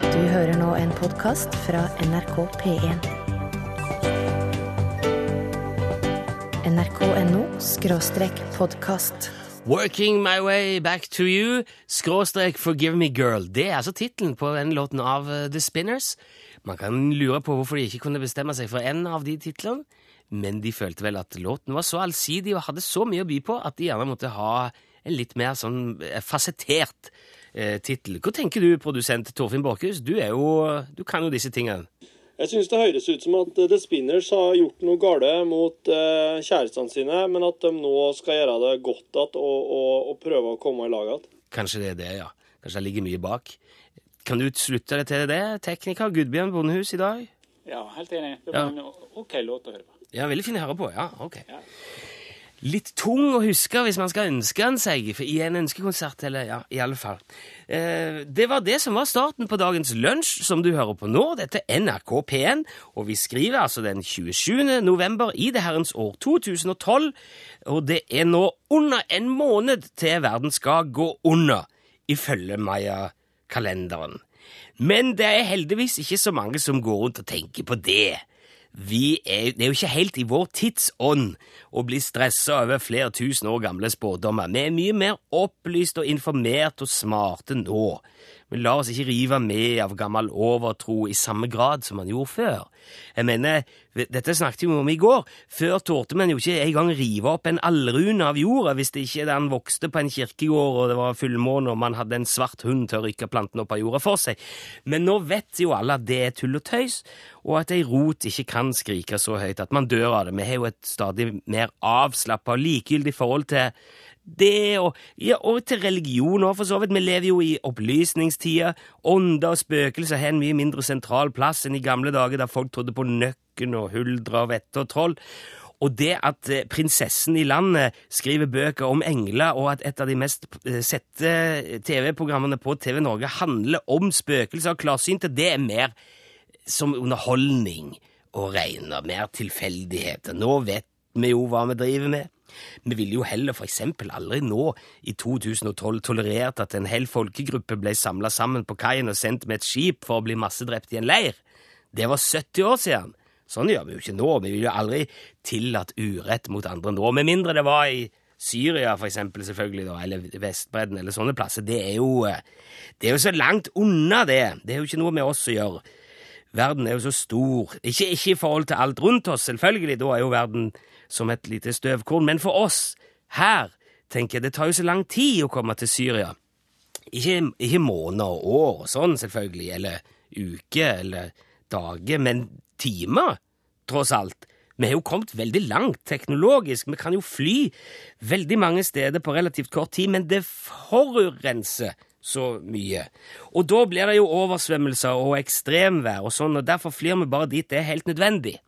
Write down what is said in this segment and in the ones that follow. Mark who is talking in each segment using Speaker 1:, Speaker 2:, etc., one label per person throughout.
Speaker 1: Du hører nå en podkast fra NRK P1. NRK.no skråstrek podkast.
Speaker 2: Working my way back to you, skråstrek forgive me girl. Det er altså tittelen på den låten av eh, The Spinners. Man kan lure på hvorfor de ikke kunne bestemme seg for en av de titlene, men de følte vel at låten var så allsidig og hadde så mye å by på at de gjerne måtte ha en litt mer sånn eh, fasettert eh, tittel. Hva tenker du, produsent Torfinn Borchhus? Du, er jo, du kan jo disse tingene.
Speaker 3: Jeg syns det høres ut som at eh, The Spinners har gjort noe gale mot eh, kjærestene sine, men at de nå skal gjøre det godt igjen og, og, og prøve å komme i lag igjen.
Speaker 2: Kanskje det er det, ja. Kanskje det ligger mye bak. Kan du slutte deg til det, tekniker Gudbjørn Bondehus i dag?
Speaker 4: Ja, helt enig. Det
Speaker 2: Ja.
Speaker 4: var en OK låt å høre på.
Speaker 2: Ja, veldig fin å høre på. Ja, ok.
Speaker 4: Ja.
Speaker 2: Litt tung å huske hvis man skal ønske den seg for i en ønskekonsert, eller ja, i alle fall. Eh, det var det som var starten på dagens lunsj, som du hører på nå. Dette er NRK P1, og vi skriver altså den 27. november i det herrens år 2012, og det er nå under en måned til verden skal gå under, ifølge Maya-kalenderen. Men det er heldigvis ikke så mange som går rundt og tenker på det. Vi er, det er jo ikke helt i vår tidsånd å bli stressa over flere tusen år gamle spådommer. Vi er mye mer opplyst og informert og smarte nå. Men la oss ikke rive med av gammel overtro i samme grad som man gjorde før. Jeg mener, Dette snakket vi om i går. Før torde man jo ikke engang rive opp en allrune av jorda hvis det ikke den vokste på en kirkegård og det var fullmåne og man hadde en svart hund til å rykke plantene opp av jorda for seg. Men nå vet jo alle at det er tull og tøys, og at ei rot ikke kan skrike så høyt at man dør av det. Vi har jo et stadig mer avslappa og likegyldig forhold til det, og, ja, og til religion òg, for så vidt. Vi lever jo i opplysningstida. Ånder og spøkelser har en mye mindre sentral plass enn i gamle dager, der folk trodde på nøkken og huldra og vette og troll. Og det at eh, prinsessen i landet skriver bøker om engler, og at et av de mest eh, sette TV-programmene på TV Norge handler om spøkelser og klarsynte, det er mer som underholdning å regne. Mer tilfeldigheter. Nå vet vi jo hva vi driver med. Vi ville jo heller for eksempel aldri nå, i 2012, tolerert at en hel folkegruppe ble samla sammen på kaien og sendt med et skip for å bli massedrept i en leir. Det var 70 år siden. Sånn gjør vi jo ikke nå. Vi vil jo aldri tillate urett mot andre nå, med mindre det var i Syria, for eksempel, selvfølgelig, da, eller Vestbredden, eller sånne plasser. Det er jo, eh, det er jo så langt unna, det. Det er jo ikke noe med oss å gjøre. Verden er jo så stor. Ikke, ikke i forhold til alt rundt oss, selvfølgelig, da er jo verden som et lite støvkorn, men for oss her, tenker jeg, det tar jo så lang tid å komme til Syria. Ikke, ikke måneder og år og sånn, selvfølgelig, eller uker eller dager, men timer, tross alt. Vi har jo kommet veldig langt teknologisk, vi kan jo fly veldig mange steder på relativt kort tid, men det forurenser så mye. Og da blir det jo oversvømmelser og ekstremvær og sånn, og derfor flyr vi bare dit det er helt nødvendig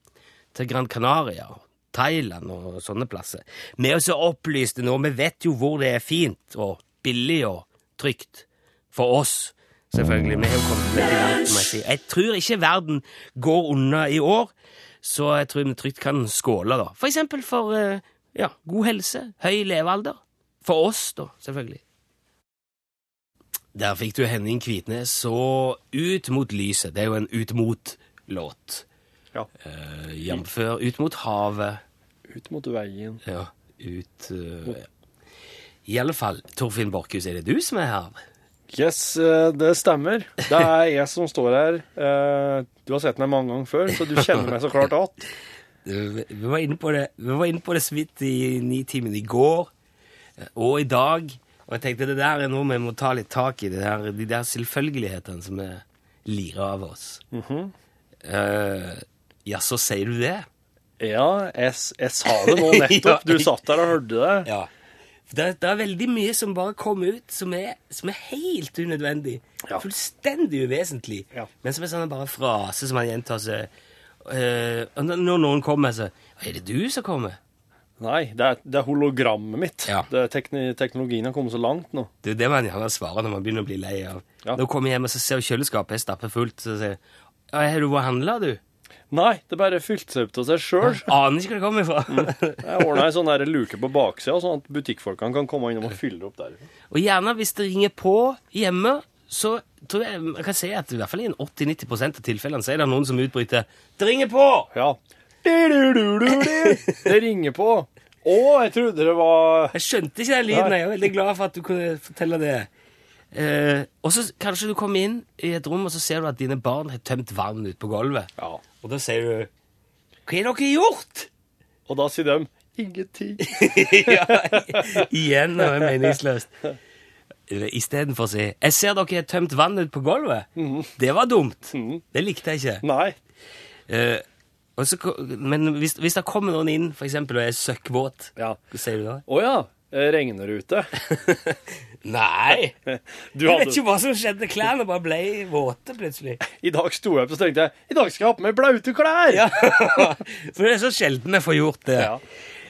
Speaker 2: til Gran Canaria og Thailand og sånne plasser. Vi er jo så opplyste nå, vi vet jo hvor det er fint og billig og trygt. For oss, selvfølgelig. Vi har jo kommet veldig langt. må Jeg si. Jeg tror ikke verden går unna i år, så jeg tror vi trygt kan skåle, da. For eksempel for eh, ja, god helse, høy levealder. For oss, da, selvfølgelig. Der fikk du Henning Kvitnes så Ut mot lyset. Det er jo en Ut mot-låt.
Speaker 3: Ja.
Speaker 2: Eh, Jamfør ut mot havet.
Speaker 3: Ut mot veien.
Speaker 2: Ja, ut eh, I alle fall, Torfinn Borchhus, er det du som er her?
Speaker 3: Yes, eh, det stemmer. Det er jeg som står her. Eh, Du har sett meg mange ganger før, så du kjenner meg så klart igjen.
Speaker 2: Eh, Vi var inne på det, vi var inne på det så vidt i Nitimen i går eh, og i dag. Og jeg tenkte det der er noe vi må ta litt tak i, det der, de der selvfølgelighetene som er lira av oss. Eh, ja, så sier du det?
Speaker 3: Ja, jeg, s- jeg sa det nå nettopp. Du satt der og hørte det.
Speaker 2: Ja. Det, det er veldig mye som bare kommer ut, som er, som er helt unødvendig.
Speaker 3: Ja.
Speaker 2: Fullstendig uvesentlig.
Speaker 3: Ja.
Speaker 2: Men som er sånn bare frase som man gjentar seg eh, og Når når noen kommer, så Er det du som kommer?
Speaker 3: Nei, det er, det er hologrammet mitt.
Speaker 2: Ja.
Speaker 3: Det er tekni- teknologien har kommet så langt nå.
Speaker 2: Det er det man gjerne svarer når man begynner å bli lei av.
Speaker 3: Ja.
Speaker 2: Nå kommer jeg hjem og så ser jeg kjøleskapet er stappfullt, så sier jeg «Ja, Har du vært og handla, du?
Speaker 3: Nei, det bare fylte seg opp av seg sjøl.
Speaker 2: Aner ikke hvor det kommer ifra.
Speaker 3: Jeg ordna ei sånn der luke på baksida, sånn at butikkfolkene kan komme innom og fylle det opp der.
Speaker 2: Og gjerne hvis det ringer på hjemme, så tror jeg jeg kan si at i hvert fall i en 80-90 prosent av tilfellene så er det noen som utbryter 'Det ringer på!'
Speaker 3: Ja. Du-du-du-du-du. Det ringer på. Å, jeg trodde det var
Speaker 2: Jeg skjønte ikke den lyden. Jeg er veldig glad for at du kunne fortelle det. Eh, og så kanskje du kommer inn i et rom, og så ser du at dine barn har tømt vann ute på gulvet.
Speaker 3: Ja.
Speaker 2: Og da sier du 'Hva har dere gjort?'
Speaker 3: Og da sier de ingenting.
Speaker 2: ja, igjen noe meningsløst. Istedenfor å si 'Jeg ser dere har tømt vann ut på gulvet'. Det var dumt. Det likte jeg ikke.
Speaker 3: Nei.
Speaker 2: Eh, og så, ko- men hvis, hvis det kommer noen inn for eksempel, og er søkkvåt,
Speaker 3: Ja.
Speaker 2: hva sier du da?
Speaker 3: Å ja. eh, Regner det ute?
Speaker 2: Nei!
Speaker 3: Du
Speaker 2: Jeg vet
Speaker 3: hadde,
Speaker 2: ikke hva som skjedde. Klærne bare ble våte plutselig.
Speaker 3: I dag sto jeg opp og så tenkte jeg i dag skal jeg ha på meg blaute klær!
Speaker 2: Ja. For det er så sjelden jeg får gjort det.
Speaker 3: Ja.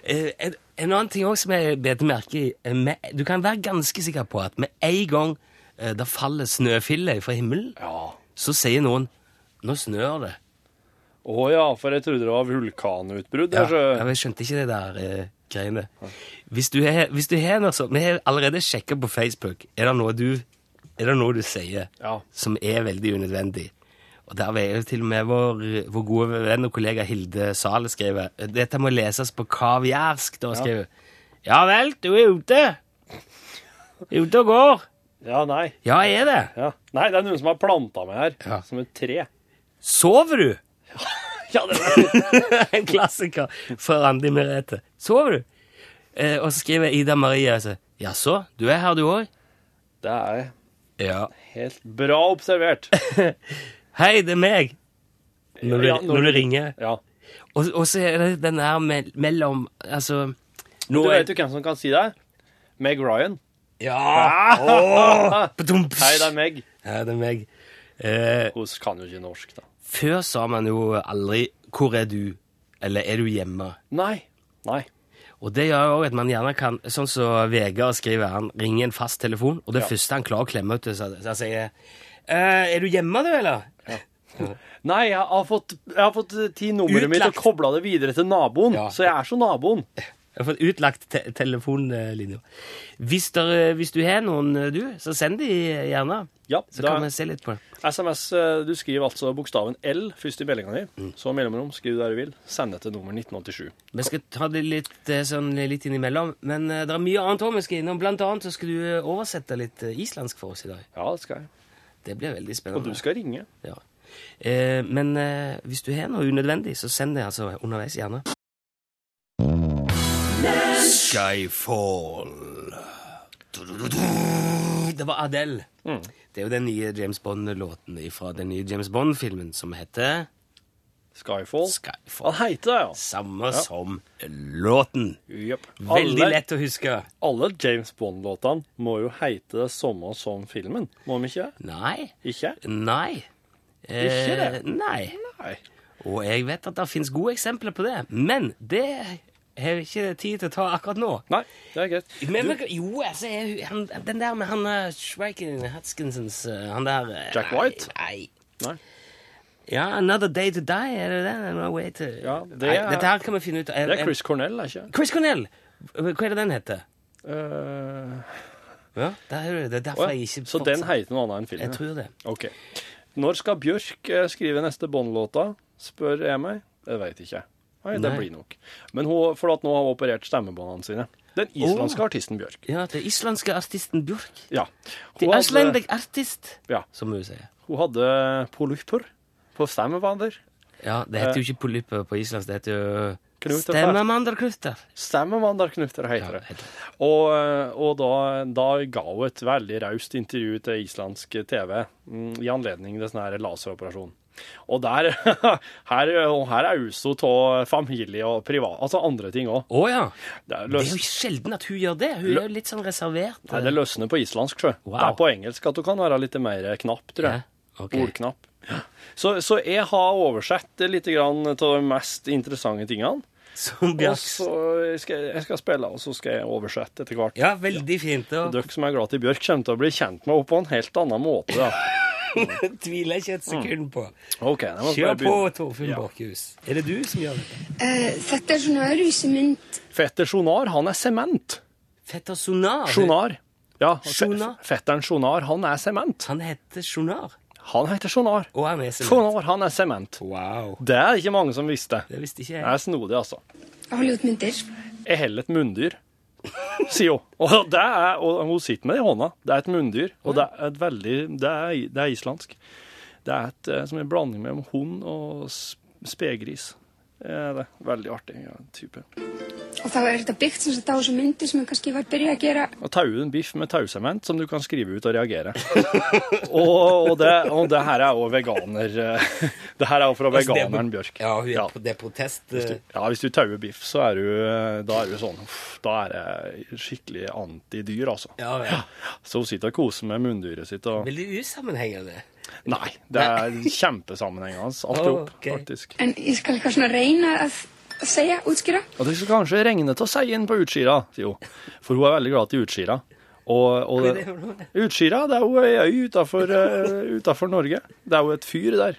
Speaker 2: Eh, en, en annen ting også som jeg bet merke i eh, med, Du kan være ganske sikker på at med en gang eh, det faller snøfiller fra himmelen,
Speaker 3: Ja.
Speaker 2: så sier noen 'Nå snør det'.
Speaker 3: Å ja, for jeg trodde det var vulkanutbrudd.
Speaker 2: Ja,
Speaker 3: altså.
Speaker 2: ja, men jeg skjønte ikke det der eh, greiene. Hvis du har hvis du har noe sånt Vi har allerede sjekka på Facebook. Er det noe du, er det noe du sier
Speaker 3: Ja.
Speaker 2: som er veldig unødvendig? Og der er jo til og med vår, vår gode venn og kollega Hilde Sale skriver Dette må leses på kaviarsk, da, skriver Ja vel, du er ute. Ute og går.
Speaker 3: ja, nei.
Speaker 2: Ja, jeg er det.
Speaker 3: Ja. Nei, det er noen som har planta meg her,
Speaker 2: Ja.
Speaker 3: som et tre.
Speaker 2: Sover du?
Speaker 3: Ja, det var det.
Speaker 2: en klassiker fra Randi Merete. Sover du? Eh, og så skriver Ida Marie altså, Jaså, du er her du òg?
Speaker 3: Det er
Speaker 2: Ja.
Speaker 3: helt bra observert.
Speaker 2: Hei, det er meg. Når du,
Speaker 3: Ja,
Speaker 2: når du ringer.
Speaker 3: Ja.
Speaker 2: Og, og så er det den der mell- mellom Altså nå
Speaker 3: Du
Speaker 2: er-
Speaker 3: vet jo hvem som kan si det? Meg Ryan.
Speaker 2: Ja! Åh! Badumps!
Speaker 3: Ah! Hei, det er Meg.
Speaker 2: Hei, det er meg. Eh,
Speaker 3: Hun kan jo ikke norsk, da.
Speaker 2: før sa man jo aldri 'Hvor er du?' eller 'Er du hjemme?'
Speaker 3: Nei. Nei.
Speaker 2: Og det gjør jo også at man gjerne kan, sånn som Vegard skriver, han ringer en fast telefon, og det første han klarer å klemme ut, så så han sier «Eh, Er du hjemme, du, eller?
Speaker 3: Nei, jeg har fått, jeg har fått ti nummeret mitt og
Speaker 2: Utlagt.
Speaker 3: kobla det videre til naboen,
Speaker 2: Ja.
Speaker 3: så jeg er så naboen.
Speaker 2: Jeg har fått utlagt te telefonlinja. Hvis, der- hvis du har noen, eh, du, så send de gjerne.
Speaker 3: Ja,
Speaker 2: Så
Speaker 3: da-
Speaker 2: kan vi se litt på det.
Speaker 3: SMS, eh, du skriver altså bokstaven L først i meldinga di, så mellomrom, skriv det du vil, send det til nummer 1987.
Speaker 2: Vi skal ta det litt, eh, sånn, litt innimellom, men eh, det er mye annet òg vi skal innom. Blant annet så skal du eh, oversette litt eh, islandsk for oss i dag.
Speaker 3: Ja, det skal jeg.
Speaker 2: Det blir veldig
Speaker 3: Og
Speaker 2: spennende.
Speaker 3: du skal ringe.
Speaker 2: Ja. Eh, men eh, hvis du har noe unødvendig, så send det altså underveis, gjerne. Skyfall. Det var Adele.
Speaker 3: Mm.
Speaker 2: Det er jo den nye James Bond-låten fra den nye James Bond-filmen som heter
Speaker 3: Skyfall. Han
Speaker 2: Skyfall.
Speaker 3: heter det,
Speaker 2: Samme som låten.
Speaker 3: ja. Yep.
Speaker 2: Veldig lett å huske.
Speaker 3: Alle James Bond-låtene må jo heite det samme som filmen, må de ikke?
Speaker 2: Nei.
Speaker 3: Ikke?
Speaker 2: Nei. Eh,
Speaker 3: Ikke det?
Speaker 2: Nei.
Speaker 3: Nei.
Speaker 2: Og jeg vet at det finnes gode eksempler på det, men det har vi ikke tid til å ta akkurat nå.
Speaker 3: Nei, det er greit.
Speaker 2: Men, men, jo, altså, jeg, han, den der med han eh, Schweiken Hutchinsons eh, Han der eh,
Speaker 3: Jack White?
Speaker 2: Nei.
Speaker 3: Nei.
Speaker 2: Ja, Another Day To Die, er det det? No way to...
Speaker 3: Ja, det
Speaker 2: nei,
Speaker 3: er-
Speaker 2: dette her kan vi finne ut av.
Speaker 3: Det er Chris Cornell, er ikke det?
Speaker 2: Chris Cornell! Hva er det den heter?
Speaker 3: Eh,
Speaker 2: Ja, der, er det. det er
Speaker 3: å
Speaker 2: derfor Øh, jeg
Speaker 3: ja.
Speaker 2: ikke
Speaker 3: Så den heter noe annet enn
Speaker 2: Jeg
Speaker 3: filmen?
Speaker 2: tror det.
Speaker 3: Ok. Når skal Bjørk eh, skrive neste Bond-låta, spør jeg meg. Det veit ikke jeg. Nei, det
Speaker 2: Nei.
Speaker 3: blir nok. Men hun, for at nå har hun operert stemmebåndene sine. Den islandske artisten Bjørk.
Speaker 2: Ja, det er islandske artisten Bjørk.
Speaker 3: Ja.
Speaker 2: The
Speaker 3: Hun hadde,
Speaker 2: Icelandic Artist,
Speaker 3: eh, ja,
Speaker 2: som hun sier.
Speaker 3: hun hadde polypper på stemmebånder.
Speaker 2: Ja, det heter
Speaker 3: Eh.
Speaker 2: jo ikke polypper på islandsk, det heter jo
Speaker 3: Knuter.
Speaker 2: Stemmemandelknuter.
Speaker 3: Stemmebånderknuter heter det. Og, eh, og da, da ga hun et veldig raust intervju til islandsk TV mm, i anledning til sånn her laseroperasjon. Og der, her, og her er også av familie og privat, altså andre ting òg.
Speaker 2: Å ja.
Speaker 3: Det, er
Speaker 2: Det er jo
Speaker 3: løs,
Speaker 2: ikke sjelden at hun gjør det. Hun er jo litt sånn reservert.
Speaker 3: nei, det løsner på islandsk, sjø.
Speaker 2: Wow.
Speaker 3: Det er på engelsk at du kan være litt mer knapp, tror jeg.
Speaker 2: Ja, ok.
Speaker 3: Ordknapp. Så, så jeg har oversett litt grann av de mest interessante tingene.
Speaker 2: Som
Speaker 3: Og
Speaker 2: Bjørk.
Speaker 3: så skal jeg, jeg skal spille, og så skal jeg oversette etter hvert.
Speaker 2: Ja, veldig fint. Og
Speaker 3: Dere som er glad i Bjørk, kommer til å bli kjent med henne på en helt annen måte. Da.
Speaker 2: tviler ikke et sekund på.
Speaker 3: Ok, Mm. jeg må bare
Speaker 2: Kjør på,
Speaker 3: begynne.
Speaker 2: Torfinn Bakhus. Er det du som gjør dette?
Speaker 5: Eh, Þetta er svona öðruvísi mynd
Speaker 3: Fetter Sonar, han er sement.
Speaker 2: Fetter Sonar.
Speaker 3: Sonar. Ja, og fe-
Speaker 2: Sjonar.
Speaker 3: Fetteren Sjonar, han er sement.
Speaker 2: Han heter Jonar.
Speaker 3: Han heter Sjonar.
Speaker 2: Og han er sement.
Speaker 3: Sjonar, han er sement.
Speaker 2: Wow.
Speaker 3: Det er ikke mange som visste.
Speaker 2: Det visste ikke
Speaker 3: Det
Speaker 2: jeg.
Speaker 3: er snodig, altså.
Speaker 6: Jeg holder ut mynter.
Speaker 3: Jeg holder et munndyr, sier hun. Og, det er, og hun sitter med det i hånda. Det er et munndyr, og det er, et veldig, det er, det er islandsk. Det er et, eh, som en blanding mellom hund og s- spegris. Eh, Det er veldig artig ja, type.
Speaker 6: Og þá er þetta byggt sem sagt á þessum myndir sem er kannski var byrjað að gera
Speaker 3: Og taue en biff med tausement som du kan skrive ut og reagere. og, og, det, og det her er jo veganer... eh, Det her er jo fra
Speaker 2: Altså, det er-
Speaker 3: veganeren Bjørk.
Speaker 2: Ja, hun
Speaker 3: Ja.
Speaker 2: er på det er protest. eh,
Speaker 3: Ja, hvis du tauer biff, så er du, da er du sånn uff, Da er jeg skikkelig antidyr, altså.
Speaker 2: Ja, ja.
Speaker 3: Så hun sitter og koser med munndyret sitt og
Speaker 2: Veldig usammenhengende.
Speaker 3: Nei, det er kjempesammenhengende, alt i hop,
Speaker 2: Ok.
Speaker 3: faktisk.
Speaker 6: en ég skal eitthvað svona reyna að, að segja, útskýra
Speaker 3: Og det skal kanskje regne til å si inn på Utsira, sier hun. For hun er veldig glad til Utsira. Og, og
Speaker 2: Hva er
Speaker 3: det,
Speaker 2: det for noe?
Speaker 3: Utsira det er jo ei øy utafor, Norge. Det er jo et fyr der.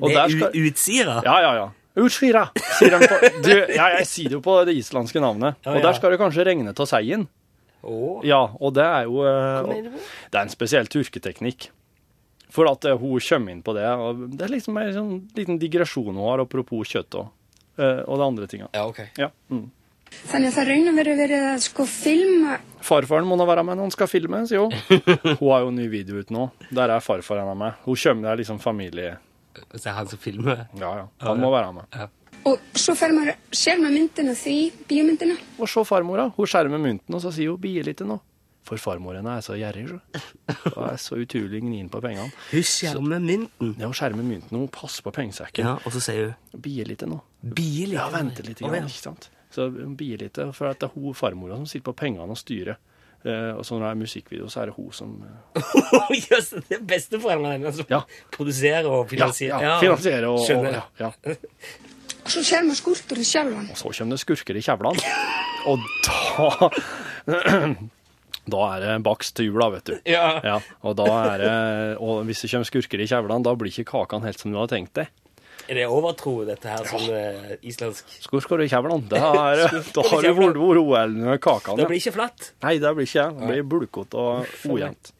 Speaker 3: Og
Speaker 2: Det
Speaker 3: der
Speaker 2: er
Speaker 3: skal-
Speaker 2: u- utsira.
Speaker 3: Ja, ja, ja. Utsira, sier han på Du, ja, jeg sier det jo på det islandske navnet.
Speaker 2: Ja,
Speaker 3: Og
Speaker 2: ja.
Speaker 3: der skal det kanskje regne til å si inn.
Speaker 2: Å,
Speaker 3: Ja, og det er jo eh,
Speaker 2: mener du?
Speaker 3: Det er en spesiell tyrketeknikk. For at eh, hun kommer inn på det. og Det er liksom en sånn liten digresjon hun har, apropos kjøtt og, eh, og det andre tinga.
Speaker 2: ja, ok.
Speaker 3: Ja. Mm.
Speaker 6: þannig að það raunum verið verið að sko filma
Speaker 3: Farfaren må da være med når han skal filme, sier hun. Hun har jo en ny video ute nå. Der er farfaren hennes med. Hun kommer der liksom familie...
Speaker 2: Og så er han som filmer.
Speaker 3: Ja, ja. Han må være med.
Speaker 6: og svo fer maður að sér maður myndina því bíómyndina
Speaker 3: Og så farmora. Hun skjermer mynten, og så sier hun 'bie litt nå'. For farmor henne er så gjerrig, så. Hun er så utrolig gnien på pengene.
Speaker 2: Hun skjermer mynten.
Speaker 3: Ja, hun skjermer mynten, og hun passer på pengesekken.
Speaker 2: Ja, og så sier hun
Speaker 3: Bie litt nå.
Speaker 2: Bil,
Speaker 3: Ja, vente litt,
Speaker 2: Å,
Speaker 3: grann,
Speaker 2: ja.
Speaker 3: ikke sant? Så hun bier litt, for at det er hun farmora som sitter på pengene og styrer. Eh, og så når det er musikkvideo, så er det hun som eh,
Speaker 2: Jøss, det er besteforeldrene hennes som
Speaker 3: Ja.
Speaker 2: produserer og finansierer. Ja,
Speaker 3: finansierer og, og
Speaker 2: Skjønner.
Speaker 3: ja, ja.
Speaker 6: og svo sér maður skúlptúrin sjálfan
Speaker 3: Og så kommer det skurker i kjevlene. Og da Da er det bakst til jula, vet du.
Speaker 2: Ja.
Speaker 3: og, da er det, og hvis det kommer skurker i kjevlene, da blir ikke kakene helt som du hadde tenkt deg.
Speaker 2: Er det overtro, dette her, som eh, islandsk?
Speaker 3: Skurker i kjevlene, det er, da har du
Speaker 2: i kjevlene.
Speaker 3: vært OL med kakene.
Speaker 2: Det
Speaker 3: ja.
Speaker 2: blir ikke flatt.
Speaker 3: Nei, det blir ikke det. Det blir bulkete og ojevnt.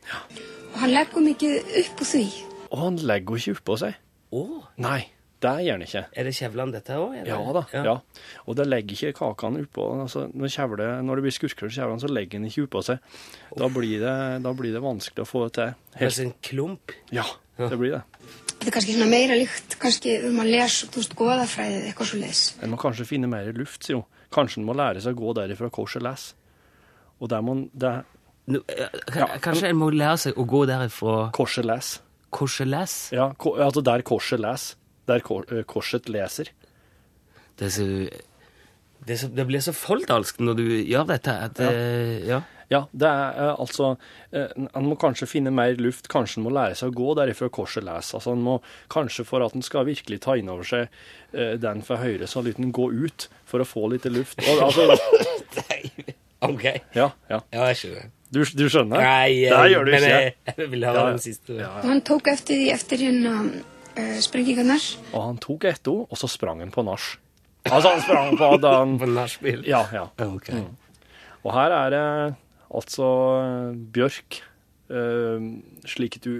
Speaker 6: og hann leggur mikið upp úr því
Speaker 3: Og han legger jo ikke oppå seg.
Speaker 2: Å,
Speaker 3: Nei, det gjør han ikke.
Speaker 2: er det Kjevland dette òg?
Speaker 3: Ja da. ja. Og det legger ikke kakene oppå. Altså, når, kjevle, når det blir skurker i kjevlene, så legger han ikke oppå seg. Da blir, det, da blir det vanskelig å få det til.
Speaker 2: Helt
Speaker 3: Helt.
Speaker 2: en klump.
Speaker 3: Ja, det blir det.
Speaker 6: þetta er kannski svona meira líkt kannski um að lesa, þú veist, goðafræðið eitthvað svo leis
Speaker 3: En må kanskje finne mer luft, sier hun. Kanskje en må lære seg å gå derifra korset les. Og der må en der-
Speaker 2: Nå, eh, ka- Kanskje en må lære seg å gå derifra
Speaker 3: Korset les.
Speaker 2: korseles?
Speaker 3: Ja, ko, altså der korset les. Der kor, eh, korset leser.
Speaker 2: Det, er så, det, er så, det blir så folldalsk når du gjør dette. At, eh, ja.
Speaker 3: Ja, det er eh, altså eh, En må kanskje finne mer luft, kanskje en må lære seg å gå derifra korset les. Altså, en må kanskje for at en skal virkelig ta inn over seg eh, den fra høyre, så lytter en gå ut for å få litt luft. Og, altså,
Speaker 2: OK.
Speaker 3: ja, ja.
Speaker 2: Ja, jeg skjønner.
Speaker 3: Du, du skjønner?
Speaker 2: Nei,
Speaker 3: det
Speaker 2: eh,
Speaker 3: gjør du
Speaker 2: men
Speaker 3: ikke.
Speaker 2: jeg, jeg vil ha
Speaker 3: Ja, ja.
Speaker 2: den siste.
Speaker 6: og hann tók eftir því eftir hérna uh, sprengingarnar
Speaker 3: Og han tok etter henne, og så sprang han på nach. Altså, han sprang på at han
Speaker 2: På nachspiel.
Speaker 3: Ja, Mm. ja.
Speaker 2: Ok.
Speaker 3: Og her er det altså eh, Bjørk, eh, slik du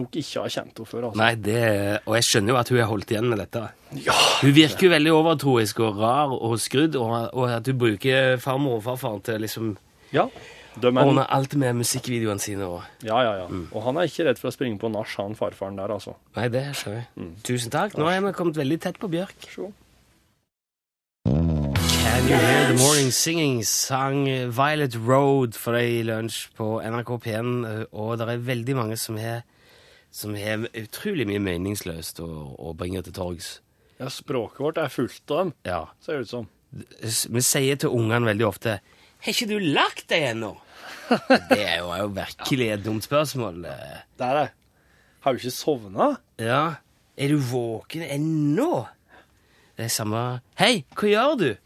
Speaker 3: nok ikke har kjent henne før. Altså.
Speaker 2: Nei, det, og jeg skjønner jo at hun er holdt igjen med dette.
Speaker 3: Ja.
Speaker 2: Hun virker jo veldig overtroisk og rar og skrudd, og, og at hun bruker farmor og farfaren til å liksom
Speaker 3: ja. De er
Speaker 2: ordne alt med musikkvideoene sine. Og...
Speaker 3: Ja, ja, ja. Og han er ikke redd for å springe på nach, han farfaren der, altså.
Speaker 2: Nei, det skjønner jeg.
Speaker 3: Mm.
Speaker 2: Tusen takk. Nå er vi kommet veldig tett på Bjørk.
Speaker 3: Sjå.
Speaker 2: Can you hear the morning singing? Sang Violet Road for deg i lunsj på NRK P1, og det er veldig mange som har som har utrolig mye meningsløst å, å bringe til torgs.
Speaker 3: Ja, språket vårt er fullt av dem,
Speaker 2: Ja.
Speaker 3: ser det ut som.
Speaker 2: s- vi sier til ungene veldig ofte Har ikke du lagt deg ennå? Det er jo, er jo virkelig et dumt spørsmål. eh. det.
Speaker 3: Der er Har du ikke sovna?
Speaker 2: Ja. Er du våken ennå? Det er samme Hei, hva gjør du?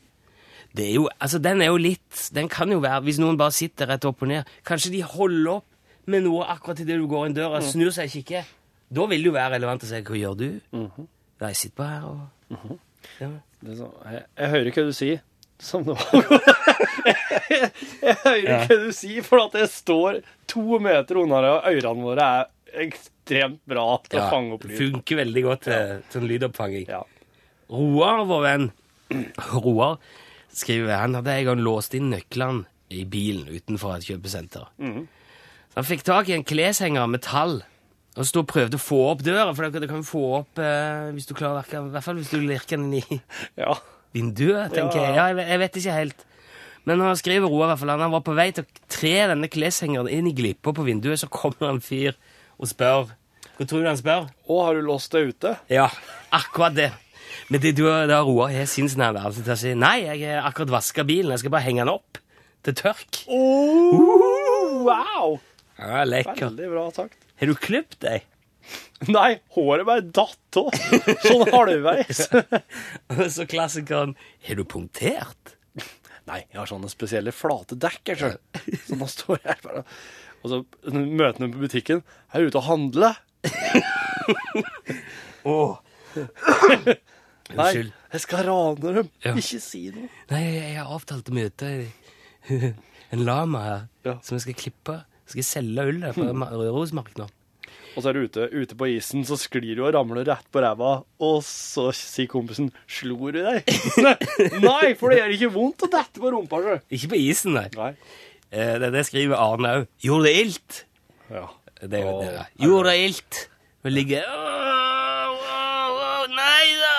Speaker 2: Det er jo, altså Den er jo litt Den kan jo være Hvis noen bare sitter rett opp og ned Kanskje de holder opp med noe akkurat idet du går inn døra, snur seg og kikker. Da vil det jo være relevant å si Hva gjør du? Nei, jeg sitter bare her og ja.
Speaker 3: Det er sånn, jeg, jeg hører hva du sier. som det var. jeg hører ikke hva du sier, for at jeg står to meter unna deg, og ørene våre er ekstremt bra til å fange opp lyd.
Speaker 2: Funker veldig godt til sånn lydoppfanging.
Speaker 3: Ja.
Speaker 2: Roar, vår venn, Roar skriver han hadde en gang låst inn nøklene i bilen utenfor et kjøpesenter. Så han fikk tak i en kleshenger med tall og sto og prøvde å få opp døra, for det kan jo få opp eh, hvis du klarer å verke, i hvert fall hvis du lirker den i
Speaker 3: ja.
Speaker 2: vinduet, tenker jeg. Ja, jeg, ve- jeg vet ikke helt. Men han skriver Roar, i hvert fall, han var på vei til å tre denne kleshengeren inn i glippa på vinduet, så kommer en fyr og spør. Hva tror du han spør?
Speaker 3: Å, har du låst deg ute?
Speaker 2: Ja, akkurat det. Men det du da Roar sånn har sinnsnærværelse til å si nei, jeg har akkurat vaska bilen, jeg skal bare henge den opp til tørk.
Speaker 3: Oh! Wow!
Speaker 2: Ja, lekker.
Speaker 3: Veldig bra sagt.
Speaker 2: Har du klippet deg?
Speaker 3: Nei, håret bare datt av. Sånn halvveis.
Speaker 2: Og så klassikeren Har du punktert?
Speaker 3: Nei, jeg har sånne spesielle flate dekker, sjøl. Så nå står jeg her bare Og så møter han meg på butikken. Jeg er ute og handler. Nei,
Speaker 2: Unnskyld.
Speaker 3: jeg skal rane dem.
Speaker 2: Ja.
Speaker 3: Ikke si noe.
Speaker 2: Nei, jeg jeg har avtalt å møte en lama her
Speaker 3: Ja.
Speaker 2: som jeg skal klippe. Jeg skal selge ullet på Ma- Rørosmarkedet.
Speaker 3: Og så er du ute, ute på isen, så sklir du og ramler rett på ræva. Og så sier kompisen 'Slo du deg?' Nei, for det gjør ikke vondt å dette på rumpa. sjø.
Speaker 2: Ikke på isen, nei.
Speaker 3: Nei.
Speaker 2: Eh, Det, det skriver Arne òg. Gjorde det ilt?
Speaker 3: Ja.
Speaker 2: Det er jo det. da.
Speaker 3: Åh.
Speaker 2: Gjorde det ilt? Hun ligger Åh, åh, åh, Nei da!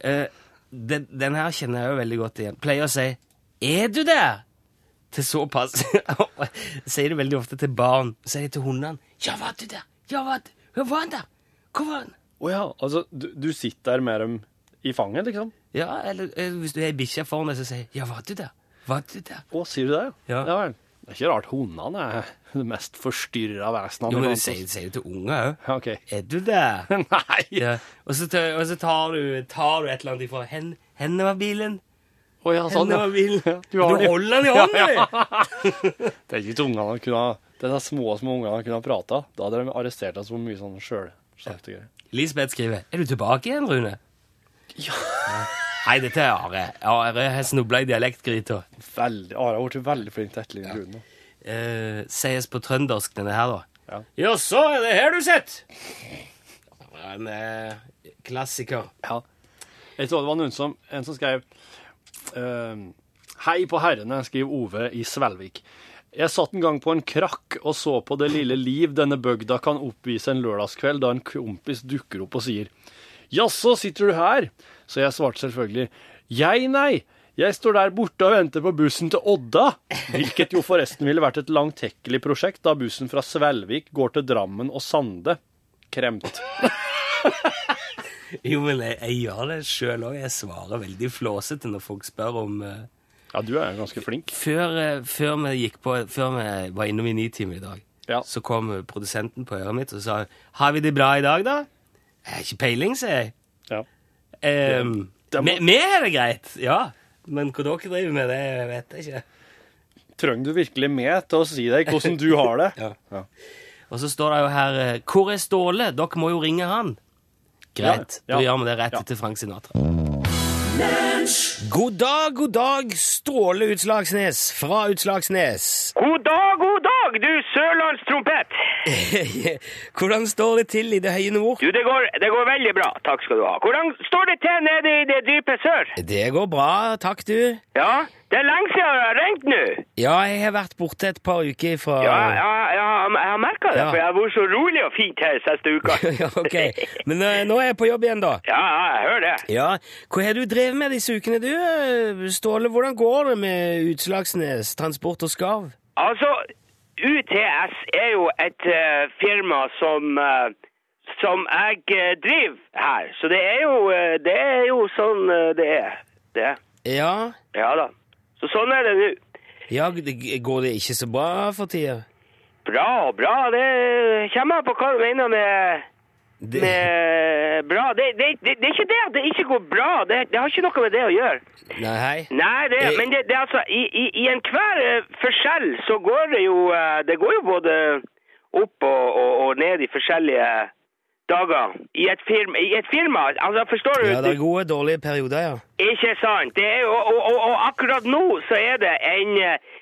Speaker 2: Eh, den, den her kjenner jeg jo veldig godt igjen. Pleier å si 'Er du der?' til såpass. Sier det veldig ofte til barn. Sier det til hundene. 'Ja, var du der? Ja, var du Ja, var han der? Hvor var han?'
Speaker 3: Å ja, altså, du, du sitter der med dem i fanget, liksom?
Speaker 2: Ja, eller eh, hvis du har ei bikkje foran deg, så sier jeg 'Ja, var du der? Var du der?'
Speaker 3: Å, sier du det?
Speaker 2: Ja.
Speaker 3: vel. Det er ikke rart hundene er det mest forstyrra vesenet.
Speaker 2: Jo, men du
Speaker 3: blant oss.
Speaker 2: sier sier det til unger òg.
Speaker 3: Ja, OK.
Speaker 2: 'Er du der?'
Speaker 3: Nei! Å
Speaker 2: Ja. Og så, tar, og så tar, du, tar du et eller annet ifra hen, hendene var bilen.
Speaker 3: ja, sånn,
Speaker 2: Hendene
Speaker 3: ja.
Speaker 2: var bilen.
Speaker 3: Du
Speaker 2: Du,
Speaker 3: har den i-
Speaker 2: holder den i hånden, du!
Speaker 3: Det er ikke at ungene kunne ha Disse små, små ungene kunne ha prata. Da hadde de arrestert oss for mye sånn sjøl. Ja.
Speaker 2: Lisbeth skriver Er du tilbake igjen, Rune? Ja. Nei, dette er Are. Are har snubla i dialektgryta.
Speaker 3: Veldig, Are har blitt veldig flink til å etterligne Rune.
Speaker 2: Eh, sies på trøndersk, denne her, da.
Speaker 3: Ja.
Speaker 2: Jaså, er det her du sitter? En eh, klassiker.
Speaker 3: Ja. Jeg så det var noen som, en som skrev ehm, Hei på herrene, skriver Ove i Svelvik. Jeg satt en gang på en krakk og så på det lille liv denne bygda kan oppvise en lørdagskveld, da en kompis dukker opp og sier Jaså, sitter du her? Så jeg svarte selvfølgelig Jeg, nei. Jeg står der borte og venter på bussen til Odda. Hvilket jo forresten ville vært et langtekkelig prosjekt, da bussen fra Svelvik går til Drammen og Sande. Kremt.
Speaker 2: Jo, men jeg, jeg gjør det sjøl òg. Jeg svarer veldig flåsete når folk spør om eh,
Speaker 3: Ja, du er jo ganske flink.
Speaker 2: Før, eh, før, vi gikk på, før vi var innom i Nitimen i dag,
Speaker 3: Ja.
Speaker 2: så kom eh, produsenten på øret mitt og sa Har vi det bra i dag, da? Jeg har ikke peiling, sier jeg.
Speaker 3: Ja.
Speaker 2: Ehm,
Speaker 3: det må-
Speaker 2: vi- Vi har det greit, ja. Men hva dere driver med, det vet jeg ikke.
Speaker 3: Trenger du virkelig med til å si deg hvordan du har det?
Speaker 2: Ja. Og så står det jo her eh, Hvor er Ståle? Dere må jo ringe han. Greit.
Speaker 3: Ja, ja.
Speaker 2: Da gjør vi det rett
Speaker 3: Ja.
Speaker 2: etter Frank Sinatra. God dag, god dag, Ståle Utslagsnes fra Utslagsnes.
Speaker 7: God dag, god dag, du sørlandstrompet!
Speaker 2: Hvordan står det til i det høye nord?
Speaker 7: Du, det går, det går veldig bra. Takk skal du ha. Hvordan står det til nede i det dype sør?
Speaker 2: Det går bra, takk du.
Speaker 7: Ja, det er lenge siden jeg har ringt nå.
Speaker 2: Ja, jeg har vært borte et par uker fra
Speaker 7: Ja, ja, ja, jeg har merka det,
Speaker 2: Ja.
Speaker 7: for jeg har vært så rolig og fint her siste uka.
Speaker 2: Ja, ok. Men eh, nå er jeg på jobb igjen, da.
Speaker 7: Ja, ja, jeg hører det.
Speaker 2: Ja, Hva har du drevet med disse ukene, du, eh, Ståle? Hvordan går det med Utslagsnes, Transport og Skarv?
Speaker 7: Altså, UTS er jo et eh, firma som eh, som jeg eh, driver her, så det er jo, eh, det er jo sånn eh, det er. Det.
Speaker 2: Ja,
Speaker 7: Ja da. Så sånn er det nå.
Speaker 2: ja det, Går det ikke så bra for tida?
Speaker 7: Bra, bra. Det kommer an på hva du mener med,
Speaker 2: Det-
Speaker 7: med bra. Det, det, det, det er ikke det at det ikke går bra. Det, det har ikke noe med det å gjøre.
Speaker 2: Nei, hei.
Speaker 7: Nei, det,
Speaker 2: Eh.
Speaker 7: men det, det er altså I, i, i enhver eh, forskjell så går det jo eh, Det går jo både opp og, og, og ned i forskjellige dager i et firma. I et firma altså, forstår du?
Speaker 2: Ja, det er gode, dårlige perioder, ja.
Speaker 7: Ikke sant. Det er jo, og, og, og akkurat nå så er det en eh,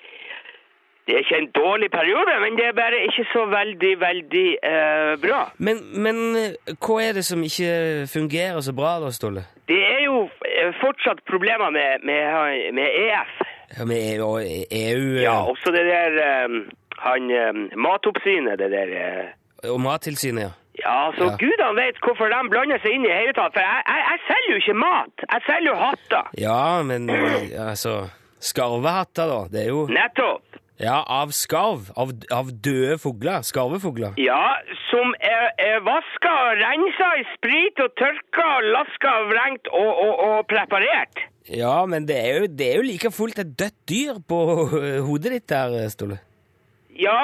Speaker 7: Det er ikke en dårlig periode, men det er bare ikke så veldig, veldig eh, bra.
Speaker 2: Men, men eh, hva er det som ikke fungerer så bra da, Ståle?
Speaker 7: Det er jo eh, fortsatt problemer med, med, E med EF.
Speaker 2: Ja, Med EU og EU, eh,
Speaker 7: Ja, også det der eh, han eh, Matoppsynet, det der eh,
Speaker 2: og Mattilsynet, ja.
Speaker 7: Ja, så
Speaker 2: Ja.
Speaker 7: gudene vet hvorfor de blander seg inn i det hele tatt. For jeg, jeg, jeg selger jo ikke mat. Jeg selger jo hatter.
Speaker 2: Ja, men eh, altså Skarvehatter, da. Det er jo
Speaker 7: Nettopp.
Speaker 2: Ja, av skarv. Av, av døde fugler. Skarvefugler.
Speaker 7: Ja, som er, er vaska, rensa i sprit og tørka, laska, vrengt og, og, og preparert.
Speaker 2: Ja, men det er jo, det er jo like fullt et dødt dyr på eh, hodet ditt der, eh, Ståle.
Speaker 7: Ja.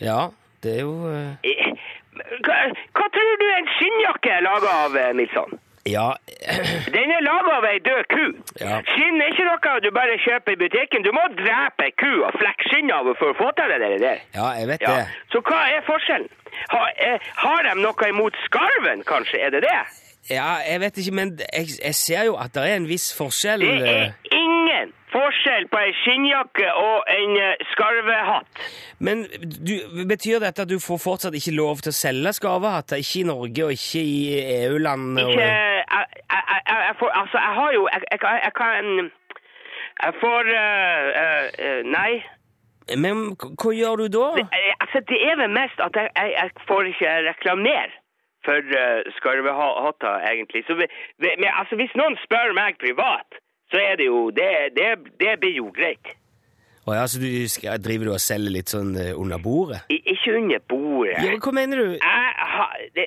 Speaker 2: Ja, det er jo eh,
Speaker 7: eh, Hva, hva tror du en skinnjakke er laga av, eh, Nilsson?
Speaker 2: Ja.
Speaker 7: Den er laga av ei død ku.
Speaker 2: Ja.
Speaker 7: Skinn er ikke noe du bare kjøper i butikken. Du må drepe ei ku og flekke skinnet av henne for å få til det der. der.
Speaker 2: Ja, jeg vet
Speaker 7: Ja.
Speaker 2: det.
Speaker 7: Så hva er forskjellen? Har, eh, har de noe imot skarven, kanskje? Er det det?
Speaker 2: Ja, jeg vet ikke, men jeg, jeg ser jo at det er en viss forskjell.
Speaker 7: Det
Speaker 2: eh,
Speaker 7: er ingen forskjell på ei skinnjakke og en eh, skarvehatt.
Speaker 2: Men du, betyr dette at du får fortsatt ikke lov til å selge skarvehatter? Ikke i Norge og ikke i EU-landene? og-
Speaker 7: Ikke jeg, jeg, jeg, jeg får Altså, jeg har jo Jeg, jeg, kan- jeg kan Jeg får eh, eh, eh, Nei.
Speaker 2: Men hva hva gjør du da?
Speaker 7: Det- eh, Altså, det er vel mest at jeg, jeg, jeg får ikke reklamere for eh, skarvehatta, egentlig. Så vi, vi, men, altså, hvis noen spør meg privat, så er det jo Det, det, det blir jo greit.
Speaker 2: Å ja, så du sk- driver du og selger litt sånn eh, under bordet?
Speaker 7: I, ikke under bordet.
Speaker 2: Ja, men hva mener du?
Speaker 7: Jeg har det,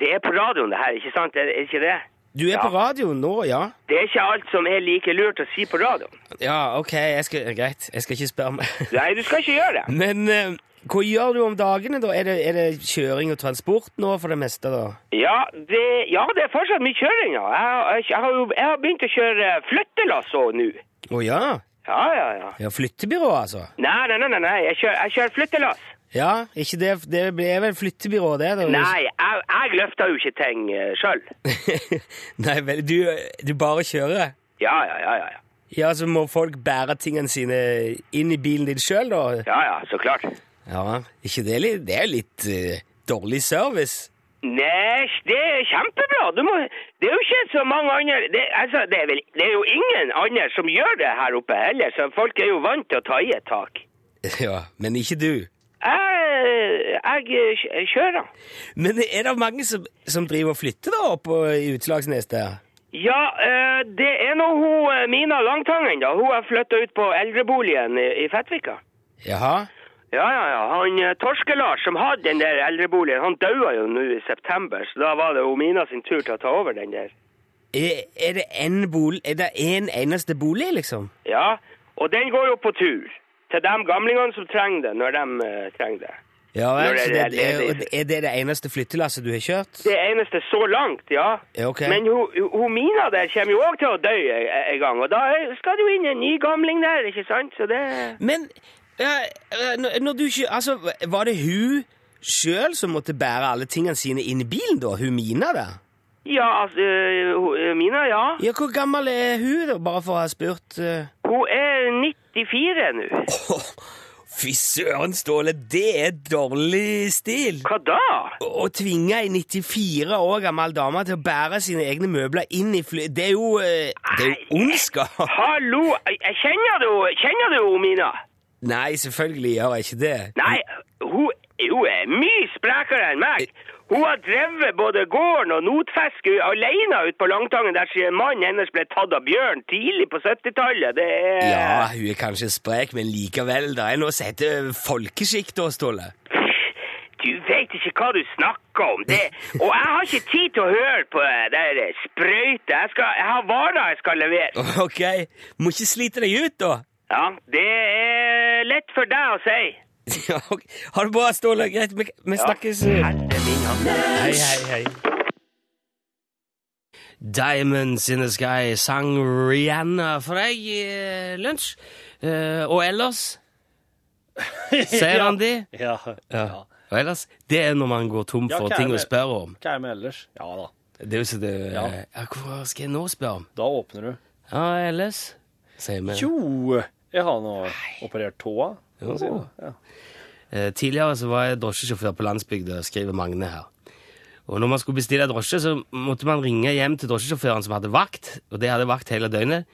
Speaker 7: det er på radioen, det her, ikke sant? Er, er ikke det?
Speaker 2: Du er
Speaker 7: Ja.
Speaker 2: på radioen nå, ja?
Speaker 7: Det er ikke alt som er like lurt å si på radioen.
Speaker 2: Ja, ok, jeg skal, greit. Jeg skal ikke spørre mer.
Speaker 7: Nei, du skal ikke gjøre det.
Speaker 2: Men eh, hva gjør du om dagene, da? Er det, er det kjøring og transport nå for det meste, da?
Speaker 7: Ja, det, ja, det er fortsatt mye kjøring. Ja. Jeg, har- jeg, har jo- jeg har begynt å kjøre flyttelass òg nå.
Speaker 2: Å ja?
Speaker 7: Ja, ja, ja.
Speaker 2: Ja, flyttebyrå, altså?
Speaker 7: Nei, nei, nei, nei, nei. Jeg, kjører, jeg kjører flyttelass.
Speaker 2: Ja, ikke det, det er vel flyttebyrå, det? Da.
Speaker 7: Nei, jeg, jeg løfter jo ikke ting eh, sjøl.
Speaker 2: Nei vel, du, du bare kjører?
Speaker 7: Ja, ja, ja, ja, ja.
Speaker 2: Ja, så må folk bære tingene sine inn i bilen din sjøl, da?
Speaker 7: Ja, ja, så klart.
Speaker 2: Ja, ikke det litt Det er jo litt eh, dårlig service.
Speaker 7: Nei, det er kjempebra. Du må, det er jo ikke så mange andre det, altså, det, er vel, det er jo ingen andre som gjør det her oppe heller, så folk er jo vant til å ta i et tak.
Speaker 2: Ja, men ikke du.
Speaker 7: Jeg, jeg eh, kjører.
Speaker 2: Men er det mange som, som driver og flytter da oppe i Utslagsnes der?
Speaker 7: Ja, eh, det er nå hun eh, Mina Langtangen, da. Hun har flytta ut på eldreboligen i, i Fettvika.
Speaker 2: Jaha?
Speaker 7: Ja, ja, ja. Han eh, Torske-Lars som hadde den der eldreboligen, han daua jo nå i september, så da var det jo Mina sin tur til å ta over den der.
Speaker 2: Er, er det en bolig Er det en eneste bolig, liksom?
Speaker 7: Ja, og den går jo på tur. Til de gamlingene som trenger det, når de eh, trenger det.
Speaker 2: Ja vel,
Speaker 7: Når det
Speaker 2: så
Speaker 7: er
Speaker 2: det, er,
Speaker 7: ledig.
Speaker 2: er det det eneste flyttelasset du har kjørt?
Speaker 7: Det eneste så langt, ja.
Speaker 2: Ja, ok.
Speaker 7: Men hun, hun Mina der kommer jo òg til å dø en en gang, og da er- skal det jo inn en ny gamling der, ikke sant? Så det
Speaker 2: Men eh, eh, når når du ikke Altså, var det hun sjøl som måtte bære alle tingene sine inn i bilen, da? Hun Mina der?
Speaker 7: Ja, altså, eh, hun- eh, Mina, ja.
Speaker 2: Ja, hvor gammel er hun, da? Bare for å ha spurt. eh.
Speaker 7: Hun er 94 nå.
Speaker 2: Fy søren, Ståle, det er dårlig stil!
Speaker 7: Hva da?
Speaker 2: Å å tvinge ei 94 år gammel dame til å bære sine egne møbler inn i fly... Det er jo, eh, det er jo ondskap!
Speaker 7: Hallo, jeg- jeg kjenner du, kjenner du hun Mina?
Speaker 2: Nei, selvfølgelig gjør jeg ikke det.
Speaker 7: Nei, hun, hun er mye sprekere enn meg. Hun har drevet både gården og notfiske alene ute på Langtangen, der siden mannen hennes ble tatt av bjørn tidlig på 70-tallet. Det er
Speaker 2: Ja, hun er kanskje sprek, men likevel, det er noe som heter folkeskikk da, Ståle.
Speaker 7: Du vet ikke hva du snakker om. Det. Og jeg har ikke tid til å høre på det der sprøyte. Jeg, skal, jeg har varer jeg skal levere.
Speaker 2: Ok, må ikke slite deg ut da.
Speaker 7: Ja, det er lett for deg å si.
Speaker 2: Ja, ok. Ha det bra, Ståle. Greit, vi, vi snakkes. eh,
Speaker 7: Herre min hatt.
Speaker 2: Hei, hei, hei. Diamonds in the Sky sang Rihanna for deg i eh, lunsj. Eh, og ellers, ser han de?
Speaker 3: Ja. ja.
Speaker 2: Og ellers, det er når man går tom
Speaker 3: Ja,
Speaker 2: for
Speaker 3: hva er
Speaker 2: ting å
Speaker 3: det?
Speaker 2: spørre om.
Speaker 3: Hva er med ellers? Ja da.
Speaker 2: Det er jo så det ja.
Speaker 3: Ja.
Speaker 2: Hva skal jeg nå spørre om?
Speaker 3: Da åpner du.
Speaker 2: Ja, ellers sier vi.
Speaker 3: Jo, jeg har nå operert tåa. kan man si
Speaker 2: Jo.
Speaker 3: det. Ja.
Speaker 2: Eh, Tidligere så var jeg drosjesjåfør på landsbygda, skriver Magne her. Og når man skulle bestille drosje, så måtte man ringe hjem til drosjesjåføren som hadde vakt, og det hadde vakt hele døgnet.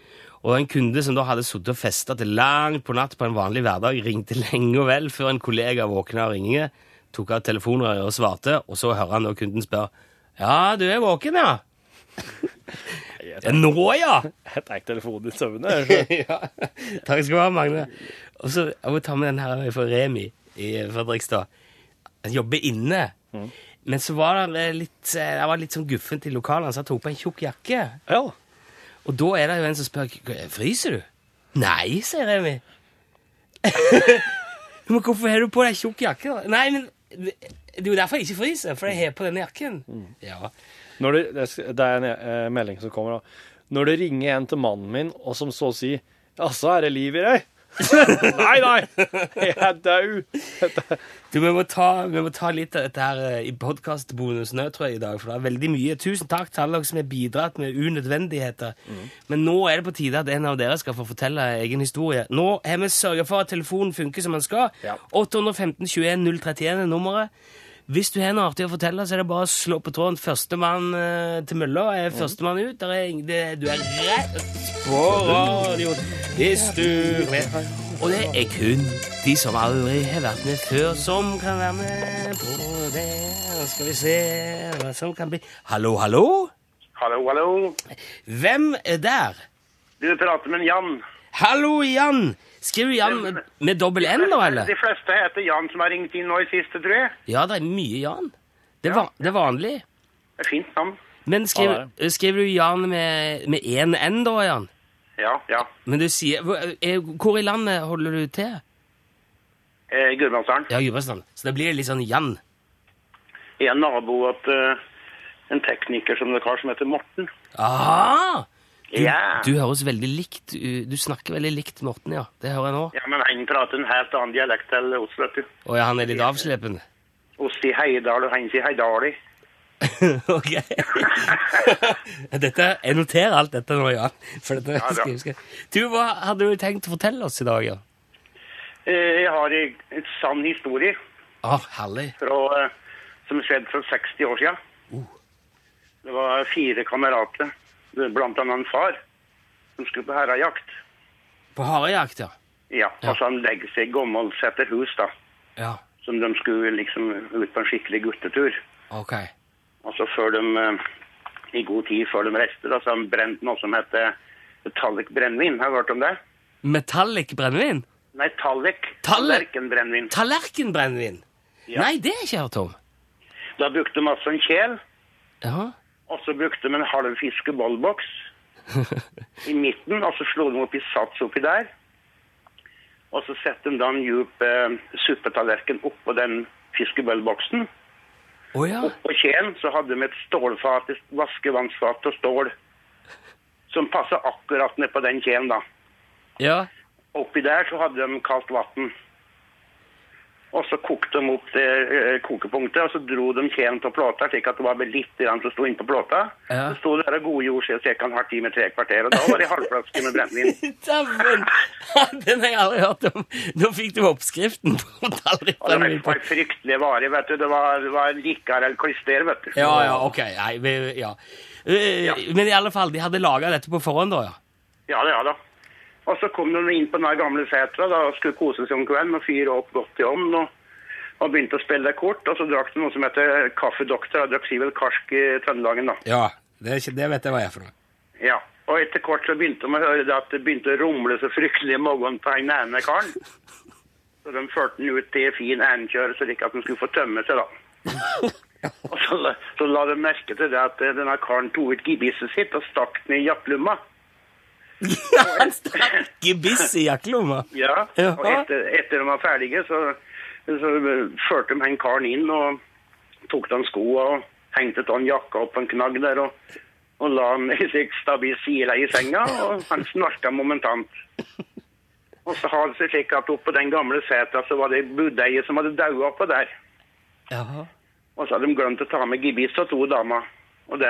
Speaker 2: Og en kunde som da hadde sittet og festa til langt på natt på en vanlig hverdag, ringte lenge og vel før en kollega våkna av ringingen, tok av telefonrøret og svarte, og så hører han når kunden spør Ja, du er våken, ja? «Ja, Nå, ja!
Speaker 3: Jeg tar ikke telefonen i søvne. jeg.
Speaker 2: ja. Takk skal du ha, Magne. Og så jeg må ta med den her fra Remi i Fredrikstad. Han jobber inne. Men så var han eh, litt, eh, han var litt sånn guffent i lokalene, så han tok på en tjukk jakke.
Speaker 3: Ja.
Speaker 2: Og da er det jo en som spør «Hva- Fryser du? Nei, sier Remi. men hvorfor har du på deg tjukk jakke? da?» Nei, men det det er jo derfor jeg ikke fryser, for jeg har på denne jakken. Ja.
Speaker 3: Når det, det er- det er en eh, melding som kommer da. Når det ringer en til mannen min, og som så sier Jaså, er det liv i deg? nei, nei! Jeg er død!
Speaker 2: Du, vi må, ta, vi må ta litt av dette her eh, i podkastbonusen òg, tror jeg, i dag. For det er veldig mye. Tusen takk til alle dere som har bidratt med unødvendigheter. Men nå er det på tide at en av dere skal få fortelle egen historie. Nå har vi sørga for at telefonen funker som den skal.
Speaker 3: Ja.
Speaker 2: 815 21 031 er nummeret. Hvis du har noe artig å fortelle, så er det bare å slå på tråden. Førstemann eh, til mølla er førstemann ut. Der er, ing- det, du er rett på radioen. Hvis du og det er kun de som aldri har vært med før, som kan være med på det. Nå skal vi se hva som kan bli Hallo, hallo?
Speaker 7: Hallo, hallo.
Speaker 2: Hvem er der?
Speaker 7: Du prater med Jan.
Speaker 2: Hallo, Jan! Skriver du Jan med, med dobbel N, da, eller?
Speaker 7: De fleste heter Jan som har ringt inn nå i siste, tror jeg.
Speaker 2: Ja, det er mye Jan. Det er, van, det er vanlig.
Speaker 7: Det er fint navn.
Speaker 2: Men
Speaker 3: Ja,
Speaker 2: skriver, skriver du Jan med med én N, da, Jan?
Speaker 7: Ja, ja.
Speaker 2: Men du sier Hvor, er, hvor i landet holder du til?
Speaker 7: Eh, Gudbrandsdalen.
Speaker 2: Ja, Gudbrandsdalen. Så da blir det litt sånn Jan.
Speaker 7: En nabo at eh, en tekniker som det kar som heter Morten.
Speaker 2: Aha! Du,
Speaker 7: Ja.
Speaker 2: du høres veldig likt u- Du snakker veldig likt Morten, ja. Det hører jeg nå.
Speaker 7: Ja, men han prater en helt annen dialekt til oss, vet du.
Speaker 2: Og ja, han er litt avslepen.
Speaker 7: Oss i Heidal, og han sier Heidali.
Speaker 2: ok. dette, jeg noterer alt dette nå, Jan. For dette
Speaker 7: bra.
Speaker 2: skal jeg huske. Du, hva hadde du tenkt å fortelle oss i dag, Jan?
Speaker 7: Eh, jeg har en en sann historie
Speaker 2: Å, herlig.
Speaker 7: fra, eh, som skjedde for 60 år siden.
Speaker 2: Uh.
Speaker 7: Det var fire kamerater, blant annet en far, som skulle på herrejakt.
Speaker 2: På harejakt, ja.
Speaker 7: Ja, altså han legger seg i gammelt setter hus da,
Speaker 2: Ja,
Speaker 7: som de skulle liksom ut på en skikkelig guttetur.
Speaker 2: ok.
Speaker 7: Altså før de, eh, i god tid før de reiste da, så han brente noe som heter metallic brennvin. Har du hørt om det?
Speaker 2: Metallic brennevin?
Speaker 7: Nei, tallic.
Speaker 2: Tallic?
Speaker 7: brennvin.
Speaker 2: Tallerkenbrennevin? Nei, det har jeg ikke hørt om.
Speaker 7: Da brukte de altså en kjel,
Speaker 2: Ja.
Speaker 7: og så brukte de en halv fiskebollboks i midten, og så slo de opp i sats oppi der. Og så setter de da en djup eh, suppetallerken oppå den fiskebollboksen.
Speaker 2: Å ja.
Speaker 7: Oppå kjelen så hadde de et stålfat, et vaskevannsfat og stål, som passet akkurat ned på den kjelen da.
Speaker 2: Ja.
Speaker 7: Oppi der så hadde de kaldt vann. Og så kokte de opp det eh, kokepunktet, og så dro de kjelen av plata, slik at det var bare litt grann som sto innpå plata.
Speaker 2: Ja.
Speaker 7: Så sto det der og godgjorde seg cirka en halv time, tre kvarter, og da var det halvflaske med brennevin.
Speaker 2: Dæven! Den har jeg aldri hørt om. Nå fikk du oppskriften på
Speaker 7: Og det var- det
Speaker 2: tallerkenbrennevin.
Speaker 7: var fryktelig vare, vet du. Det var, det var likar eller klister, vet du.
Speaker 2: Ja, ja, ok. Nei, vi, ja. Eh,
Speaker 7: Ja.
Speaker 2: Men i alle fall, de hadde laga dette på forhånd, da, ja.
Speaker 7: Ja, ja da. Og så kom de inn på den der gamle setra da, og skulle kose seg om kvelden og fyre opp godt i ovnen. Og, og begynte å spille kort, og så drakk de noe som heter kaffedoktor. Og drakk Sivel Karsk i Trøndelagen, da.
Speaker 2: Ja, det, vet jeg hva jeg er for noe.
Speaker 7: Ja, og etter kort så begynte de å høre det at det begynte å rumle så fryktelig i magen på den ene karen. Så de førte den ut til en fin endkjør, så ikke at den skulle få tømme seg, da. Og så, la- så la de merke til det at eh, denne karen tok ut gebisset sitt og stakk den i jakkelomma.
Speaker 2: Han stakk gebiss i jakkelomma.
Speaker 7: Ja,
Speaker 2: Jaha.
Speaker 7: og etter, etter de var ferdige, så, så førte de han karen inn og tok av han skoa og hengte av han jakka opp på en knagg der og, og la han i seg stabil sile i senga, og han snorka momentant. Og så har det seg slik at oppå den gamle seta så var det ei budeie som hadde daua oppå der.
Speaker 2: Ja.
Speaker 7: Og så hadde de glemt å ta med gebiss og to damer. Og det,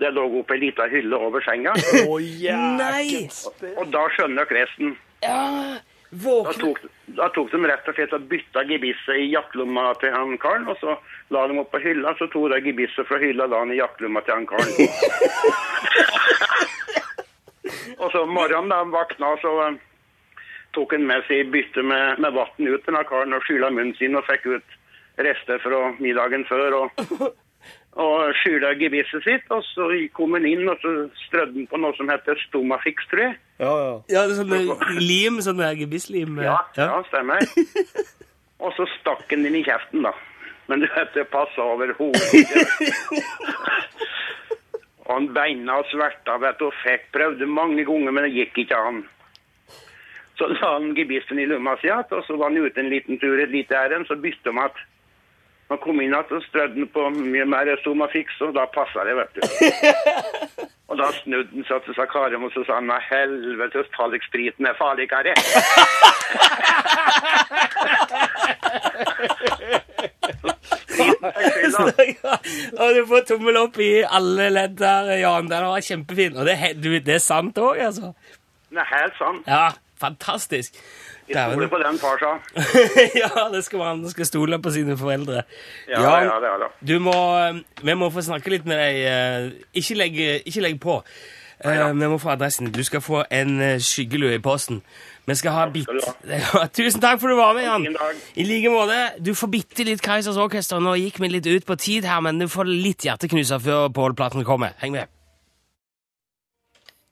Speaker 7: det lå oppe ei lita hylle over senga.
Speaker 2: Nei!
Speaker 7: Og da skjønner dere resten.
Speaker 2: Ja,
Speaker 7: Da
Speaker 2: våkne
Speaker 7: tok, da tok de rett og slett og bytta gebisset i jakkelomma til han karen, og så la de opp på hylla, så tok de gebisset fra hylla og la den i jakkelomma til han karen. og så om morgenen da han vakna, så eh, tok han med seg bytte med, med vann ut til han karen og skyla munnen sin og fikk ut rester fra middagen før. og og skyla gebisset sitt, og så kom han inn og så strødde han på noe som heter Stomafix, tror jeg.
Speaker 3: Ja, ja.
Speaker 2: Ja, det er sånn eh, lim, sånn der gebisslim. eh.
Speaker 7: Ja, ja, stemmer. Og så stakk han den i kjeften, da. Men du vet, det passa overhodet ikke. Og han beina og sverta, vet du, og fikk prøvde mange ganger, men det gikk ikke an. Så la han gebissen i lomma si igjen, og så var han ute en liten tur, et lite ærend, så bytta han att. Han kom inn igjen og strødde han på mye mer Somafix, og da passa det, vet du. Og da snudde han seg til Sakarium og så sa han, nei, helvetes tallikspriten er farligere.
Speaker 2: Så- ja. Og du får tommel opp i alle ledd der, eh, Jan. Den var kjempefin. Og det, er he- du, det er sant òg, altså.
Speaker 7: Det er helt sant.
Speaker 2: Ja, fantastisk.
Speaker 7: Jeg stoler på den far, sa.
Speaker 2: ja, det skal man. Man skal stole på sine foreldre.
Speaker 7: Ja,
Speaker 2: Jan,
Speaker 7: ja, det er det.
Speaker 2: Du må, eh, vi må få snakke litt med deg. eh, Ikke legg, ikke legg på. Eh, Vi må få adressen. Du skal få en eh, skyggelue i posten. Vi skal ha bit...
Speaker 7: skal
Speaker 2: Ja, Tusen takk for at du var med, Jan.
Speaker 7: Fin dag.
Speaker 2: I like måte. Du får bitte litt Kaizers Orkester. Nå gikk vi litt ut på tid her, men du får litt hjerteknuser før Pål Platten kommer. Heng med.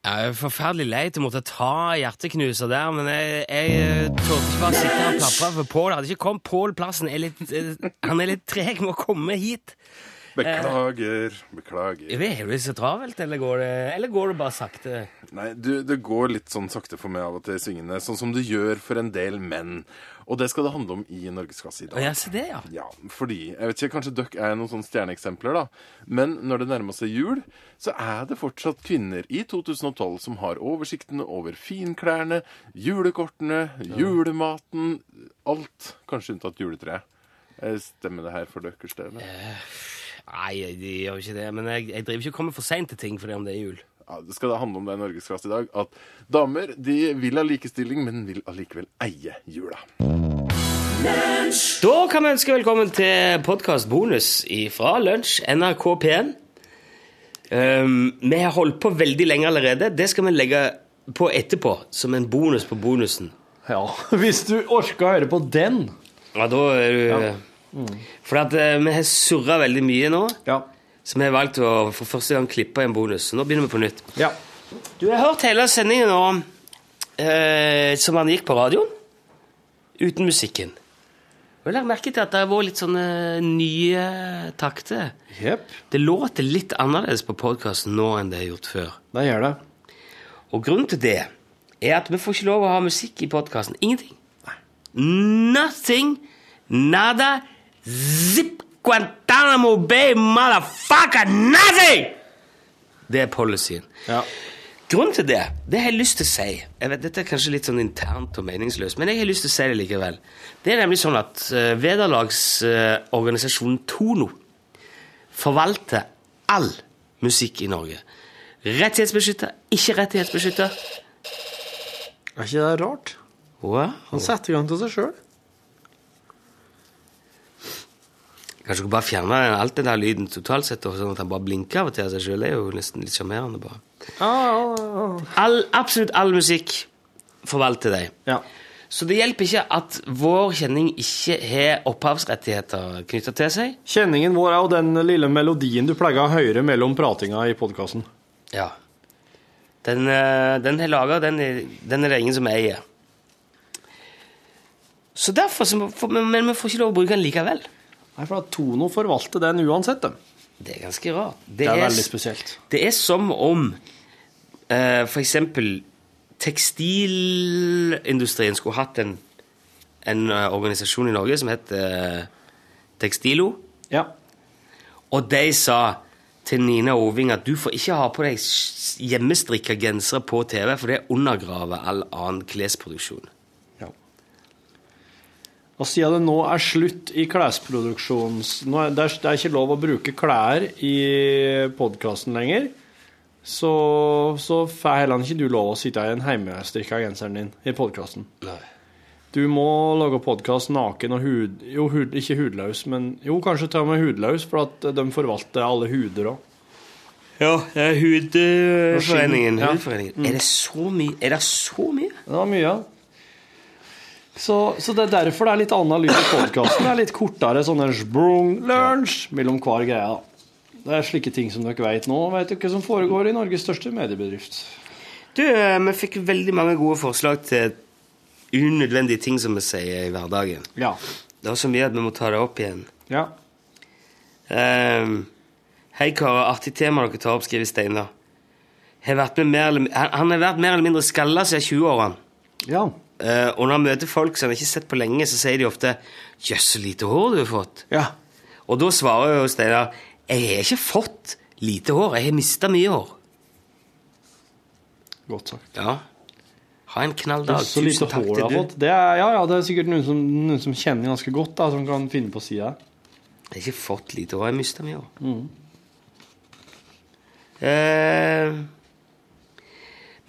Speaker 2: Jeg er forferdelig leit å måtte ta hjerteknuser der, men jeg, jeg eh, torde ikke bare sitte her og plapre, for Pål hadde ikke kommet. Pål Plassen er litt, eh, han er litt treg med å komme hit.
Speaker 8: Beklager, beklager.
Speaker 2: Jeg vet, Er det så travelt, eller går det, eller går det bare sakte?
Speaker 8: Nei, du, det går litt sånn sakte for meg av og til syngende, sånn som det gjør for en del menn. Og det skal det handle om i Norgeskasse i
Speaker 2: Å,
Speaker 8: dag.
Speaker 2: ja, se det, ja.
Speaker 8: Ja, fordi Jeg vet ikke, kanskje dere er noen sånne stjerneeksempler, da. Men når det nærmer seg jul, så er det fortsatt kvinner i 2012 som har oversikten over finklærne, julekortene, julematen, alt. Kanskje unntatt juletreet. Eh, Stemmer det her for deres del?
Speaker 2: Nei, de gjør jo ikke det, men jeg, jeg driver ikke og kommer for seint til ting fordi om det er jul.
Speaker 8: Ja, det skal da handle om det i Norgesklasse i dag, at damer de vil ha likestilling, men vil allikevel eie jula.
Speaker 2: Da kan vi ønske velkommen til podkastbonus fra Lunsj, NRK P1. Um, vi har holdt på veldig lenge allerede. Det skal vi legge på etterpå, som en bonus på bonusen.
Speaker 3: ja. Hvis du orker å høre på den
Speaker 2: Ja, da er du For at eh, vi har surra veldig mye nå,
Speaker 3: Ja.
Speaker 2: så vi har valgt å for første gang klippe en bonus. Så nå begynner vi på nytt.
Speaker 3: ja.
Speaker 2: Du har hørt hele sendingen nå, eh, som han gikk på radioen, uten musikken. Og jeg la merke til at det har vært litt sånne nye takter.
Speaker 3: Jepp.
Speaker 2: Det låter litt annerledes på podkasten nå enn det er gjort før.
Speaker 3: Det gjør det.
Speaker 2: Og grunnen til det er at vi får ikke lov å ha musikk i podkasten. Ingenting. Nothing. Nada. Zip. Guantánamo Bay, motherfucker, nothing! Det er policyen.
Speaker 3: Ja.
Speaker 2: Grunnen til det, det har jeg lyst til å si jeg vet, Dette er kanskje litt sånn internt og meningsløst, men jeg har lyst til å si det likevel. Det er nemlig sånn at uh, vederlagsorganisasjonen Tono forvalter all musikk i Norge. Rettighetsbeskytter, ikke rettighetsbeskytter.
Speaker 3: Er ikke det rart?
Speaker 2: Wow.
Speaker 3: Han setter i gang til seg sjøl.
Speaker 2: Kanskje du kan bare fjerne den- alt den der lyden totalt sett, og sånn at han bare blinker av og til av seg sjøl. Det er jo nesten litt sjarmerende, bare. All, absolutt all musikk forvalter deg.
Speaker 3: Ja.
Speaker 2: Så det hjelper ikke at vår kjenning ikke har opphavsrettigheter knytta til seg.
Speaker 3: Kjenningen vår er jo den lille melodien du pleier å høre mellom pratinga i podkasten.
Speaker 2: Ja. Den, eh, den er laga, den, er- den er det ingen som eier. Så derfor, så må- får- men, men vi får ikke lov å bruke den likevel.
Speaker 3: Nei, for at Tono forvalter den uansett, dem.
Speaker 2: Det er ganske rart.
Speaker 3: Det er veldig
Speaker 2: s-
Speaker 3: spesielt.
Speaker 2: Det er som om eh, for eksempel tekstilindustrien skulle hatt en, en eh, organisasjon i Norge som het eh, Tekstilo.
Speaker 3: Ja.
Speaker 2: Og de sa til Nina Oving at du får ikke ha på deg s- hjemmestrikka gensere på TV, for det undergraver all annen klesproduksjon.
Speaker 3: Ja. Og siden det nå er slutt i klesproduksjons... Nå er, det, er, det er ikke lov å bruke klær i podkasten lenger, så, så får heller ikke du lov å sitte i en hjemmestrikka genseren din i podkasten. Du må lage podkast naken og hud... Jo, hud, ikke hudløs, men jo, kanskje til og med hudløs, for at de forvalter alle huder òg.
Speaker 2: Ja, det er Hudforeningen.
Speaker 3: Ja.
Speaker 2: Hudforeningen.
Speaker 3: Mm.
Speaker 2: Er det så mye? Er det så mye?
Speaker 3: Det var mye, ja. Så, så det er derfor det er litt annen lyd i podkasten. Det er litt kortere sånne sprung, lunsj mellom hver greie. da. Det er slike ting som dere vet nå. Vet dere hva som foregår i Norges største mediebedrift?
Speaker 2: Du, eh, vi fikk veldig mange gode forslag til unødvendige ting som vi sier i hverdagen.
Speaker 3: Ja.
Speaker 2: Det var så mye at vi må ta det opp igjen.
Speaker 3: Ja.
Speaker 2: Ehm, hei, karer. Artig tema dere tar opp, skriver Steinar. Har vært med mer eller, han, han har vært mer eller mindre skalla siden 20-årene.
Speaker 3: Ja.
Speaker 2: Eh, og når han møter folk som han ikke har sett på lenge, så sier de ofte 'Jøss, så lite hår du har fått'.
Speaker 3: Ja.
Speaker 2: Og da svarer jo Steinar 'Jeg har ikke fått lite hår, jeg har mista mye hår'.
Speaker 3: Godt sagt.
Speaker 2: Ja. Ha en knall
Speaker 3: Det
Speaker 2: dag.
Speaker 3: er så lite
Speaker 2: Tusen takk
Speaker 3: hår jeg
Speaker 2: til
Speaker 3: har
Speaker 2: du.
Speaker 3: fått. Det er, ja, ja, det er sikkert noen som, noen som kjenner ganske godt, da, som kan finne på å si det.
Speaker 2: Jeg har ikke fått lite hår, jeg mista mye hår.
Speaker 3: Mm.
Speaker 2: Eh,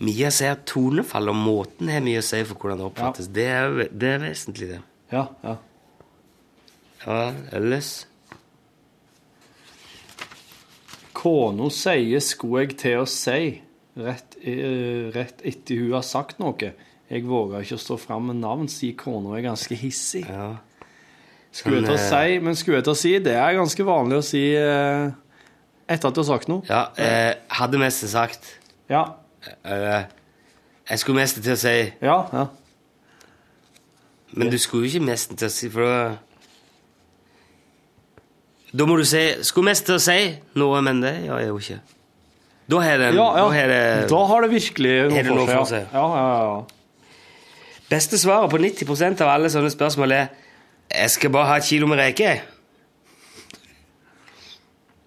Speaker 2: Mia sier at tonefall og måten har mye å si for hvordan det oppfattes. Det, er, ve- det er vesentlig, det.
Speaker 3: Ja, ja.
Speaker 2: Ja, ellers
Speaker 3: Kona sier sko jeg til å si, rett, eh, rett etter hun har sagt noe. Jeg våger ikke å stå fram med navn, sier kona er ganske hissig.
Speaker 2: Ja.
Speaker 3: Skulle jeg til å
Speaker 2: Sånn,
Speaker 3: si, men skulle jeg til å si, det er ganske vanlig å si eh, etter at du har sagt noe.
Speaker 2: Ja, eh, hadde mest sagt
Speaker 3: Ja,
Speaker 2: eh, Jeg skulle mest til å si
Speaker 3: ja, ja.
Speaker 2: Men du skulle jo ikke mest til å si, for da Da må du si Skulle mest til å si noe, men det gjør jeg jo ikke. Da har den
Speaker 3: ja,
Speaker 2: Da har
Speaker 3: ja.
Speaker 2: det
Speaker 3: Da har det virkelig
Speaker 2: Er det
Speaker 3: noe
Speaker 2: noe
Speaker 3: for
Speaker 2: for
Speaker 3: seg.
Speaker 2: seg?
Speaker 3: ja. Ja, ja, ja.
Speaker 2: Beste svaret på 90 av alle sånne spørsmål er Jeg skal bare ha et kilo med reker. jeg».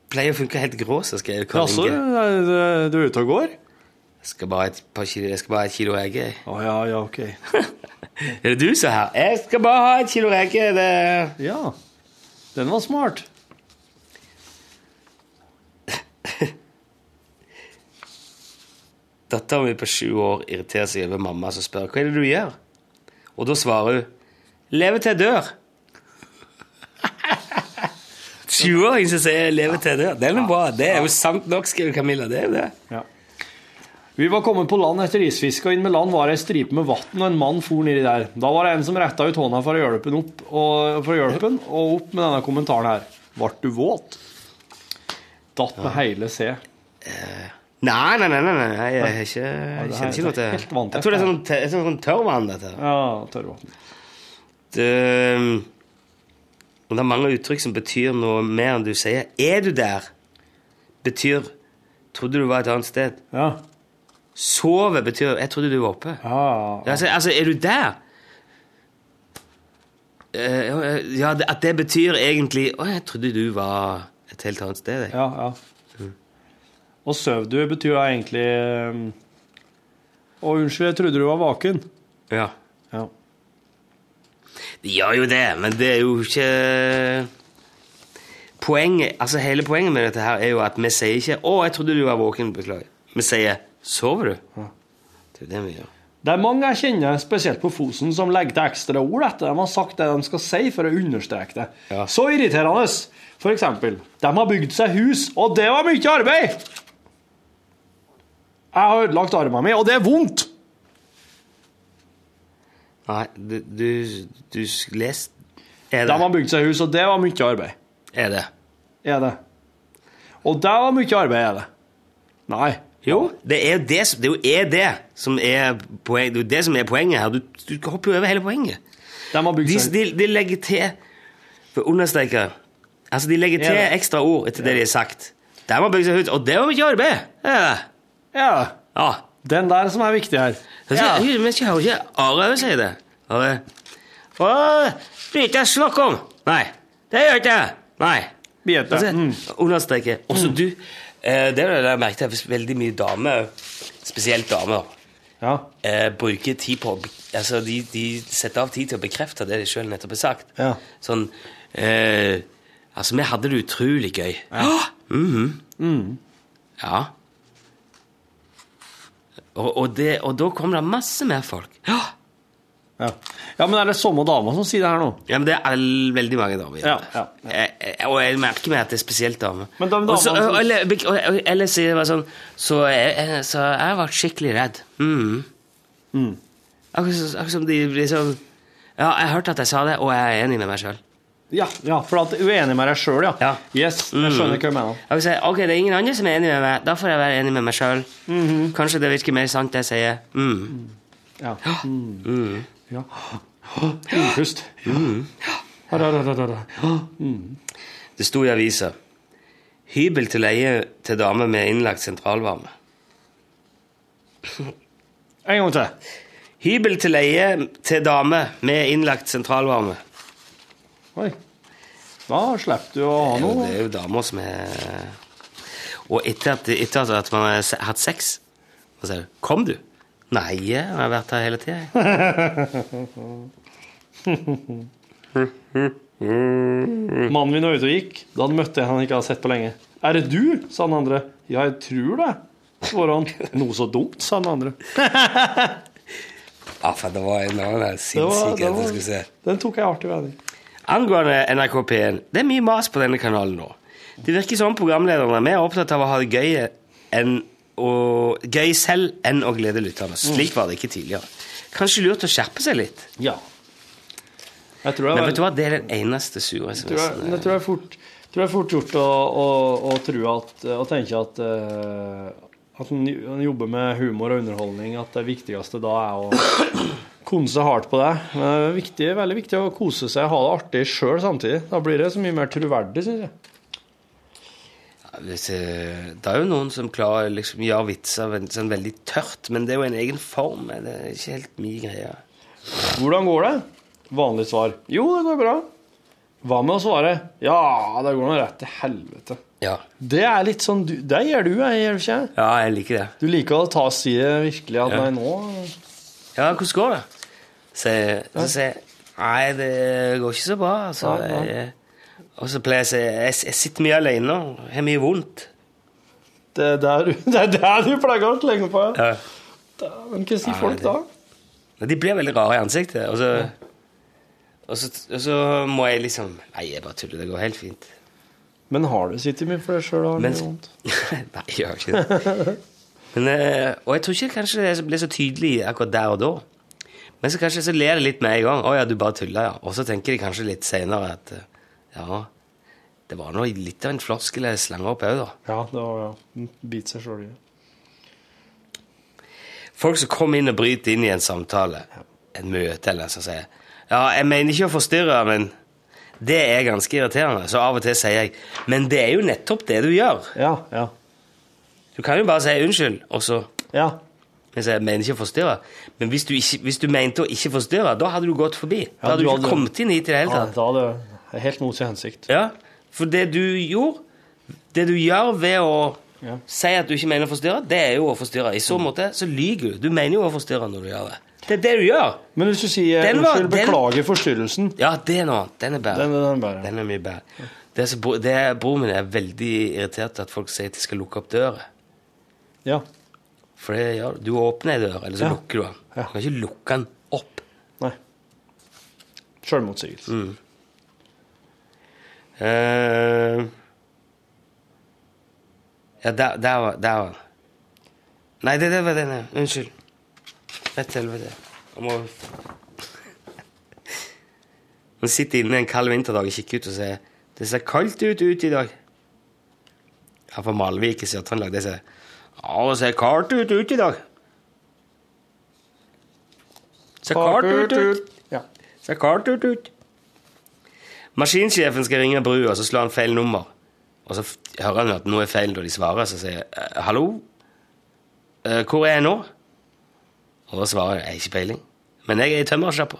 Speaker 2: Pleier å funke helt grå, så skal jeg
Speaker 3: Ja,
Speaker 2: kan
Speaker 3: så eh, du er ute og går?
Speaker 2: Jeg skal bare ha et par kilo, jeg skal bare ha et kilo reker. jeg».
Speaker 3: Å ja, ja, ok.
Speaker 2: Er det du som er her? Jeg skal bare ha et kilo reker. Det...
Speaker 3: Ja. Den var smart.
Speaker 2: Datteren min på sju år irriterer seg over mamma som spør hva er det du gjør. Og da svarer hun leve til jeg dør. Sjuåring som sier 'leve til jeg dør'. Den er bra. Det er jo sant nok, skriver Camilla. Det er jo det.
Speaker 3: Vi var kommet på land etter isfiske, og inn med land var det ei stripe med vann, og en mann for nedi der. Da var det en som retta ut hånda for å hjelpe den opp, og, for å hjelpe den, og opp med denne kommentaren her. Vart du våt? Datt med hele C.
Speaker 2: Nei, nei, nei, nei, nei. jeg er ikke, jeg
Speaker 3: det her-
Speaker 2: kjenner ikke noe
Speaker 3: det
Speaker 2: til
Speaker 3: er helt vanntett,
Speaker 2: Jeg tror det er
Speaker 3: det her.
Speaker 2: sånn, te- sånn, sånn tørrvann, dette. her.
Speaker 3: Ja, tørrvann.
Speaker 2: Det, um, og det er mange uttrykk som betyr noe mer enn du sier. Er du der? Betyr Trodde du var et annet sted.
Speaker 3: Ja.
Speaker 2: Sove betyr Jeg trodde du var oppe.
Speaker 3: Ja, ja.
Speaker 2: Altså, altså er du der? Eh, ja, det- at det betyr egentlig Å, jeg trodde du var et helt annet sted. Jeg.
Speaker 3: ja, ja. Og søv du betyr jo egentlig um, Å, unnskyld, jeg trodde du var vaken.
Speaker 2: Ja.
Speaker 3: Ja.
Speaker 2: De gjør jo det, men det er jo ikke Poenget, altså Hele poenget med dette her er jo at vi sier ikke 'Å, jeg trodde du var våken. Beklager.' Vi sier 'Sover du?' Det er jo det vi gjør.
Speaker 3: Det er mange jeg kjenner, spesielt på Fosen, som legger til ekstra ord etter de har sagt det de skal si, for å understreke det.
Speaker 2: Ja.
Speaker 3: Så irriterende! For eksempel, de har bygd seg hus, og det var mye arbeid! Jeg har ødelagt armen min, og det er vondt!
Speaker 2: Nei, du, du, du s- les Er
Speaker 3: De
Speaker 2: det?
Speaker 3: har bygd seg hus, og det var mye arbeid.
Speaker 2: Er det?
Speaker 3: Er det. Og det var mye arbeid, er det. Nei.
Speaker 2: Jo, det er jo det, som- det, er jo er det som er poenget. Det er jo det som er poenget her. Du, du hopper jo over hele poenget.
Speaker 3: De har bygd
Speaker 2: De,
Speaker 3: seg
Speaker 2: de, de legger til For å understreke Altså, de legger til
Speaker 3: Ja.
Speaker 2: ekstra ord etter det de har sagt. Der må bygge seg ut. Og det var mye arbeid! Ja.
Speaker 3: Ja.
Speaker 2: ja.
Speaker 3: Den der som er viktig her.
Speaker 2: Jeg
Speaker 3: Ja.
Speaker 2: skal- jeg- Men jeg hører ikke Are si det. Are Å, det er ikke snakk om! Nei. Det gjør ikke jeg. Nei.
Speaker 3: Biete.
Speaker 2: Altså,
Speaker 3: Mm.
Speaker 2: Understreke. Også du eh, Det er det jeg merket jeg, veldig mye damer, spesielt damer, eh, bruker tid på å be- Altså, de, de setter av tid til å bekrefte det de sjøl nettopp har sagt.
Speaker 3: Ja.
Speaker 2: Sånn eh, Altså, vi hadde det utrolig gøy. Ja. Mhm. ja. Og, og, det, og da kom det masse mer folk. Ja.
Speaker 3: Ja. men er det samme dama som sier det her nå?
Speaker 2: Ja, men det er all- veldig mange damer.
Speaker 3: Ja,
Speaker 2: Eh, eh, Og jeg merker meg at det er spesielt damer.
Speaker 3: Men de damene
Speaker 2: Og så-
Speaker 3: som-
Speaker 2: og- eller, og- og- eller sier bare sånn Så jeg, jeg- så jeg ble skikkelig redd. Mhm.
Speaker 3: Mm.
Speaker 2: Akkurat, som- akkurat som de blir sånn Ja, jeg hørte at jeg sa det, og jeg er enig med meg sjøl.
Speaker 3: Ja, ja for at du er enig med deg sjøl, ja. Yes, jeg skjønner
Speaker 2: Mm.
Speaker 3: hva du mener.
Speaker 2: Jeg vil si, ok, det er ingen andre som er enig med meg, da får jeg være enig med meg sjøl.
Speaker 3: Mhm.
Speaker 2: Kanskje det virker mer sant, det jeg sier. Mm.
Speaker 3: Ja.
Speaker 2: Mm.
Speaker 3: Ja. Innpust.
Speaker 2: Mm.
Speaker 3: Mm.
Speaker 2: Det sto i avisa Hybel til leie til dame med innlagt sentralvarme.
Speaker 3: En gang til.
Speaker 2: Hybel til leie til dame med innlagt sentralvarme.
Speaker 3: Oi. Da slipper du å ha
Speaker 2: Jo,
Speaker 3: noe.
Speaker 2: det er jo damer som er Og etter at, etter at- at man har se- hatt sex, så sier du 'Kom, du'. Nei, jeg har vært her hele tida.
Speaker 3: Mannen min var ute og gikk. Da han møtte en han ikke hadde sett på lenge. 'Er det du?' sa den andre. 'Ja, jeg tror det', svarer han. 'Noe så dumt', sa den andre.
Speaker 2: Ja, for Ah, det var en annen her
Speaker 3: Det var-
Speaker 2: sinnssyk
Speaker 3: det
Speaker 2: en jeg
Speaker 3: var-
Speaker 2: skulle se.
Speaker 3: Den tok jeg artig vending.
Speaker 2: Angående NRK P1 Det er mye mas på denne kanalen nå. Det virker som programlederne er mer opptatt av å ha det gøy, enn å, gøy selv enn å glede lytterne. Slik var det ikke tidligere. Kanskje lurt å skjerpe seg litt.
Speaker 3: Ja. Jeg tror det er
Speaker 2: Men
Speaker 3: vel-
Speaker 2: vet du hva, det er den eneste sure
Speaker 3: tror jeg,
Speaker 2: SMS-en. eh,
Speaker 3: det tror jeg fort, tror jeg fort gjort å, å, å tro at Å tenke at eh, At en en jobber med humor og underholdning, at det viktigste da er å kose seg hardt på det. Men det er viktig, veldig viktig å kose seg og ha det artig sjøl samtidig. Da blir det så mye mer troverdig, syns jeg.
Speaker 2: Hvis, eh, Det er jo noen som klarer liksom gjør vitser vel- sånn veldig tørt, men det er jo en egen form. Det er ikke helt min greie.
Speaker 3: Hvordan går det? Vanlig svar. Jo, det går bra. Hva med å svare? Ja, det går nå rett til helvete.
Speaker 2: Ja.
Speaker 3: Det er litt sånn du, Det gjør du, jeg gjør ikke jeg?
Speaker 2: ja, jeg liker det.
Speaker 3: Du liker å ta og si virkelig at
Speaker 2: Ja.
Speaker 3: nei, nå
Speaker 2: Ja, hvordan går det? Så jeg- så sier jeg Nei, det går ikke så bra. Altså,
Speaker 3: Nei, nei.
Speaker 2: Jeg, og så pleier jeg å si jeg, s- jeg sitter mye alene og har mye vondt.
Speaker 3: Det er der, det er der du pleier å slenge på.
Speaker 2: Ja.
Speaker 3: Men hva sier
Speaker 2: Nei,
Speaker 3: folk
Speaker 2: det-
Speaker 3: da?
Speaker 2: Men De blir veldig rare i ansiktet. Og så, og så, og så må jeg liksom Nei, jeg bare tuller. Det går helt fint.
Speaker 3: Men har du sittet mye for deg sjøl?
Speaker 2: Men- Nei, jeg gjør ikke det. Men, eh, og jeg tror ikke kanskje det blir så tydelig akkurat der og da. Men så kanskje så ler det litt med en gang. 'Å ja, du bare tuller', ja. Og så tenker de kanskje litt seinere at eh, ja, det var nå litt av en floskel jeg slanga opp òg, da.
Speaker 3: Ja, det var ja. Bit seg sjøl i
Speaker 2: Folk som kommer inn og bryter inn i en samtale, et møte eller noe sånt, sier 'Ja, jeg mener ikke å forstyrre, men det er ganske irriterende.' Så av og til sier jeg 'Men det er jo nettopp det du gjør'.
Speaker 3: Ja, ja.
Speaker 2: Du kan jo bare si 'unnskyld', og så
Speaker 3: Ja.
Speaker 2: Jeg sier, jeg mener ikke å forstyrre, men hvis du, ikke, hvis du mente å ikke forstyrre, da hadde du gått forbi. Da
Speaker 3: Ja,
Speaker 2: hadde
Speaker 3: du
Speaker 2: du
Speaker 3: hadde-
Speaker 2: ikke kommet inn hit i det hele
Speaker 3: Ja,
Speaker 2: tatt.
Speaker 3: da hadde det helt mot sin hensikt.
Speaker 2: Ja, For det du gjorde, det du gjør ved å
Speaker 3: Ja. Mm.
Speaker 2: si at du ikke mener å forstyrre, det er jo å forstyrre. I så måte så lyver du. Du mener jo å forstyrre når du gjør det. Det er det du gjør.
Speaker 3: Men hvis du sier
Speaker 2: Den var-
Speaker 3: unnskyld,
Speaker 2: den-
Speaker 3: beklager forstyrrelsen
Speaker 2: Ja, det er noe annet. Den er bedre.
Speaker 3: Den, den bare.
Speaker 2: Den er mye bedre. Det er så, bro- det, broren min er veldig irritert at folk sier at de skal lukke opp døra.
Speaker 3: Ja.
Speaker 2: For det gjør du. Du åpner ei dør, eller så
Speaker 3: Ja.
Speaker 2: lukker du den. Du kan ikke lukke den opp.
Speaker 3: Nei. Sjølmotsigelse.
Speaker 2: Mm. Eh, ja, der, der var der var den. Nei, det, det var den, ja. Unnskyld. Rett til helvete. Jeg må Man sitter inne en kald vinterdag og kikker ut og sier 'Det ser kaldt ut ute i dag'. Her på Malvik i Sør-Trøndelag det sier 'Ja, det ser kaldt ut ute i dag'. Ser kaldt ut ut.
Speaker 3: Ja.
Speaker 2: Ser kaldt ut ut. Maskinsjefen skal ringe brua, så slår han feil nummer. Og så f- hører han at noe er feil når de svarer, så sier jeg «Eh, 'hallo, Eh, hvor er jeg nå?' Og da svarer jeg 'jeg har ikke peiling, men jeg er i tømmersjappa'.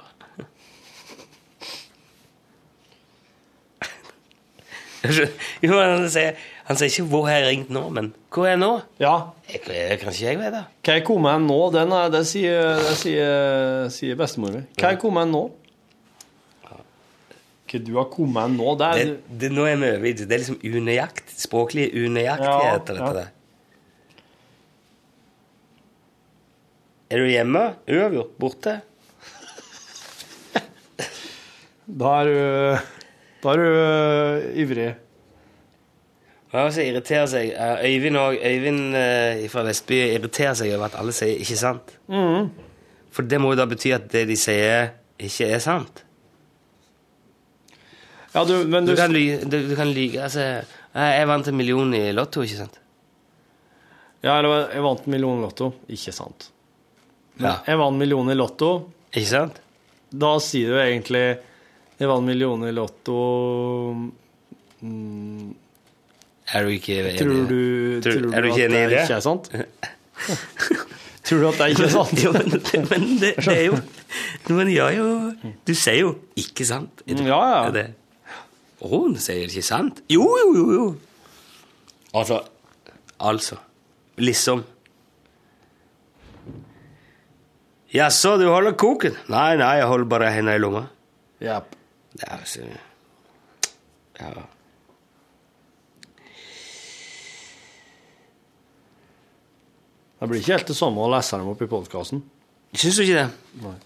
Speaker 2: Jo, han sier, han sier ikke 'hvor har jeg ringt nå', men 'hvor er jeg nå'?
Speaker 3: Ja.
Speaker 2: Jeg, jeg, kan ikke jeg vite.
Speaker 3: Hva jeg kom med nå, den er, det sier, det sier, sier bestemor mi. Hva jeg kom med nå? Hva du har kommet med nå, det
Speaker 2: Det,
Speaker 3: er
Speaker 2: det, nå er vi over i det. Det er liksom unøyakt, språklige unøyaktigheter.
Speaker 3: Ja, ja.
Speaker 2: dette der. Er du hjemme? Uavgjort? Borte?
Speaker 3: Da er du Da er du øh, ivrig.
Speaker 2: Ja, og så irriterer seg eh, Øyvind, og, Øyvind eh, fra Vestby irriterer seg over at alle sier 'ikke sant'.
Speaker 3: Mhm.
Speaker 2: For det må jo da bety at det de sier, ikke er sant.
Speaker 3: Ja, du, men
Speaker 2: du,
Speaker 3: du-
Speaker 2: kan lyge, du, du kan lyge altså, «Nei, 'Jeg vant en million i Lotto', ikke sant?
Speaker 3: Ja, eller jeg vant en million i Lotto. Ikke sant. Men
Speaker 2: Ja.
Speaker 3: Jeg vant en million i Lotto.
Speaker 2: Ikke sant?
Speaker 3: Da sier du egentlig Jeg vant en million i Lotto mm,
Speaker 2: Er du ikke enig? i
Speaker 3: Tror
Speaker 2: det?
Speaker 3: du,
Speaker 2: Tror-
Speaker 3: tror,
Speaker 2: er du
Speaker 3: du
Speaker 2: ikke
Speaker 3: at
Speaker 2: enig i
Speaker 3: det
Speaker 2: det?
Speaker 3: ikke er sant? tror du at det ikke er sant?
Speaker 2: Jo, men, men det, det er jo Men ja, jo Du sier jo 'ikke sant'. Er det, ja, ja. Er det? Å, hun sier 'ikke sant'. Jo, jo, jo, jo. Altså Altså. Liksom. Jaså, du holder koken? Nei, nei, jeg holder bare henda i lomma.
Speaker 3: Ja.
Speaker 2: Det er altså Ja.
Speaker 3: Det blir ikke helt det samme å lese dem opp i podkasten.
Speaker 2: Syns du ikke det?
Speaker 3: Nei.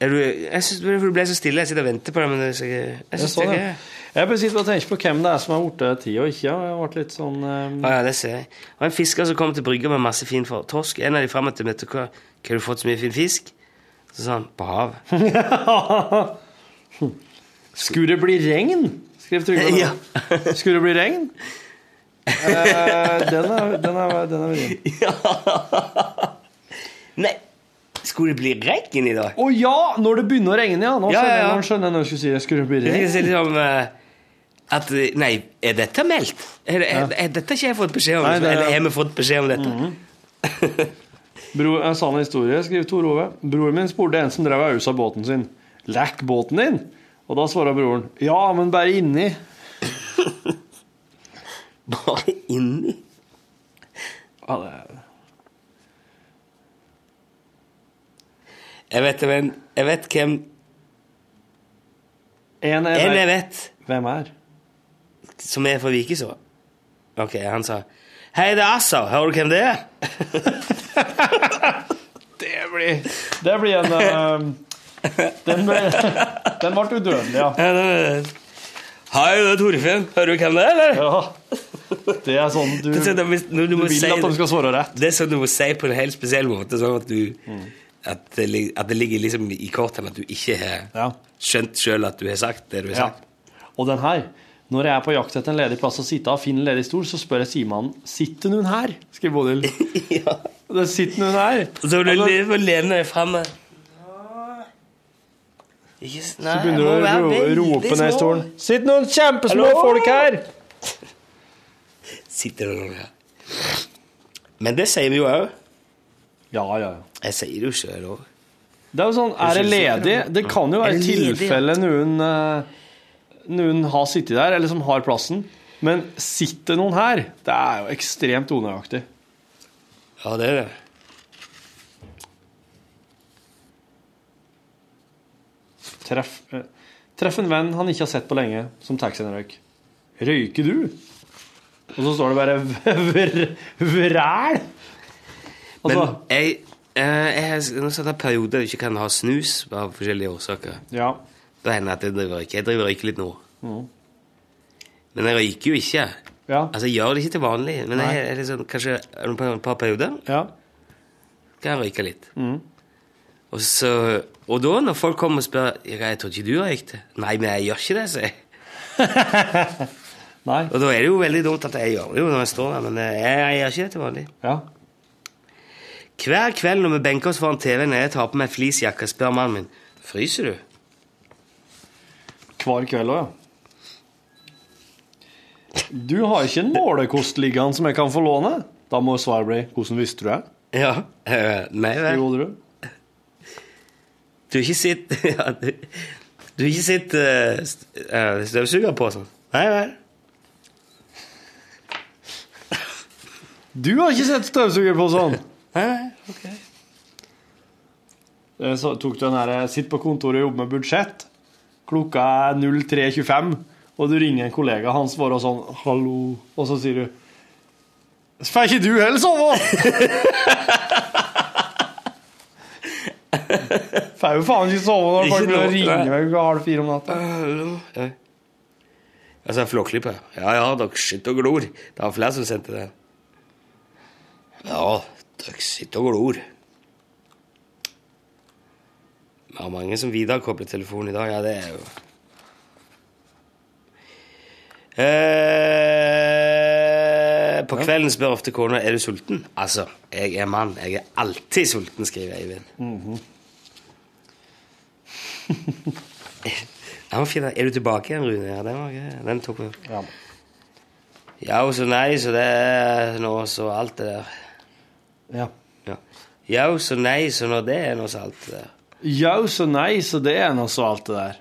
Speaker 2: Er du, jeg syns du ble så stille. Jeg sitter og venter på deg, men det er så- jeg
Speaker 3: Jeg,
Speaker 2: syns det
Speaker 3: så det. sånn,
Speaker 2: ikke
Speaker 3: jeg bare sitter og tenker på hvem det er som har blitt ti og ikke. og Jeg ble litt sånn eh,
Speaker 2: Ja, ja, det ser jeg. Og en fisker som kom til brygga med masse fin for- torsk. En av de frem til møtet, hva, hva har du fått så mye fin fisk? Så sa han, på havet.
Speaker 3: Skulle det bli regn? Skrev Trygve.
Speaker 2: Ja.
Speaker 3: Skulle det bli regn? Eh, den er, den er, den er vrien.
Speaker 2: Nei, skulle det bli regn i dag?
Speaker 3: Å ja! Når det begynner å regne, ja. Nå
Speaker 2: Ja, ja,
Speaker 3: skjønner
Speaker 2: ja.
Speaker 3: jeg- nå skjønner jeg når jeg skulle si det. Skulle det bli
Speaker 2: Jeg fikk si
Speaker 3: regn?
Speaker 2: liksom eh, at eh, Nei, er dette meldt? Er, er, er, dette ikke jeg fått beskjed om?
Speaker 3: Nei, det er-
Speaker 2: Eller har vi fått beskjed om dette?
Speaker 3: Bro, en sann historie, skriver Tor Ove. Broren min spurte en som drev og ausa båten sin. Lekk båten din? Og da svarer broren ja, men bare inni.
Speaker 2: Bare inni?
Speaker 3: Ja, det er
Speaker 2: Jeg vet hvem Jeg vet hvem
Speaker 3: En jeg
Speaker 2: En jeg
Speaker 3: vet.
Speaker 2: vet,
Speaker 3: Hvem er?
Speaker 2: som er fra Vikeså. Ok, han sa Hei, det er Assar. Hører du hvem det er?
Speaker 3: Det blir Det blir en eh, Den ble, den ble udødelig, ja.
Speaker 2: Ja, det- Hei, det er Torfinn. Hører du hvem det er, eller?
Speaker 3: ja. Det er sånn du,
Speaker 2: Det er sånn at hvis- når du må
Speaker 3: vil
Speaker 2: si
Speaker 3: at
Speaker 2: det-
Speaker 3: de skal svare rett.
Speaker 2: Det er sånn du må si på en helt spesiell måte, sånn at du at, det, lig- at det ligger liksom i kortene at du ikke har
Speaker 3: Ja.
Speaker 2: skjønt sjøl at du har sagt det du har
Speaker 3: Ja.
Speaker 2: sagt.
Speaker 3: Og den her. Når jeg er på jakt etter en ledig plass å sitte og finner en ledig stol, så spør jeg simannen sitter noen her. Skriver Bodil. Det sitter noen her.
Speaker 2: Og Så du
Speaker 3: Og da-
Speaker 2: lever og lener deg fram og Ikke s- Nei,
Speaker 3: så begynner du å ro- rope ned i stolen. Sitter noen kjempesmå
Speaker 2: Hallo?
Speaker 3: folk her!
Speaker 2: Sitter det noen her? Men det sier vi jo òg.
Speaker 3: Ja, ja, ja.
Speaker 2: Jeg sier det jo sjøl òg.
Speaker 3: Det er jo sånn, er det ledig? Det kan jo
Speaker 2: Er
Speaker 3: være
Speaker 2: det ledig,
Speaker 3: tilfelle noen eh, Noen har sittet der, eller som har plassen. Men sitter noen her? Det er jo ekstremt unøyaktig.
Speaker 2: Ja, det er det.
Speaker 3: Treff, eh, treff en venn han ikke har sett på lenge, som taxien røyk. Røyker du? Og så står det bare vr- vræl! Altså,
Speaker 2: Men jeg, eh, jeg har s- noen sånne perioder jeg ikke kan ha snus av forskjellige årsaker.
Speaker 3: ja.
Speaker 2: Da hender det at jeg driver og røyker. Jeg driver og røyker litt nå.
Speaker 3: Mhm.
Speaker 2: Men jeg røyker jo ikke.
Speaker 3: Ja.
Speaker 2: Altså, jeg gjør det ikke til vanlig, men
Speaker 3: Nei.
Speaker 2: jeg er liksom, kanskje om et par perioder
Speaker 3: ja.
Speaker 2: kan jeg røyke litt.
Speaker 3: Mhm.
Speaker 2: Og, så, og da, når folk kommer og spør «Ja, 'Jeg tror ikke du røykte', 'Nei, men jeg gjør ikke det', sier jeg.
Speaker 3: Nei.
Speaker 2: Og da er det jo veldig dumt at jeg gjør det jo når jeg står der, men eh, jeg, jeg gjør ikke det til vanlig.
Speaker 3: Ja.
Speaker 2: Hver kveld når vi benker oss foran TV-en og jeg tar på meg fleecejakke, spør mannen min 'Fryser du?'
Speaker 3: Hver kveld òg, ja. Du har ikke en målekost liggende som jeg kan få låne? Da må svaret bli 'Hvordan visste du det?'
Speaker 2: Ja. eh, nei vel.
Speaker 3: Gjorde du?
Speaker 2: Du har ikke sitt ja, altså. du, du har ikke sitt eh, st- eh, støvsuger på og sånn? Nei vel.
Speaker 3: Du har ikke sett støvsuger på sånn! Eh, Så tok du den her Sitt på kontoret og jobb med budsjett. Klokka er 03.25, og du ringer en kollega, han svarer sånn 'hallo', og så sier du Så får ikke du heller sove! Får jo faen ikke sove når
Speaker 2: Ikke
Speaker 3: folk begynner å
Speaker 2: nå,
Speaker 3: ringe
Speaker 2: nei.
Speaker 3: meg klokka halv fire om natta.
Speaker 2: Ja. Altså, Flåklypa. Ja, ja, dere sitter og glor. Det var flere som sendte det. Ja, dere sitter og glor. Vi har mange som viderekobler telefonen i dag. Ja, det er jo eh, På kvelden spør ofte kona er du sulten. Altså, jeg er mann. Jeg er alltid sulten, skriver Eivind. Den var fin. da. Er du tilbake igjen, Rune? Ja, den var gøy. Den tok vi opp. Ja. og så nei, så det er nå så alt det der.
Speaker 3: Ja.
Speaker 2: Ja, ja og så nei, så nå det er nå så alt det der.
Speaker 3: Ja, så nei, så det er nå så alt det der.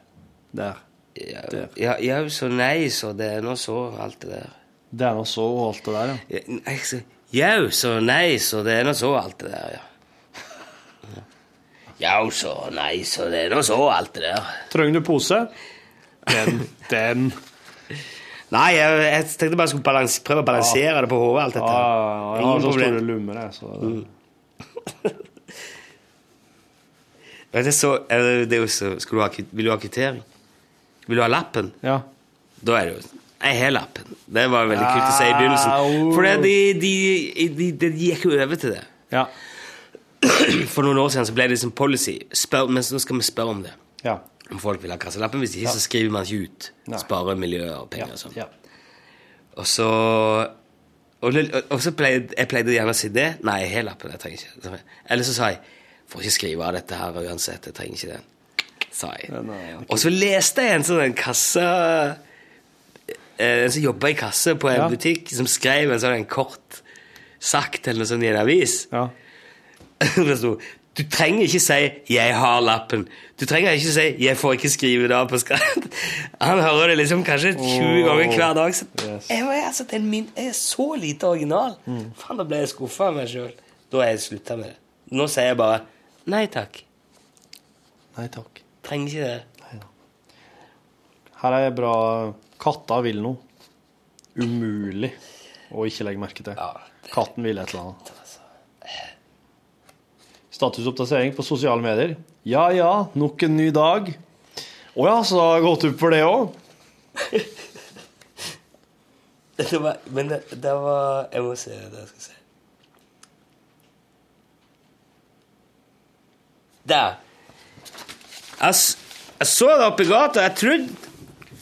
Speaker 3: Der.
Speaker 2: Ja, ja, ja, og så nei, så det er nå så alt det der.
Speaker 3: Det er nå så og alt det der, ja.
Speaker 2: Ja, nei, så- Ja, og så nei, så det er nå så alt det der, ja. Ja, og så nei, så det er nå så alt det der.
Speaker 3: Trenger du pose? Den. Den.
Speaker 2: Nei, jeg, jeg tenkte bare jeg skulle balans- prøve å balansere det på hodet, alt dette.
Speaker 3: Ja, jeg har så store lummer, jeg, så det-
Speaker 2: Ja, det er så, eh, det er jo så skal du ha, kvitt- Vil du ha kvittering? Vil du ha lappen?
Speaker 3: Ja.
Speaker 2: Da er det jo Jeg har lappen. Det var veldig kult å si i begynnelsen. For det- de, de, de, de gikk jo over til det. For noen år siden så ble det liksom policy. Spør, men så skal vi spørre om det.
Speaker 3: Ja.
Speaker 2: Om folk vil ha kassalappen. Hvis ikke,
Speaker 3: Ja.
Speaker 2: så skriver man ikke ut. Sparer miljøet og penger og sånn.
Speaker 3: Ja.
Speaker 2: Og så og, og, og så pleide jeg pleide gjerne å si det. Nei, jeg har lappen. Jeg trenger ikke den. Eller så sa jeg får ikke skrive av dette her uansett. Jeg trenger ikke den. Sa jeg. Og så leste jeg en sånn en kasse eh, En som jobba i kasse på en
Speaker 3: Ja.
Speaker 2: butikk, som skrev en sånn en kort sagt eller noe sånt i en avis. det sto du trenger ikke si 'jeg har lappen'. Du trenger ikke si 'jeg får ikke skrive det av på skratt'. Han hører det liksom kanskje 20 ganger hver dag. Så jeg, var- altså, den min jeg er så lite original. Faen, da ble jeg skuffa av meg sjøl. Da har jeg slutta med det. Nå sier jeg bare 'nei takk'.
Speaker 3: Nei takk.
Speaker 2: Trenger ikke det.
Speaker 3: Her er bra Katta vil noe. Umulig å ikke legge merke til. Katten vil et eller annet. Statusoppdatering på sosiale medier. Ja ja, nok en ny dag. Å ja, så det har gått opp for det òg?
Speaker 2: det var, men det, det var Jeg må se det jeg skal si. Der. Jeg, s- jeg så deg oppe i gata. Jeg trodde,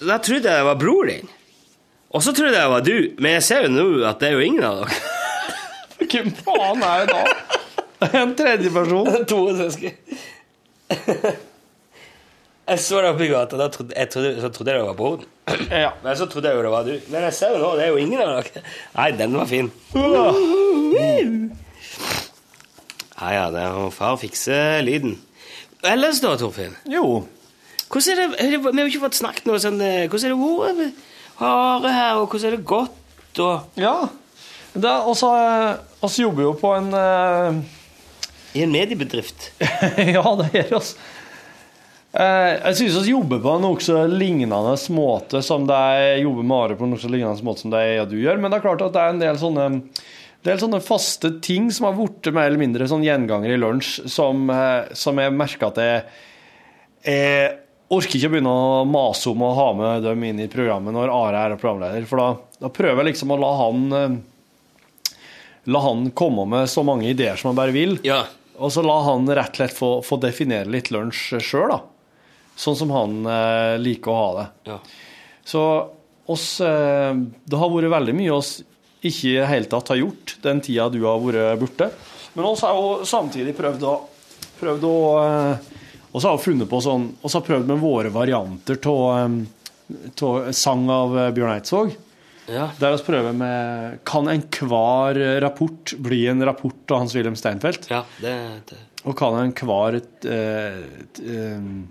Speaker 2: jeg trodde jeg det var bror din. Og så trodde jeg det var du, men jeg ser jo nå at det er jo ingen av dere.
Speaker 3: Hvem faen er det da? En tredjeperson.
Speaker 2: To søsken. Jeg så deg oppe i gata, da trodde, jeg trodde, så trodde jeg det var broren.
Speaker 3: Ja.
Speaker 2: Men så trodde jeg jo det var du. Men jeg ser jo nå, det er jo ingen av dere. Nei, den var fin. Ja, ja, det må far fikse lyden. Ellers da, Torfinn?
Speaker 3: Jo.
Speaker 2: Hvordan er det, vi har jo ikke fått snakket noe sånn eh, Hvordan er det ordet harde her, og hvordan er det godt og
Speaker 3: Ja. Det er også, eh, oss jobber jo på en eh,
Speaker 2: I en mediebedrift.
Speaker 3: ja, det gjør oss. Eh, jeg synes vi jobber på en nokså lignende måte som de jobber med Are på en nokså lignende måte som de og du gjør, men det er klart at det er en del sånne del sånne faste ting som har blitt mer eller mindre sånn gjenganger i lunsj, som, eh, som jeg merker at jeg, jeg orker ikke å begynne å mase om å ha med dem inn i programmet når Are er programleder, for da, da prøver jeg liksom å la han eh, La han komme med så mange ideer som han bare vil. Og så la han rett og slett få, få definere litt lunsj sjøl, da. Sånn som han eh, liker å ha det. Så oss eh, Det har vært veldig mye oss ikke i det hele tatt har gjort den tida du har vært borte. Men oss har jo samtidig prøvd å Prøvd å eh, oss har jo funnet på sånn oss har prøvd med våre varianter eh, av sang av eh, Bjørn Eidsvåg. Der vi prøver med Kan enhver rapport bli en rapport av Hans-Wilhelm Steinfeld?
Speaker 2: Ja, det, det.
Speaker 3: Og kan enhver et, eh, et, em,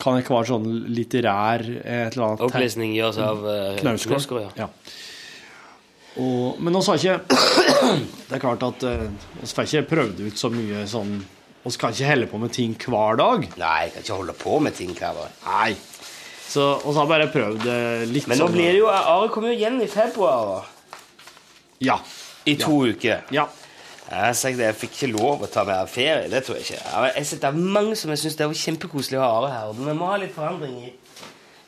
Speaker 3: Kan enhver sånn litterær eh, et eller annet
Speaker 2: Opplesning gjøres av eh,
Speaker 3: Knausgård.
Speaker 2: Knausgård, ja.
Speaker 3: Ja. Og, men oss har ikke Det er klart at eh, oss får ikke prøvd ut så mye sånn oss kan ikke helle på med ting hver dag.
Speaker 2: Nei, kan ikke holde på med ting hver dag.
Speaker 3: Nei. Så oss har bare prøvd eh, litt
Speaker 2: Men nå
Speaker 3: sånn-
Speaker 2: blir det jo Are kommer jo igjen i februar. da.
Speaker 3: Ja.
Speaker 2: I to uker.
Speaker 3: Ja.
Speaker 2: Jeg sa det, jeg fikk ikke lov å ta mer ferie. Det tror jeg ikke. Ja, men Jeg sitter mange som jeg syns det er kjempekoselig å ha Are her. og Vi må ha litt forandring i,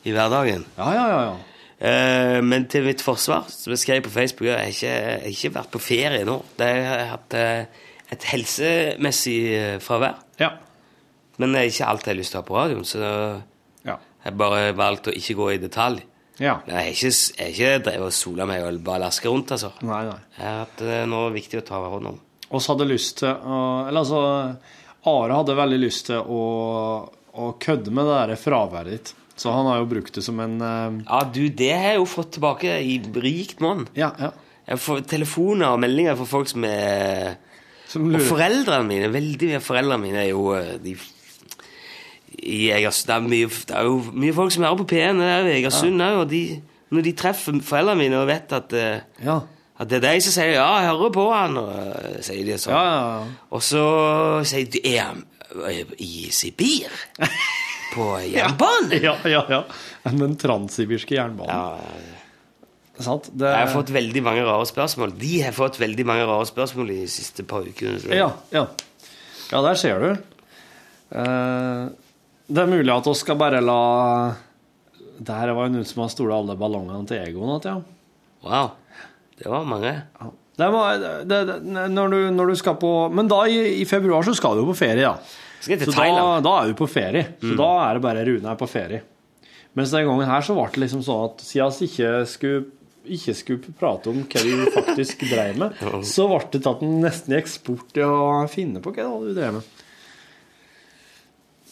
Speaker 2: i hverdagen.
Speaker 3: Ja, ja, ja,
Speaker 2: Eh, men til mitt forsvar så skrev jeg på Facebook at jeg ikke jeg har ikke vært på ferie nå. Det har jeg hatt eh, et helsemessig eh, fravær.
Speaker 3: Ja.
Speaker 2: Men det er ikke alt jeg har lyst til å ha på radioen, så
Speaker 3: Ja.
Speaker 2: jeg bare valgte å ikke gå i detalj.
Speaker 3: Ja.
Speaker 2: Men jeg har ikke, jeg har ikke drevet og sola meg og bare laska rundt, altså.
Speaker 3: Nei, nei.
Speaker 2: Jeg har hatt eh, noe viktig å ta hånd om.
Speaker 3: oss hadde lyst til å Eller altså Are hadde veldig lyst til å, å kødde med det der fraværet ditt. Så han har jo brukt det som en eh,
Speaker 2: Ja, du, det har jeg jo fått tilbake i rikt monn.
Speaker 3: Ja, ja.
Speaker 2: Jeg får telefoner og meldinger fra folk som er
Speaker 3: lurer.
Speaker 2: Og foreldrene mine. Veldig mye av foreldrene mine er jo eh, de, i Egersund. Det er, mye, det er jo mye folk som hører på P1 det er jo i Egersund òg, og de, når de treffer foreldrene mine og vet at eh,
Speaker 3: Ja.
Speaker 2: At det er de som sier 'ja, jeg hører på han', og eh, sier de sånn. Og så sier de 'er han eh, i Sibir?' På jernbanen?
Speaker 3: Ja, ja, ja. Den transsibirske jernbanen. Sant? Det,
Speaker 2: Jeg har fått veldig mange rare spørsmål. De har fått veldig mange rare spørsmål i de siste par ukene. tror jeg.
Speaker 3: Ja, ja. ja der ser du. Eh, det er mulig at vi skal bare la Det her var jo noen som har stolt alle ballongene til egoen igjen. Ja.
Speaker 2: Wow. Det var mange.
Speaker 3: Det må, det, det, når, du, når du skal på Men da i, i februar så skal du jo på ferie, da.
Speaker 2: Skal jeg til
Speaker 3: så da,
Speaker 2: Thailand?
Speaker 3: da er du på ferie. Så
Speaker 2: Mm.
Speaker 3: da er det bare Rune er på ferie. Mens den gangen her så ble det liksom sånn at siden vi ikke skulle, ikke skulle prate om hva vi faktisk drev med, så ble det tatt en nesten i eksport i å finne på hva det var du drev med.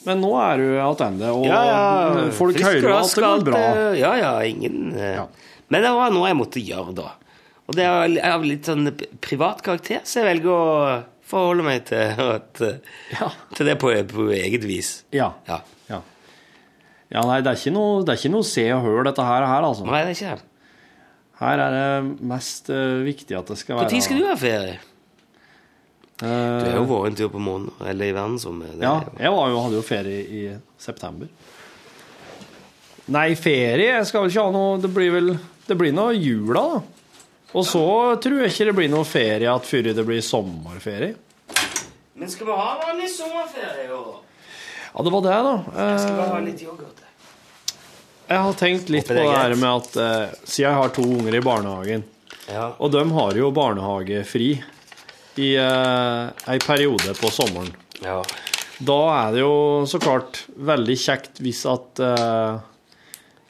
Speaker 3: Men nå er du tilbake, og
Speaker 2: Ja, ja.
Speaker 3: folk
Speaker 2: Frisk og
Speaker 3: hører jo at
Speaker 2: rask og
Speaker 3: det går
Speaker 2: alt,
Speaker 3: bra.
Speaker 2: eh, Ja, ja, ingen eh. Men det var noe jeg måtte gjøre, da. Og det er vel- av litt sånn p- privat karakter, så jeg velger å forholde meg til, at, eh, til det på, på eget vis.
Speaker 3: Ja.
Speaker 2: Ja.
Speaker 3: ja. Ja, nei, det er ikke noe, det er ikke noe se og hør, dette her, her altså.
Speaker 2: Nei, det er ikke det.
Speaker 3: Her er det mest eh, viktig at det skal være
Speaker 2: Når skal du ha ferie? Du har jo vært en tur på månen, eller i verdensrommet. Det er
Speaker 3: Ja,
Speaker 2: jo-
Speaker 3: jeg var jo, hadde jo ferie i september. Nei, ferie Jeg skal vel ikke ha noe Det blir vel Det blir noe jula, da. Og så tror jeg ikke det blir noe ferie at før det blir sommerferie.
Speaker 2: Men skal vi ha vanlig sommerferie i år?
Speaker 3: Ja, det var det, da.
Speaker 2: Jeg skal bare ha
Speaker 3: Eh,
Speaker 2: litt yoghurt.
Speaker 3: Jeg har tenkt litt på
Speaker 2: det
Speaker 3: det
Speaker 2: er
Speaker 3: her
Speaker 2: greit.
Speaker 3: med at eh, siden jeg har to unger i barnehagen, og de har jo barnehagefri i eh, ei periode på sommeren. Da er det jo så klart veldig kjekt hvis at eh,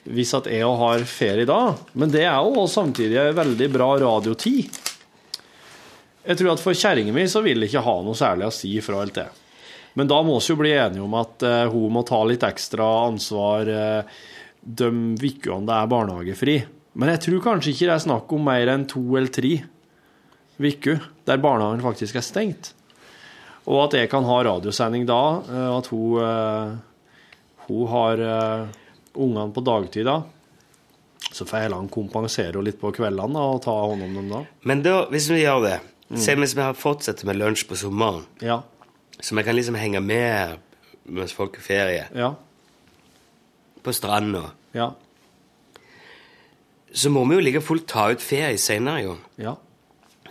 Speaker 3: hvis at jeg òg har ferie da, men det er jo også samtidig ei veldig bra radiotid. Jeg tror at for kjerringa mi så vil det ikke ha noe særlig å si fra eller til. Men da må vi jo bli enige om at eh, hun må ta litt ekstra ansvar eh, de ukene det er barnehagefri. Men jeg tror kanskje ikke det er snakk om mer enn to eller tre uker der barnehagen faktisk er stengt. Og at jeg kan ha radiosending da, eh, at hun, eh, hun har eh, ungene på dagtid da. Så får jeg la han kompensere henne litt på kveldene da, og ta hånd om dem da.
Speaker 2: Men da, hvis vi gjør det
Speaker 3: Mm.
Speaker 2: Se hvis vi har fortsetter med lunsj på sommeren,
Speaker 3: Ja.
Speaker 2: så vi kan liksom henge med mens folk er ferie
Speaker 3: Ja.
Speaker 2: på stranda,
Speaker 3: Ja.
Speaker 2: så må vi jo like fullt ta ut ferie senere, Jon.
Speaker 3: Ja.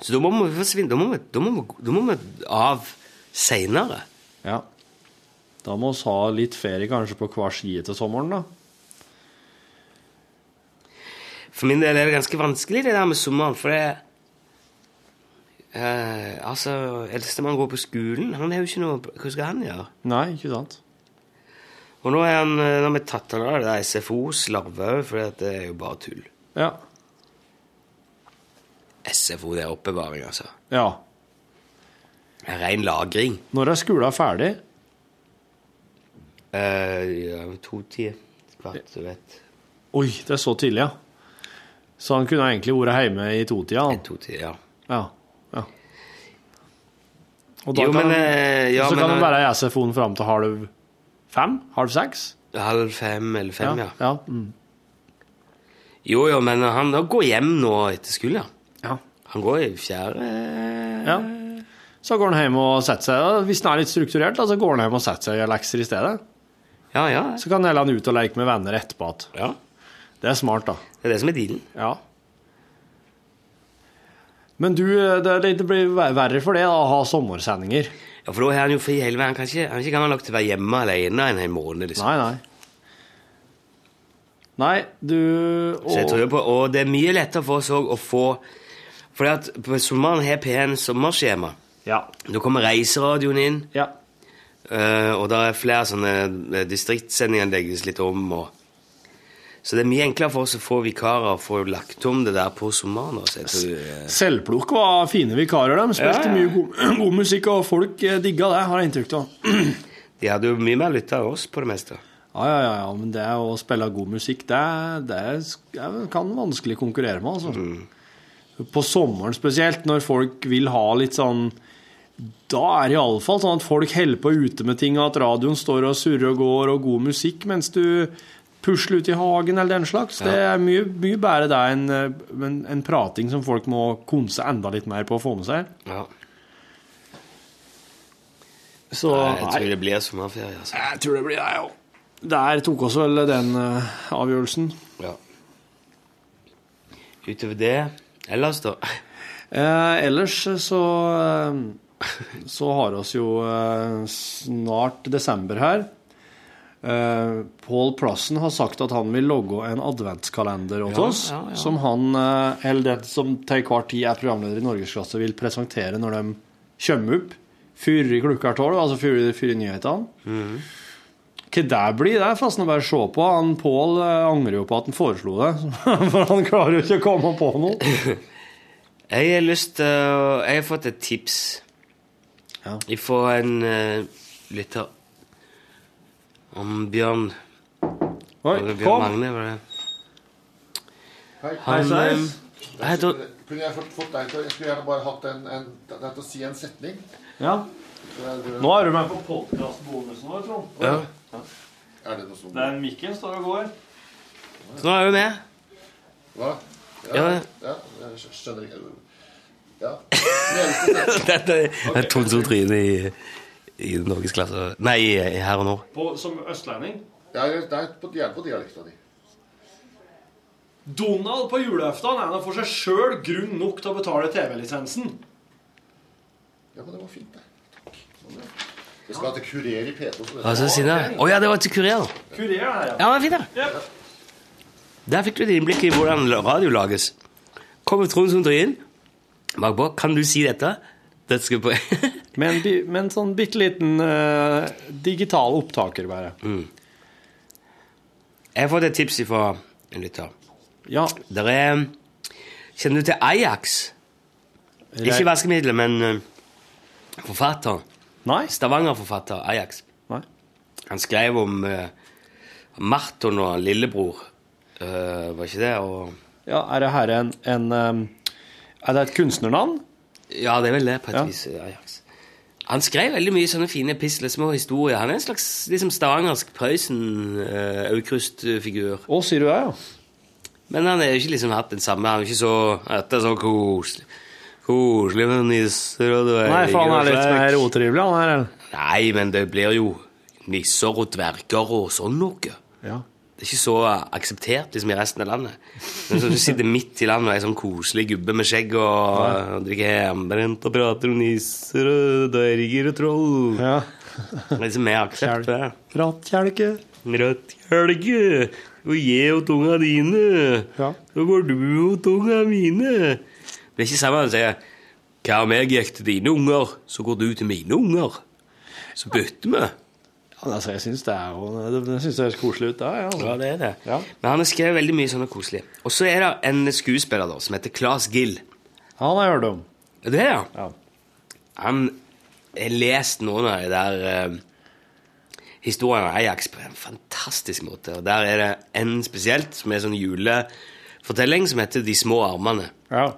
Speaker 2: Så da må vi forsvinne. Da må vi, da må vi, da må vi av seinere.
Speaker 3: Ja. Da må vi ha litt ferie kanskje på hver side til sommeren, da.
Speaker 2: For min del er det ganske vanskelig, det der med sommeren, for det eh, Altså, eldstemann går på skolen. Han har jo ikke noe Hva skal han gjøre?
Speaker 3: Nei, ikke sant?
Speaker 2: Og nå er han, eh, nå har vi tatt han av det der SFO-slarvet, for det er jo bare tull.
Speaker 3: Ja.
Speaker 2: SFO, det er oppbevaring, altså.
Speaker 3: Ja.
Speaker 2: Det er Ren lagring.
Speaker 3: Når er skolen ferdig?
Speaker 2: Eh, ja, to tider. Kvart, du vet.
Speaker 3: Oi, det er så tidlig, ja. Så han kunne egentlig vært hjemme i totida? han.
Speaker 2: totida,
Speaker 3: ja. Ja. Og da
Speaker 2: Jo,
Speaker 3: kan,
Speaker 2: men,
Speaker 3: han-
Speaker 2: eh, ja,
Speaker 3: så
Speaker 2: men
Speaker 3: kan han
Speaker 2: han-
Speaker 3: være i SFO-en fram til halv fem? Halv seks?
Speaker 2: Halv fem eller fem, ja.
Speaker 3: ja. Mm.
Speaker 2: Jo, jo, men han da går hjem nå etter skolen, ja.
Speaker 3: Ja.
Speaker 2: Han går i fjerde
Speaker 3: Ja. Så går han hjem og setter seg og Hvis han er litt strukturert, da, så går han hjem og setter seg og gjør lekser i stedet. Så kan han heller han ut og leke med venner etterpå at. Det er smart, da.
Speaker 2: Det er det som er dealen.
Speaker 3: Ja. Men du, det, er litt- det blir ver- verre for det da, å ha sommersendinger.
Speaker 2: Ja, for da er han jo fri hele veien. Han kan ikke, han er ikke gammel nok til å være hjemme alene en hel måned. liksom.
Speaker 3: Nei, nei. Nei, du
Speaker 2: Så jeg tror jo på, Og det er mye lettere for oss òg å få For at på sommeren har P1 sommerskjema.
Speaker 3: Ja.
Speaker 2: Da kommer reiseradioen inn. eh,
Speaker 3: Ja.
Speaker 2: og det er flere sånne eh, distriktssendinger legges litt om. Og, så det er mye enklere for oss å få vikarer og få lagt om det der på sommeren. da, Så jeg tror, eh,
Speaker 3: Selvplukk var fine vikarer, de
Speaker 2: Ja,
Speaker 3: spilte
Speaker 2: ja.
Speaker 3: mye god, god musikk, og folk eh, digga det, har jeg inntrykk av.
Speaker 2: de hadde jo mye mer lytta av oss på det meste.
Speaker 3: Ja, ja, ja, ja, men det å spille god musikk, det, det sk- jeg kan vanskelig konkurrere med, altså.
Speaker 2: Mm.
Speaker 3: På sommeren spesielt, når folk vil ha litt sånn Da er det iallfall sånn at folk holder på ute med ting, og at radioen står og surrer og går, og god musikk mens du pusler ut i hagen eller den slags. Det er mye, mye bedre det enn eh, en, en prating som folk må konse enda litt mer på å få med seg.
Speaker 2: Ja.
Speaker 3: Så
Speaker 2: Nei, jeg
Speaker 3: nei.
Speaker 2: tror det blir sommerferie. altså.
Speaker 3: Jeg tror det blir det, jo. Der tok oss vel den eh, avgjørelsen.
Speaker 2: Ja. Utover det Ellers, da?
Speaker 3: Eh, ellers så eh, så har oss jo eh, snart desember her. Eh, Paul Plassen har sagt at han vil logge en adventskalender åt
Speaker 2: Ja,
Speaker 3: oss,
Speaker 2: ja, ja.
Speaker 3: som han, eh, eller den som til hver tid er programleder i Norgesklasse, vil presentere når de kommer opp før klokka er tolv, altså før før nyhetene.
Speaker 2: Mm.
Speaker 3: Hva det blir, det er fasten å bare se på. Han Pål eh, angrer jo på at han foreslo det, for han klarer jo ikke å komme på noe.
Speaker 2: Jeg har lyst til å- Jeg har fått et tips fra en eh, lytter om Bjørn
Speaker 3: Oi,
Speaker 2: Bjørn
Speaker 3: kom.
Speaker 2: Magne, var det?
Speaker 9: Hei.
Speaker 2: Han, Hei, Sveis. eh, hei, da-
Speaker 9: Kunne jeg fått, fått deg til Jeg skulle gjerne bare hatt en, en, deg til å si en setning.
Speaker 3: Ja.
Speaker 9: Nå
Speaker 3: Nå er du med på podkastbonusen vår, Trond.
Speaker 9: Er det noe som
Speaker 3: Den mikken står og går.
Speaker 2: Nå er du med.
Speaker 9: Hva?
Speaker 2: Ja.
Speaker 9: ja. Jeg skj- skjønner ikke Ja. Den eneste setningen.
Speaker 2: Dette er Trond som tryner i, i norgesklasse Nei, i, i Her og nå.
Speaker 3: På, som østlending.
Speaker 9: Ja, eller- Nei, på, gjerne på dialekta di.
Speaker 3: Donald på julaften er da for seg sjøl grunn nok til å betale TV-lisensen.
Speaker 9: Ja, men det var fint, det. Sånn, ja. Det skal til kurer i P2. så det-
Speaker 2: Hva så sier han? Å ja, det var til kurer.
Speaker 3: Kurer, ja.
Speaker 2: Ja, men fint, da. Der fikk du et innblikk i hvordan radio lages. Kommer Trond som tryner. Bakpå. Kan du si dette? Dette skal på
Speaker 3: Med en, bi- med en sånn bitte liten eh, digital opptaker, bare.
Speaker 2: Jeg har fått et tips fra en lytter.
Speaker 3: Ja.
Speaker 2: Der er Kjenner du til Ajax? Ikke vaskemiddelet, men eh, forfatteren. Stavanger-forfatter Ajax. Han skrev om eh, Marton og lillebror. Eh, var ikke det? Og,
Speaker 3: Ja, er det her en, en eh, Er det et kunstnernavn?
Speaker 2: ja, det er vel det, på et vis. eh, Ajax. Han skrev veldig mye sånne fine pisle små historier. Han er en slags liksom, stavangersk Prøysen-Aukrust-figur.
Speaker 3: Å, sier du det, ja?
Speaker 2: Men han er jo ikke liksom hatt den samme. Han er jo ikke så Dette er så koselig. Koselig med nisser og dverger
Speaker 3: Nei, for han er
Speaker 2: og
Speaker 3: litt
Speaker 2: slik».
Speaker 3: mer utrivelig, han her. eller?
Speaker 2: Nei, men det blir jo nisser og dverger og sånn noe.
Speaker 3: Ja.
Speaker 2: Det er ikke så akseptert liksom, i resten av landet. Men så du sitter midt i landet og er sånn koselig gubbe med skjegg og, og drikker hjemmebrent og prater om nisser og dverger og troll. Det er liksom mer aksept. for det.
Speaker 3: Rattkjelke.
Speaker 2: Ratthelge, og jeg og tunga dine, så går du og tunga mine. Det er ikke samme å si hva om jeg gikk til dine unger, så går du til mine unger. Så bytter vi.
Speaker 3: Ja, altså, jeg syns det er jo Det, det synes det høres koselig ut, det. Ja, altså.
Speaker 2: Ja, det er det. Men han har skrevet veldig mye sånne koselige. Og så er det en skuespiller da, som heter Claes Gill.
Speaker 3: Han har jeg hørt om.
Speaker 2: Det er han. Han har lest noen av de der uh, historiene om Ajax på en fantastisk måte. Og der er det en spesielt som er sånn julefortelling som heter De små armene.
Speaker 3: Ja.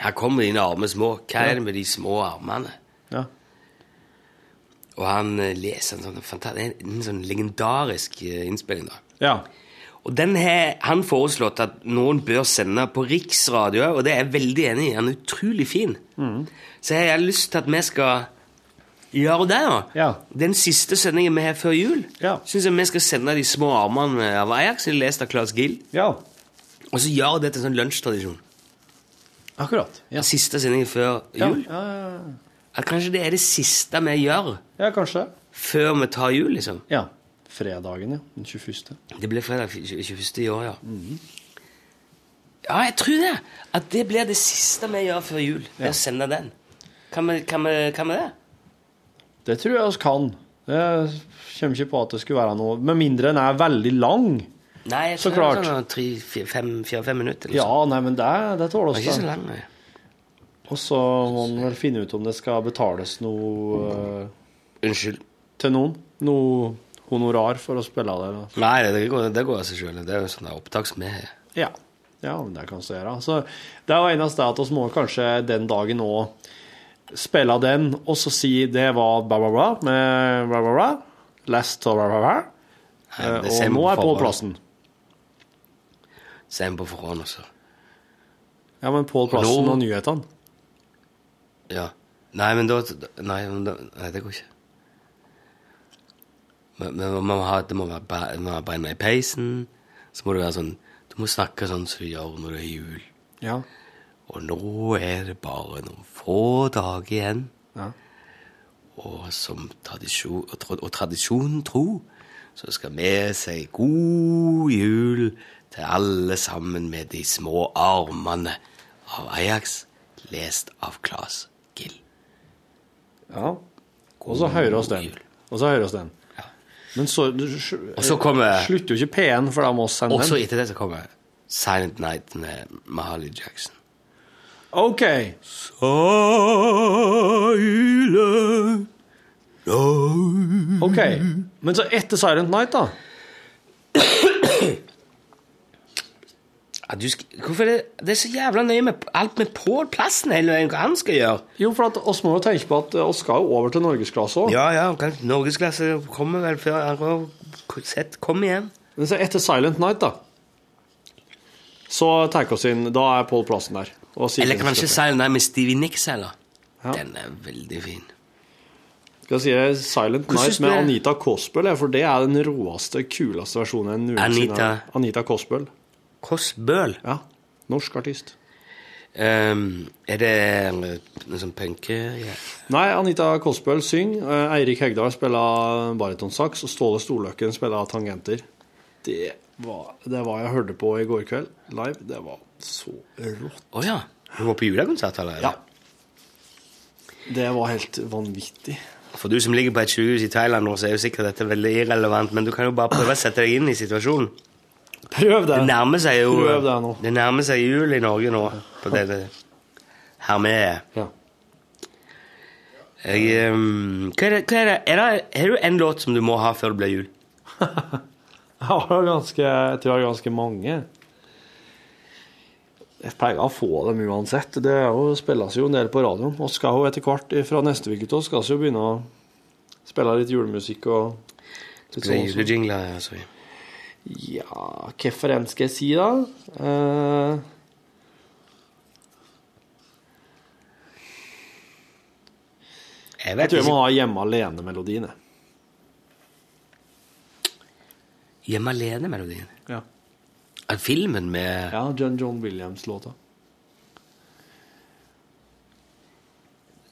Speaker 2: Her kommer dine armer små. Hva
Speaker 3: Ja.
Speaker 2: er det med de små armene?
Speaker 3: Ja.
Speaker 2: Og han eh, leser en sånn, fanta- en, en sånn legendarisk eh, innspilling da.
Speaker 3: Ja.
Speaker 2: Og den har han foreslått at noen bør sende på riksradio, og det er jeg veldig enig i. Han er utrolig fin. Så jeg har lyst til at vi skal gjøre det. da. Den siste sendingen vi har før jul, syns jeg vi skal sende De små armene av Ajax, som er lest av Claes Gill. Og så gjøre det til en sånn lunsjtradisjon.
Speaker 3: Akkurat.
Speaker 2: Den Siste sendingen før jul.
Speaker 3: Ja, ja, ja.
Speaker 2: At kanskje det er det siste vi gjør
Speaker 3: ja, kanskje.
Speaker 2: før vi tar jul, liksom.
Speaker 3: Ja. Fredagen, ja. Den 21.
Speaker 2: Det ble fredag 21. i år, ja.
Speaker 3: Mhm.
Speaker 2: Ja, jeg tror det. At det blir det siste vi gjør før jul. Ved å sende den. Kan vi, kan, vi, kan vi det?
Speaker 3: Det tror jeg vi kan. Jeg kommer ikke på at det skulle være noe Med mindre den er veldig lang.
Speaker 2: Nei, jeg
Speaker 3: Så
Speaker 2: tror det
Speaker 3: klart.
Speaker 2: er sånn fire-fem minutter. liksom.
Speaker 3: Ja, altså. nei, men det, det tåler
Speaker 2: Det er
Speaker 3: oss.
Speaker 2: ikke så
Speaker 3: det.
Speaker 2: lang, nei.
Speaker 3: Og så må man vel finne ut om det skal betales noe eh,
Speaker 2: Unnskyld.
Speaker 3: Til noen. Noe honorar for å spille av det. eller?
Speaker 2: Nei, det går, det går av seg sjøl. Det er jo sånn det er opptak som er
Speaker 3: Ja. ja, men det kan vi gjøre. Så det er jo eneste at vi må kanskje den dagen òg spille av den, og så si det var bla, bla, bla med bla, bla, bla. Last of bla, bla, bla.
Speaker 2: Nei, det
Speaker 3: Eh,
Speaker 2: ser
Speaker 3: Og
Speaker 2: vi
Speaker 3: nå
Speaker 2: på
Speaker 3: er jeg på
Speaker 2: forhånd.
Speaker 3: plassen.
Speaker 2: Ser vi på forhånd også.
Speaker 3: Ja, men Pål Plassen
Speaker 2: Nå-
Speaker 3: og nyhetene.
Speaker 2: Ja. Nei, men da Nei, men da, nei det går ikke. Men, men man må ha, det må være bre- man må ha beina i peisen. Så må det være sånn Du må snakke sånn som du gjør når det er jul.
Speaker 3: Ja.
Speaker 2: Og nå er det bare noen få dager igjen. Og som tradisjon, og tra- og tradisjonen tro, så skal vi si god jul til alle sammen med de små armene av Ajax, lest av Claes Gill.
Speaker 3: Ja. Og så hører oss den. Og så hører oss den. Men så, du, sl-
Speaker 2: Og så kommer-
Speaker 3: Slutter jo ikke P1, for da må vi sende
Speaker 2: Og så
Speaker 3: den.
Speaker 2: etter det så kommer Silent Night med Mahalie Jackson.
Speaker 3: OK. OK. Men så etter Silent Night, da?
Speaker 2: Ja, du sk Hvorfor er det, det er så jævla nøye med p- alt med Pål Plassen hele veien, hva han skal gjøre?
Speaker 3: Jo, for at oss må jo tenke på at eh, oss skal jo over til norgesklasse òg.
Speaker 2: Ja, ja, kan- norgesklasse kommer vel før han har sett Kom igjen.
Speaker 3: Men så etter Silent Night, da Så tar vi oss inn. Da er Pål Plassen der. og sier
Speaker 2: Eller
Speaker 3: den
Speaker 2: kanskje
Speaker 3: støtter.
Speaker 2: Silent Night med Stevie Nicks, eller? Den er veldig fin.
Speaker 3: Skal jeg si det, Silent
Speaker 2: Hvordan
Speaker 3: Night
Speaker 2: synes du
Speaker 3: med
Speaker 2: det?
Speaker 3: Anita Kospel, ja, for det er den råeste, kuleste versjonen jeg noensinne
Speaker 2: Anita-
Speaker 3: har. Anita Kospel.
Speaker 2: Korsbøl?
Speaker 3: Ja. Norsk artist.
Speaker 2: Ehm, er det noe sånn punke... Ja.
Speaker 3: Nei, Anita Kospel synger, eh, Eirik Hegdal spiller baritonsaks, og Ståle Storløkken spiller tangenter. Det var det var jeg hørte på i går kveld live. Det var så rått.
Speaker 2: Å ja. Hun var på julekonsert, eller?
Speaker 3: Ja. Det var helt vanvittig.
Speaker 2: For du som ligger på et sykehus i Thailand nå, så er jo sikkert dette veldig irrelevant, men du kan jo bare prøve å sette deg inn i situasjonen.
Speaker 3: Prøv det.
Speaker 2: Det nærmer seg jo
Speaker 3: Prøv det nå.
Speaker 2: Det nærmer seg jul i Norge nå, på det, det her vi er.
Speaker 3: Ja.
Speaker 2: Jeg, ehm, hva er det, hva er det, er det, har du en låt som du må ha før det blir jul?
Speaker 3: Jeg har ganske, jeg tror jeg har ganske mange. Jeg pleier å få dem uansett. Det er jo, spilles jo en del på radioen. Og skal jo etter hvert fra neste uke til skal vi jo begynne å spille litt julemusikk og litt
Speaker 2: Spille
Speaker 3: sånn også.
Speaker 2: julejingler, ja, sorry.
Speaker 3: Ja, hvorfor en skal jeg si, da? Eh,
Speaker 2: Jeg
Speaker 3: jeg
Speaker 2: vet
Speaker 3: tror jeg
Speaker 2: ikke.
Speaker 3: må ha Hjemme alene-melodien. jeg.
Speaker 2: Hjemme alene-melodien.
Speaker 3: Ja.
Speaker 2: At filmen med
Speaker 3: Ja, John, John Williams-låta.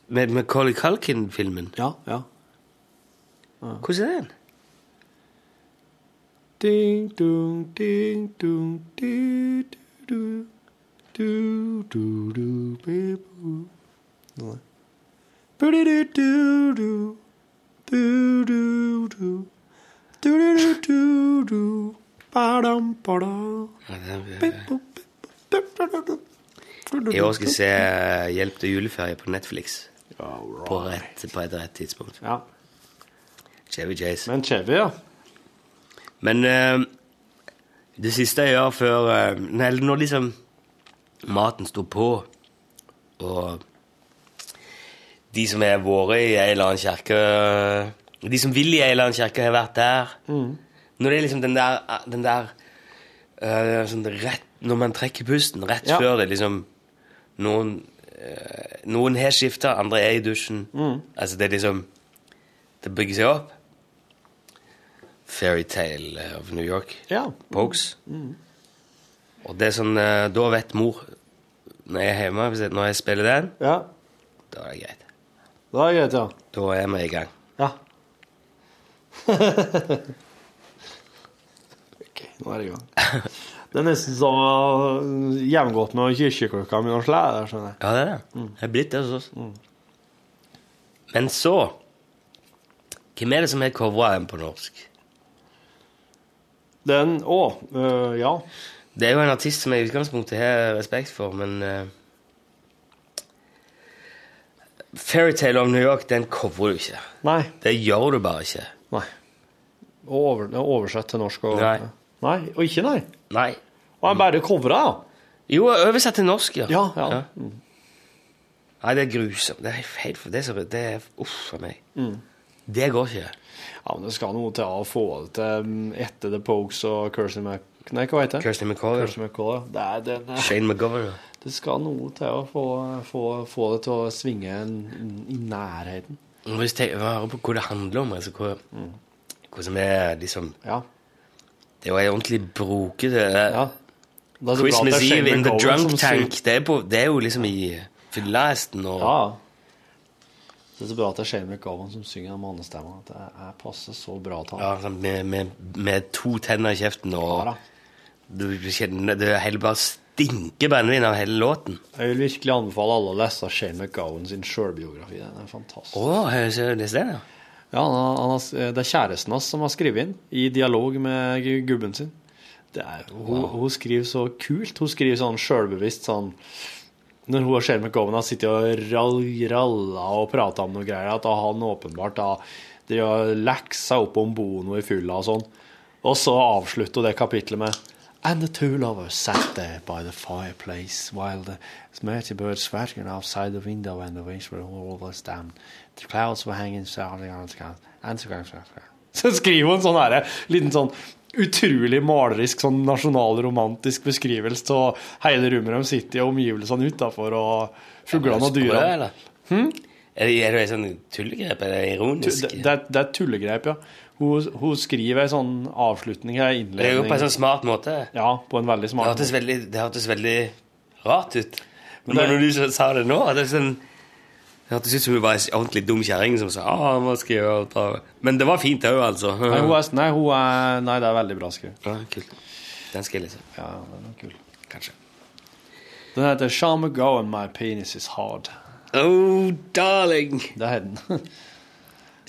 Speaker 2: Med Macaulay Culkin-filmen?
Speaker 3: Ja, ja.
Speaker 2: Hvordan er den?
Speaker 3: Ding, dong, ding, dong, di, du, du, du, du, du, bi, bu. Nei. Budi, du, du, du, du, du, du. Du, du, du, du, du. Badam, badam.
Speaker 2: Ja, den-
Speaker 3: Bi, bu, bi, bu. Du, du, du, du.
Speaker 2: I år skal jeg se eh, Hjelp til juleferie på Netflix.
Speaker 3: right.
Speaker 2: På, rett, på et rett tidspunkt.
Speaker 3: Ja.
Speaker 2: Chevy Chase.
Speaker 3: Men Chevy, ja.
Speaker 2: Men eh, det siste jeg gjør før eh, nei, Når liksom maten står på, og de som har vært i ei eller annen eh, kirke De som vil i ei eller annen kirke, har vært der. Når det er liksom den der, den der eh, sånn rett, Når man trekker pusten rett
Speaker 10: Ja.
Speaker 2: før det liksom Noen, eh, noen har skifta, andre er i dusjen.
Speaker 10: Mm.
Speaker 2: Altså, det er liksom Det bygger seg opp. Fairytale of New York. Pokes.
Speaker 3: Mm.
Speaker 2: Og det er sånn eh, Da vet mor når jeg er hjemme, hvis jeg, når jeg spiller den, da er det greit.
Speaker 3: Da er det greit, ja.
Speaker 2: Da er vi i gang.
Speaker 3: Ja. ok, nå er det i gang. Det er nesten som å jevngodt med kirkeklokka mi og slæde, skjønner jeg.
Speaker 2: Ja, det er det.
Speaker 3: Mm.
Speaker 2: Det er blitt det hos oss. Men så Hvem er det som har covra den på norsk?
Speaker 3: Den Å, øh, ja.
Speaker 2: Det er jo en artist som jeg i utgangspunktet har respekt for, men eh, Fairytale of New York, den covrer du ikke.
Speaker 3: Nei.
Speaker 2: Det gjør du bare ikke.
Speaker 3: Nei. Og over, det er oversett til norsk og
Speaker 2: Nei.
Speaker 3: Nei, Og ikke nei?
Speaker 2: Nei.
Speaker 3: Og han bare covra, ja?
Speaker 2: Jo, oversett til norsk, ja.
Speaker 3: Ja, ja.
Speaker 2: Nei, det er grusomt. Det er helt Det er, så, det er uff for meg.
Speaker 3: Mm.
Speaker 2: Det går ikke.
Speaker 3: Ja, men det skal noe til å få det til mm, etter The Pokes og Kirsty Mc... Nei, hva heter det?
Speaker 2: Kirsty McCall, ja.
Speaker 3: Kirsty McCall, ja. Det er den
Speaker 2: Shane McGovern. ja.
Speaker 3: Det skal noe til å få, få, få det til å svinge en- i nærheten.
Speaker 2: Men Hvis jeg hører på hva det handler om, altså hva, hva som er liksom Det er jo ei ordentlig brokete
Speaker 3: Det er så bra at det er
Speaker 2: Christmas
Speaker 3: Shane
Speaker 2: Eve in the
Speaker 3: McGowan
Speaker 2: drunk
Speaker 3: som
Speaker 2: tank.
Speaker 3: synger.
Speaker 2: Det er, på, det er jo liksom i fyllehesten og
Speaker 3: Ja. Det er så bra at det er Shane McGowan som synger den mannestemmen. At det er- passer så bra til
Speaker 2: Ja,
Speaker 3: han.
Speaker 2: sånn med, med, med to tenner i kjeften og du, du kjenner Det hele bare stinker brennevin av hele låten.
Speaker 3: Jeg vil virkelig anbefale alle å lese Shane McGowan sin sjølbiografi. Den er fantastisk.
Speaker 2: Å, jeg ser det ser jeg.
Speaker 3: Ja, han, har- han, har- det er kjæresten hans som har skrevet inn, i dialog med gu- gubben sin. Det er, hun, hun skriver så kult. Hun skriver sånn sjølbevisst sånn Når hun og Shane McGowan har sittet og rall- ralla og prata om noe greier, at han åpenbart da, de har leksa opp om Bono i fylla og sånn. Og så avslutter hun det kapitlet med And the two lovers sat there by the fireplace while the smarty birds swatting outside the window and the waves were always down. The clouds were hanging sounding on the sky. And the clouds were- Så skriver hun sånn herre liten sånn utrolig malerisk sånn nasjonalromantisk beskrivelse av hele rommet de sitter i, og omgivelsene utafor, og fuglene og dyra.
Speaker 2: eller? Er det, er det et sånt tullegrep? Er det ironisk?
Speaker 3: Hm? Det, det, er- det er tullegrep, ja. Hun, hun skriver ei sånn avslutning her, innledning
Speaker 2: Det er jo på en sånn smart måte.
Speaker 3: Ja, på en veldig smart
Speaker 2: det sånn- hørtes veldig, det hørtes veldig rart ut. Men
Speaker 3: Men det-
Speaker 2: når du så- sa det nå, det, er sånn, det hørtes ut som hun var en ordentlig dum kjerring som sa ah, hva skal jeg gjøre? da?» Men det var fint òg, altså.
Speaker 3: Nei, hun er, nei, hun er, nei, det er veldig bra skrevet.
Speaker 2: Ja, kult. Den skal jeg lese.
Speaker 3: Ja, den er kul.
Speaker 2: Kanskje.
Speaker 3: Den heter Sean McGowan, My Penis Is Hard.
Speaker 2: Oh, darling!
Speaker 3: Det er den.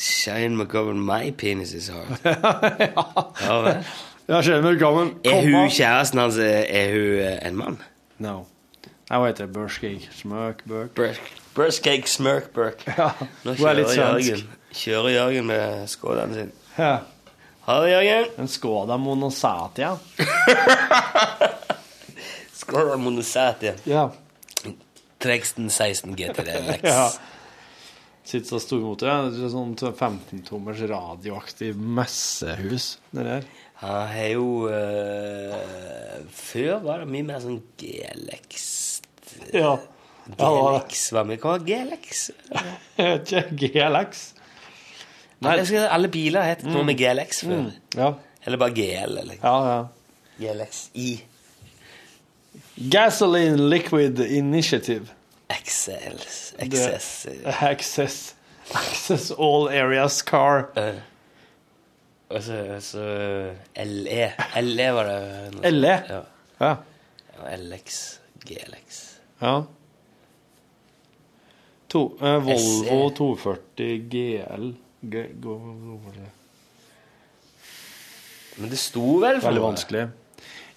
Speaker 2: Shane McGovern, my penis is hard. ja. vel.
Speaker 3: Ja, Shane McGowan,
Speaker 2: er
Speaker 3: komma.
Speaker 2: hun kjæresten hans eh, Er hun eh, en mann?
Speaker 3: No. Nei, hun heter Burskig. Smørk, Burk.
Speaker 2: Burskake Smirkburk. Nå
Speaker 3: Hun er
Speaker 2: kjører
Speaker 3: litt svensk.
Speaker 2: Jørgen, kjører Jørgen med skålen sin.
Speaker 3: Ja.
Speaker 2: Ha det, Jørgen.
Speaker 3: En skåda monosatia.
Speaker 2: Skåla monosatia.
Speaker 3: Ja.
Speaker 2: Treksten 16 GTD-Lex.
Speaker 3: ja. Sitter så stor mot det. Det er sånn 15-tommers radioaktiv messehus. Det der.
Speaker 2: Han har jo eh, Før var det mye mer sånn G-Lex.
Speaker 3: Ja.
Speaker 2: G-Lex var med. Hva var G-Lex?
Speaker 3: Ikke GLX. Nei.
Speaker 2: Jeg husker Alle biler het noe med G-Lex før.
Speaker 3: Mm. Ja.
Speaker 2: Eller bare GL. Eller.
Speaker 3: Ja, ja.
Speaker 2: GLX I.
Speaker 3: Gasoline Liquid Initiative.
Speaker 2: Excels.
Speaker 3: Det-
Speaker 2: Excess.
Speaker 3: Access. Access all areas car.
Speaker 2: Og så, så LE. LE E var det. noe sånt.
Speaker 3: LE?
Speaker 2: Ja.
Speaker 3: Ja.
Speaker 2: Ja, LX. GLX.
Speaker 3: ja. To, eh, Volvo
Speaker 2: SE.
Speaker 3: 240 GL. G Go-
Speaker 2: Men det sto vel for
Speaker 3: Veldig
Speaker 2: noe?
Speaker 3: vanskelig.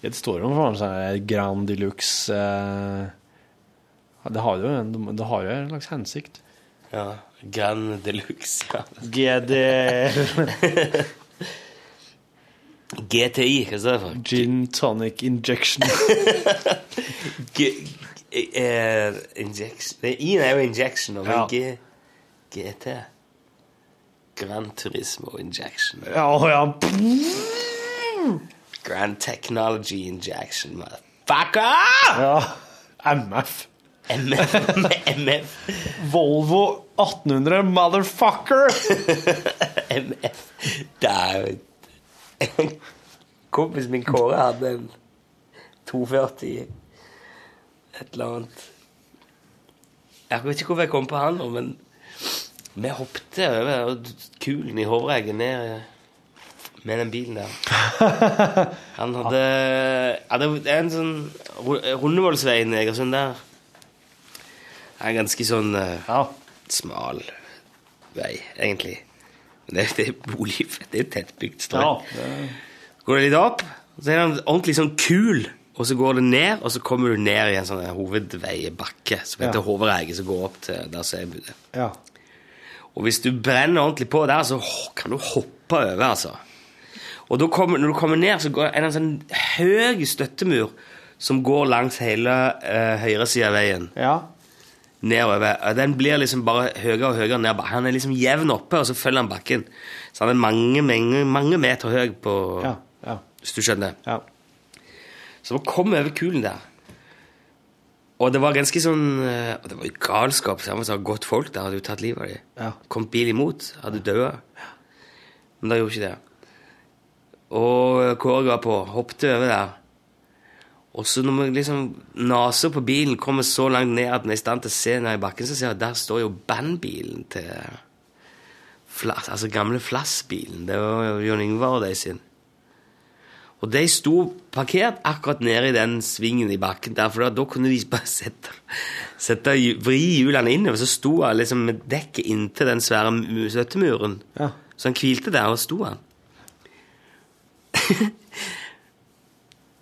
Speaker 3: Ja, det står jo for seg Grand Deluxe eh, ja, Det har jo en, det har jo en slags hensikt.
Speaker 2: Ja. Grand Deluxe. Ja.
Speaker 3: GD
Speaker 2: GTI, hva står det for?
Speaker 3: Gin tonic injection.
Speaker 2: G eh, injection Nei, I-en er jo injection, og men
Speaker 3: Ja.
Speaker 2: G GT Grand Turismo Injection.
Speaker 3: Ja, ja.
Speaker 2: Grand Technology Injection, motherfucker!
Speaker 3: Ja. MF.
Speaker 2: MF. MF.
Speaker 3: Volvo 1800, motherfucker!
Speaker 2: MF. Det er jo en- Kompisen min Kåre hadde en 240 et eller annet Jeg vet ikke hvorfor jeg kom på han nå, men vi hoppet over kulen i Hovreggen ned med den bilen der. Han hadde ja, Det er en sånn Ru- Rundevollsveien i Egersund sånn der. Det er en ganske sånn eh, smal vei, egentlig. Men det, det er bolig, det er tettbygd strøk. Går det litt opp, så er den ordentlig sånn kul, og så går det ned, og så kommer du ned i en sånn hovedveibakke som heter
Speaker 3: Ja.
Speaker 2: Hovereige, som går opp til der som er budet.
Speaker 3: Ja.
Speaker 2: Og hvis du brenner ordentlig på der, så h- kan du hoppe over, altså. Og da kommer, når du kommer ned, så går, er det en sånn høy støttemur som går langs hele uh, høyresida av veien. Nedover. Og Den blir liksom bare høyere og høyere ned. Han er liksom jevn oppe, og så følger han bakken. Så han er mange, mange, mange meter høy på
Speaker 3: ja.
Speaker 2: Hvis du skjønner. Så man kom over kulen der. Og det var ganske sånn eh, Og det var jo galskap. Så det var godt folk der hadde jo tatt livet av dem.
Speaker 3: Ja.
Speaker 2: Kom bil imot, hadde dødd. Men det gjorde ikke det. Og Kåre ga på, hoppte over der. Og så når vi liksom naser på bilen, kommer så langt ned at vi er i stand til å se ned i bakken, så ser jeg at der står jo bandbilen til Flass, altså gamle Flass-bilen. Det var jo Jon Yngvar og de sin. Og de sto parkert akkurat nede i den svingen i bakken der, for da, da kunne de bare sette, sette hju- vri hjulene innover. Så sto han liksom med dekket inntil den svære mu- støttemuren.
Speaker 3: Ja.
Speaker 2: Så han hvilte der, og sto han.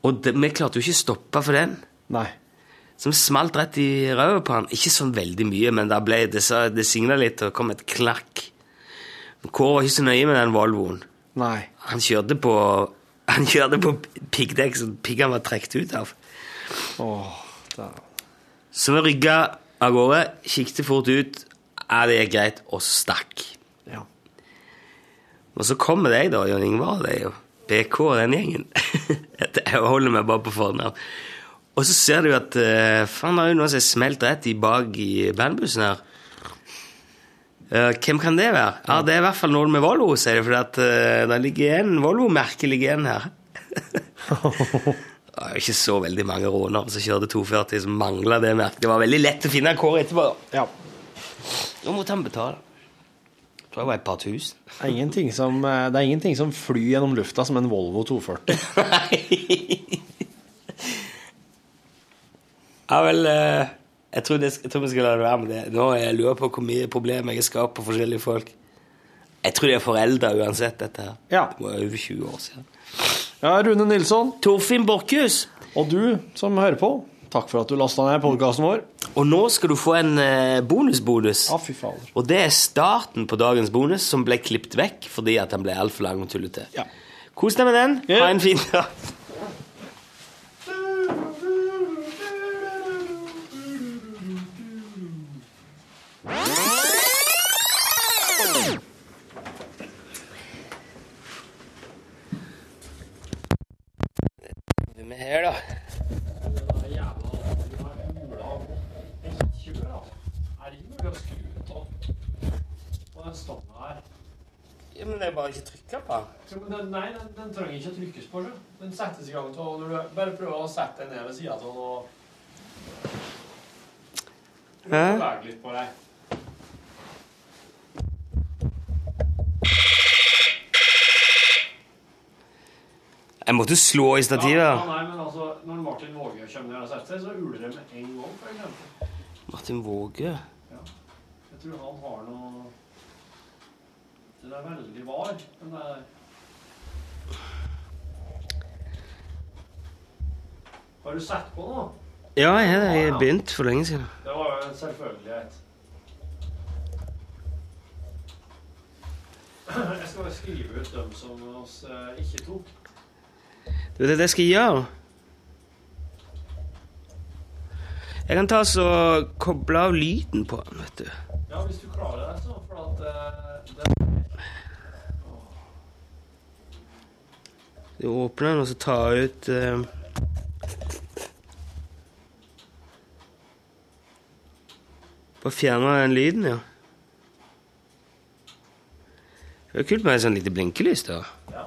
Speaker 2: og det, vi klarte jo ikke å stoppe for den.
Speaker 3: Nei.
Speaker 2: Som smalt rett i røret på han. Ikke sånn veldig mye, men da ble det, sa- det singla litt, og det kom et klakk. Kåre var ikke så nøye med den Volvoen.
Speaker 3: Nei.
Speaker 2: Han kjørte på Han kjørte på piggdekk som piggene var trukket ut av. Så vi rygga av gårde, kikket fort ut. Ja, det gikk greit, og så stakk.
Speaker 3: Ja.
Speaker 2: Og så kommer de, da, Jon Ingvar og de, og BK og den gjengen. Jeg holder meg bare på fornavn. Og så ser du at eh, faen, det er jo noen som er smelt rett i bak i bandbussen her. Eh, hvem kan det være? Ja, Det er i hvert fall noen med Volvo, sier de, for at, eh, det ligger igjen Volvo-merket ligger igjen her. Det var jo ikke så veldig mange rånere som kjørte 240 som mangla det merket. Det var veldig lett å finne Kåre etterpå.
Speaker 3: Ja.
Speaker 2: Nå måtte han betale. Jeg tror det var et par tusen.
Speaker 3: Det er, ingenting som, eh, det er ingenting som flyr gjennom lufta som en Volvo 240.
Speaker 2: Ja vel, eh, jeg tror, det, jeg tror vi skal la det være med det. Nå er jeg lurer på hvor mye problem jeg har skapt på forskjellige folk. Jeg tror de er foreldre uansett, dette her.
Speaker 3: Ja.
Speaker 2: Det var over 20 år siden.
Speaker 3: Ja, Rune Nilsson.
Speaker 2: Torfinn Borchhus.
Speaker 3: Og du som hører på, takk for at du lasta ned podkasten vår.
Speaker 2: Og nå skal du få en eh, bonusbonus.
Speaker 3: Ja, fy fader.
Speaker 2: Og det er starten på dagens bonus, som ble klippet vekk fordi at den ble altfor lang og tullete.
Speaker 3: Ja.
Speaker 2: Kos deg med den. Ha en fin dag. Hvem er her, da? Ja, men det er bare ikke trykka på.
Speaker 3: Nei, den, den trenger ikke å trykkes på. du. Den settes i gang av når du bare prøver å sette deg ned ved sida av den og
Speaker 2: Hæ?
Speaker 3: bevege litt på deg.
Speaker 2: Jeg måtte slå i stativet.
Speaker 3: Ja,
Speaker 2: da.
Speaker 3: nei, men altså, når Martin Våge kommer ned og setter seg, så uler det med en gang, for eksempel.
Speaker 2: Martin Våge.
Speaker 3: Jeg tror han har noe Den er veldig var, den der. Har du sett på noe?
Speaker 2: Ja, jeg har det. Jeg har begynt for lenge siden.
Speaker 3: Det var jo en selvfølgelighet. Jeg skal bare skrive ut dem som oss eh, ikke tok.
Speaker 2: Du, det er det jeg skal gjøre. Jeg kan ta og så koble av lyden på den, vet du.
Speaker 3: Ja, hvis du klarer det, så. For at eh, det... Åh.
Speaker 2: Du åpner den, og så tar jeg ut eh, Bare fjerner den lyden, ja. Det er kult med et sånn lite blinkelys, da.
Speaker 11: Ja.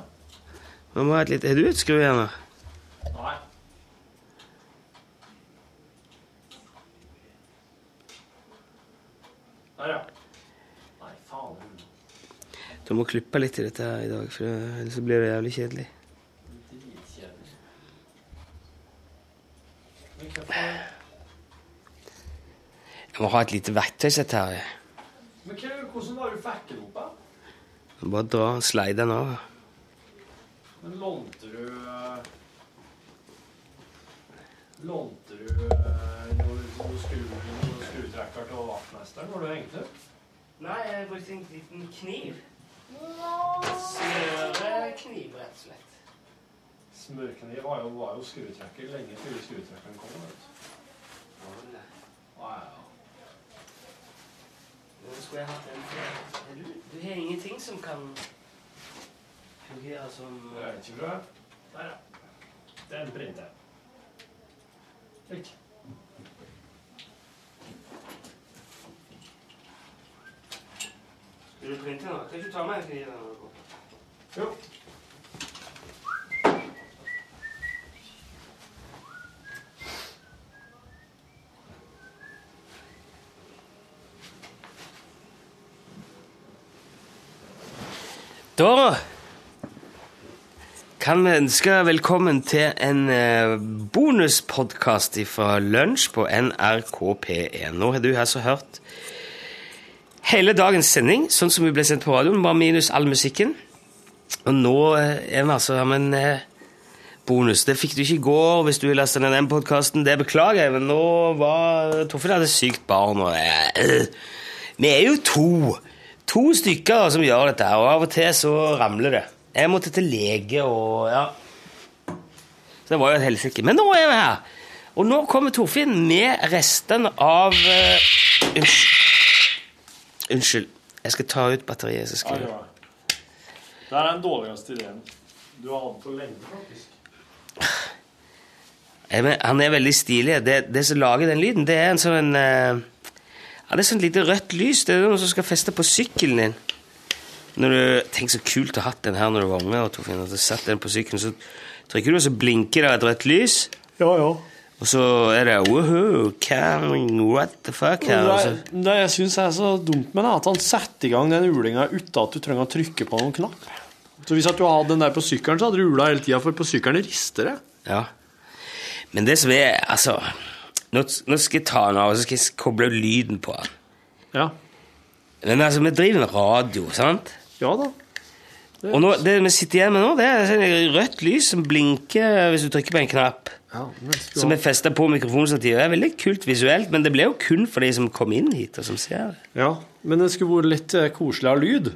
Speaker 2: Man må ha et lite... Har du et skrujern? da?
Speaker 11: Nei. Der, ja. Nei, faen.
Speaker 2: Du må klippe litt i dette her i dag, for ellers så blir det jævlig kjedelig. Jeg må ha et lite verktøysett her. jeg.
Speaker 3: Men hva, hvordan var det du fikk den opp? da?
Speaker 2: Jeg må Bare dra og slide den av.
Speaker 3: Men lånte du eh, Lånte du eh, noe, noe skru- noe skrutrekker til vaktmesteren når du hengte opp?
Speaker 2: Nei, jeg brukte en liten kniv.
Speaker 3: Smørekniv, rett og slett. Smørkniv var jo, var jo skrutrekker lenge før skrutrekkeren kom. Vet du.
Speaker 2: Skulle jeg hatt en til? Du, du har ingenting som kan fungere som
Speaker 3: Jeg vet ikke, bra. Der, ja. Den brenner. Slik.
Speaker 2: Skal du printe nå? Kan ikke du ta med en kniv? eller noe?
Speaker 3: Jo.
Speaker 2: Da kan vi ønske velkommen til en eh, bonuspodkast fra Lunsj på NRK P1. E. Nå har du her så hørt hele dagens sending, sånn som vi ble sendt på radioen, bare minus all musikken. Og nå eh, er vi altså her med en eh, bonus. Det fikk du ikke i går hvis du lasta ned den podkasten. Det beklager jeg, men nå var Torfinn hadde sykt barn, og jeg Vi er jo to. To stykker som gjør dette, her, og av og til så ramler det. Jeg måtte til lege og ja. Så det var jo et helsike. Men nå er vi her! Og nå kommer Torfinn med resten av eh, unnskyld. unnskyld. Jeg skal ta ut batteriet. så skal jeg...
Speaker 3: Det er den dårligste ideen du har hatt på lenge, faktisk.
Speaker 2: Jeg men- Han er veldig stilig. Det, det som lager den lyden, det er en sånn eh, Ja, det er sånn lite rødt lys. Det er noe som skal feste på sykkelen din. Når du, Tenk så kult å ha hatt den her når du var unge. Og Torfinn, at du satt den på sykkelen, så trykker du, og så blinker det et rødt lys.
Speaker 3: Ja, ja.
Speaker 2: Og så er det Woohoo, coming, what the fuck? Her, og så,
Speaker 3: Det, det jeg syns er så dumt med det, er at han setter i gang den ulinga uten at du trenger å trykke på noen knapp. Så hvis at du hadde den der på sykkelen, så hadde du ula hele tida, for på sykkelen rister det.
Speaker 2: Ja. Men det som er Altså, nå, nå skal jeg ta den av, og så skal jeg koble lyden på den.
Speaker 3: Ja.
Speaker 2: Men altså, vi driver med radio, sant?
Speaker 3: Ja da.
Speaker 2: Og nå, det vi sitter igjen med nå, det er sånn rødt lys som blinker hvis du trykker på en knapp. Som er festa på mikrofonstativet. Det er veldig kult visuelt, men det ble jo kun for de som kom inn hit, og som ser det.
Speaker 3: Ja, men det skulle vært litt eh, koselig av lyd.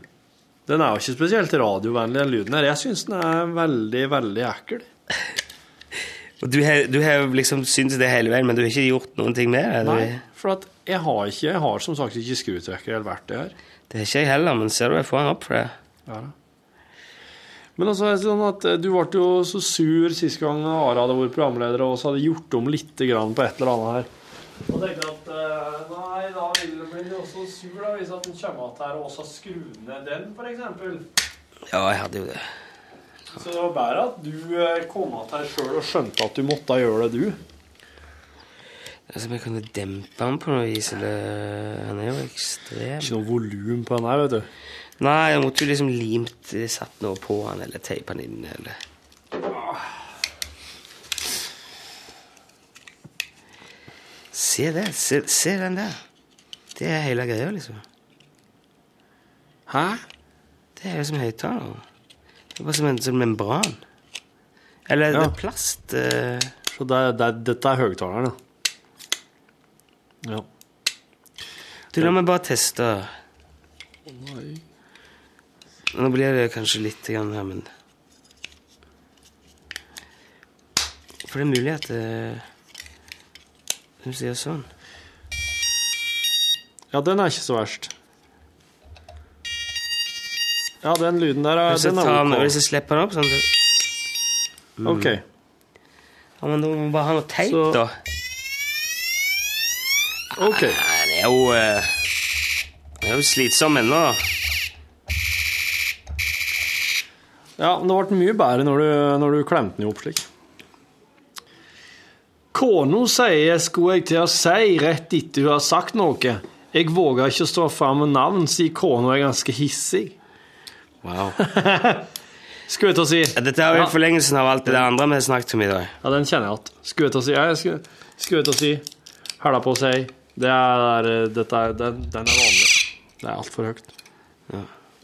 Speaker 3: Den er jo ikke spesielt radiovennlig, den lyden her. Jeg syns den er veldig, veldig ekkel.
Speaker 2: Og du har, du har jo liksom syntes det hele veien, men du har ikke gjort noen ting med det?
Speaker 3: Nei, for at jeg har ikke Jeg har som sagt ikke skrutrekker eller verktøy her.
Speaker 2: Det har ikke jeg heller, men ser du jeg får den opp for det.
Speaker 3: Ja da. Men altså, er det sånn at eh, du ble jo så sur sist gang Are hadde vært programleder, og så hadde gjort om litt grann på et eller annet her. Og tenkte at eh, nei, da vil bli også sur da, hvis at den kommer igjen her og også skrur ned den, f.eks.
Speaker 2: Ja, jeg hadde jo det.
Speaker 3: Så det var bedre at du eh, kom igjen her sjøl og skjønte at du måtte gjøre det, du.
Speaker 2: Altså, om jeg kunne dempe den på noe vis, eller Han er jo ekstrem.
Speaker 3: Ikke noe volum på den her, vet du.
Speaker 2: Nei, jeg måtte jo liksom limt satt noe på den, eller teipa den inn, eller Se det. Se, se den der. Det er hele greia, liksom. Hæ? Det er jo som høyttaler. Det er bare som en sånn membran. Eller det
Speaker 3: Ja.
Speaker 2: er plast. eh,
Speaker 3: Så det, er- det, er- dette er høyttaleren, ja. Ja.
Speaker 2: Du, la meg bare teste.
Speaker 3: Nei.
Speaker 2: Nå blir det kanskje litt grann her, men For det er mulig at eh, Hun sier sånn.
Speaker 3: Ja, den er ikke så verst. Ja, den lyden der er,
Speaker 2: Hvis jeg,
Speaker 3: den er
Speaker 2: tar den,
Speaker 3: ok.
Speaker 2: hvis jeg slipper den opp sånn det-
Speaker 3: Ok.
Speaker 2: Ja, men da må vi bare ha noe teip,
Speaker 3: Så-
Speaker 2: da. Nei,
Speaker 3: Ok.
Speaker 2: det er jo eh, Det er jo slitsom ennå, da.
Speaker 3: Ja, men det ble mye bedre når du, når du klemte den opp slik. Kona sier jeg skulle jeg til å si rett etter hun har sagt noe. Jeg våger ikke å stå fram med navn, sier kona er ganske hissig.
Speaker 2: Wow.
Speaker 3: Skulle jeg til å si
Speaker 2: Dette er jo i forlengelsen av alt det der andre vi har snakket om i dag.
Speaker 3: Ja, den kjenner jeg at. Skulle jeg til å si ja, jeg skulle- Skulle jeg til å si Hæla på å si Det er Dette er Den, den er vanlig. Det er altfor høyt.
Speaker 2: Ja.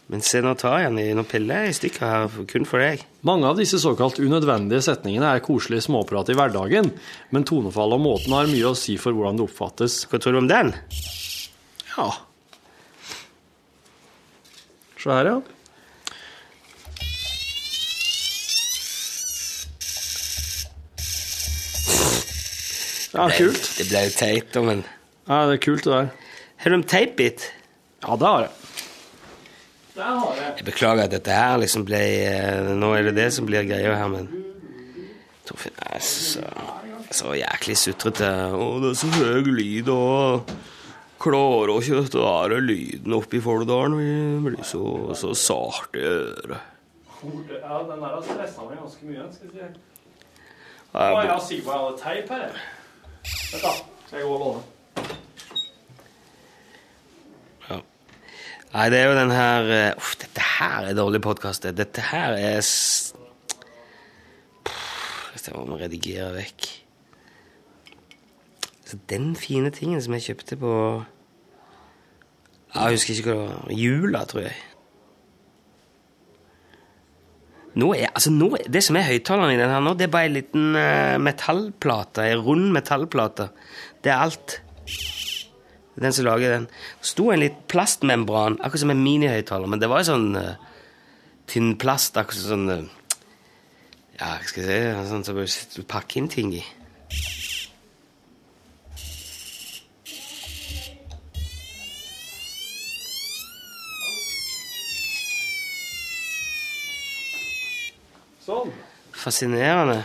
Speaker 2: Men se, nå tar jeg den i noen piller i stykker her, for- kun for deg.
Speaker 3: Mange av disse såkalt unødvendige setningene er koselig småprat i hverdagen, men tonefallet og måten har mye å si for hvordan det oppfattes.
Speaker 2: Hva tror du om den?
Speaker 3: Ja. Se her, ja. Ja,
Speaker 2: Det ble-
Speaker 3: kult.
Speaker 2: Det ble jo teit, da, men
Speaker 3: Ja, det er kult, det der.
Speaker 2: Har du en teipbit?
Speaker 3: Ja, det har jeg.
Speaker 2: Jeg beklager at dette her liksom ble eh, Nå er det det som blir greia her, men Torfinn er så, så jæklig sutrete. Å, det er så høy lyd, og klarer ikke dette der lyden oppe i Folldalen. Vi blir så, så sarte i øret.
Speaker 3: Ja, den der har stressa meg ganske mye. skal jeg si.
Speaker 2: Ja,
Speaker 3: Å, jeg
Speaker 2: men-
Speaker 3: har sikkert bare alle teip her. jeg. Vent da, skal jeg gå og låne.
Speaker 2: Nei, det er jo den her eh, Uff, dette her er dårlig podkast. Dette her er s- Pff, Det må vi redigere vekk. Så den fine tingen som jeg kjøpte på Ja, Jeg husker ikke hva det var. Jula, tror jeg. Nå er, altså nå, er- det som er høyttaleren i den her nå, det er bare ei liten eh, metallplate. Ei rund metallplate. Det er alt. Det er Den som lager den. Sto en litt plastmembran, akkurat som en minihøyttaler, men det var jo sånn eh, tynn plast, akkurat som sånn eh, Ja, hva skal jeg si Sånn som du pakker inn ting i.
Speaker 3: Sånn.
Speaker 2: Fascinerende.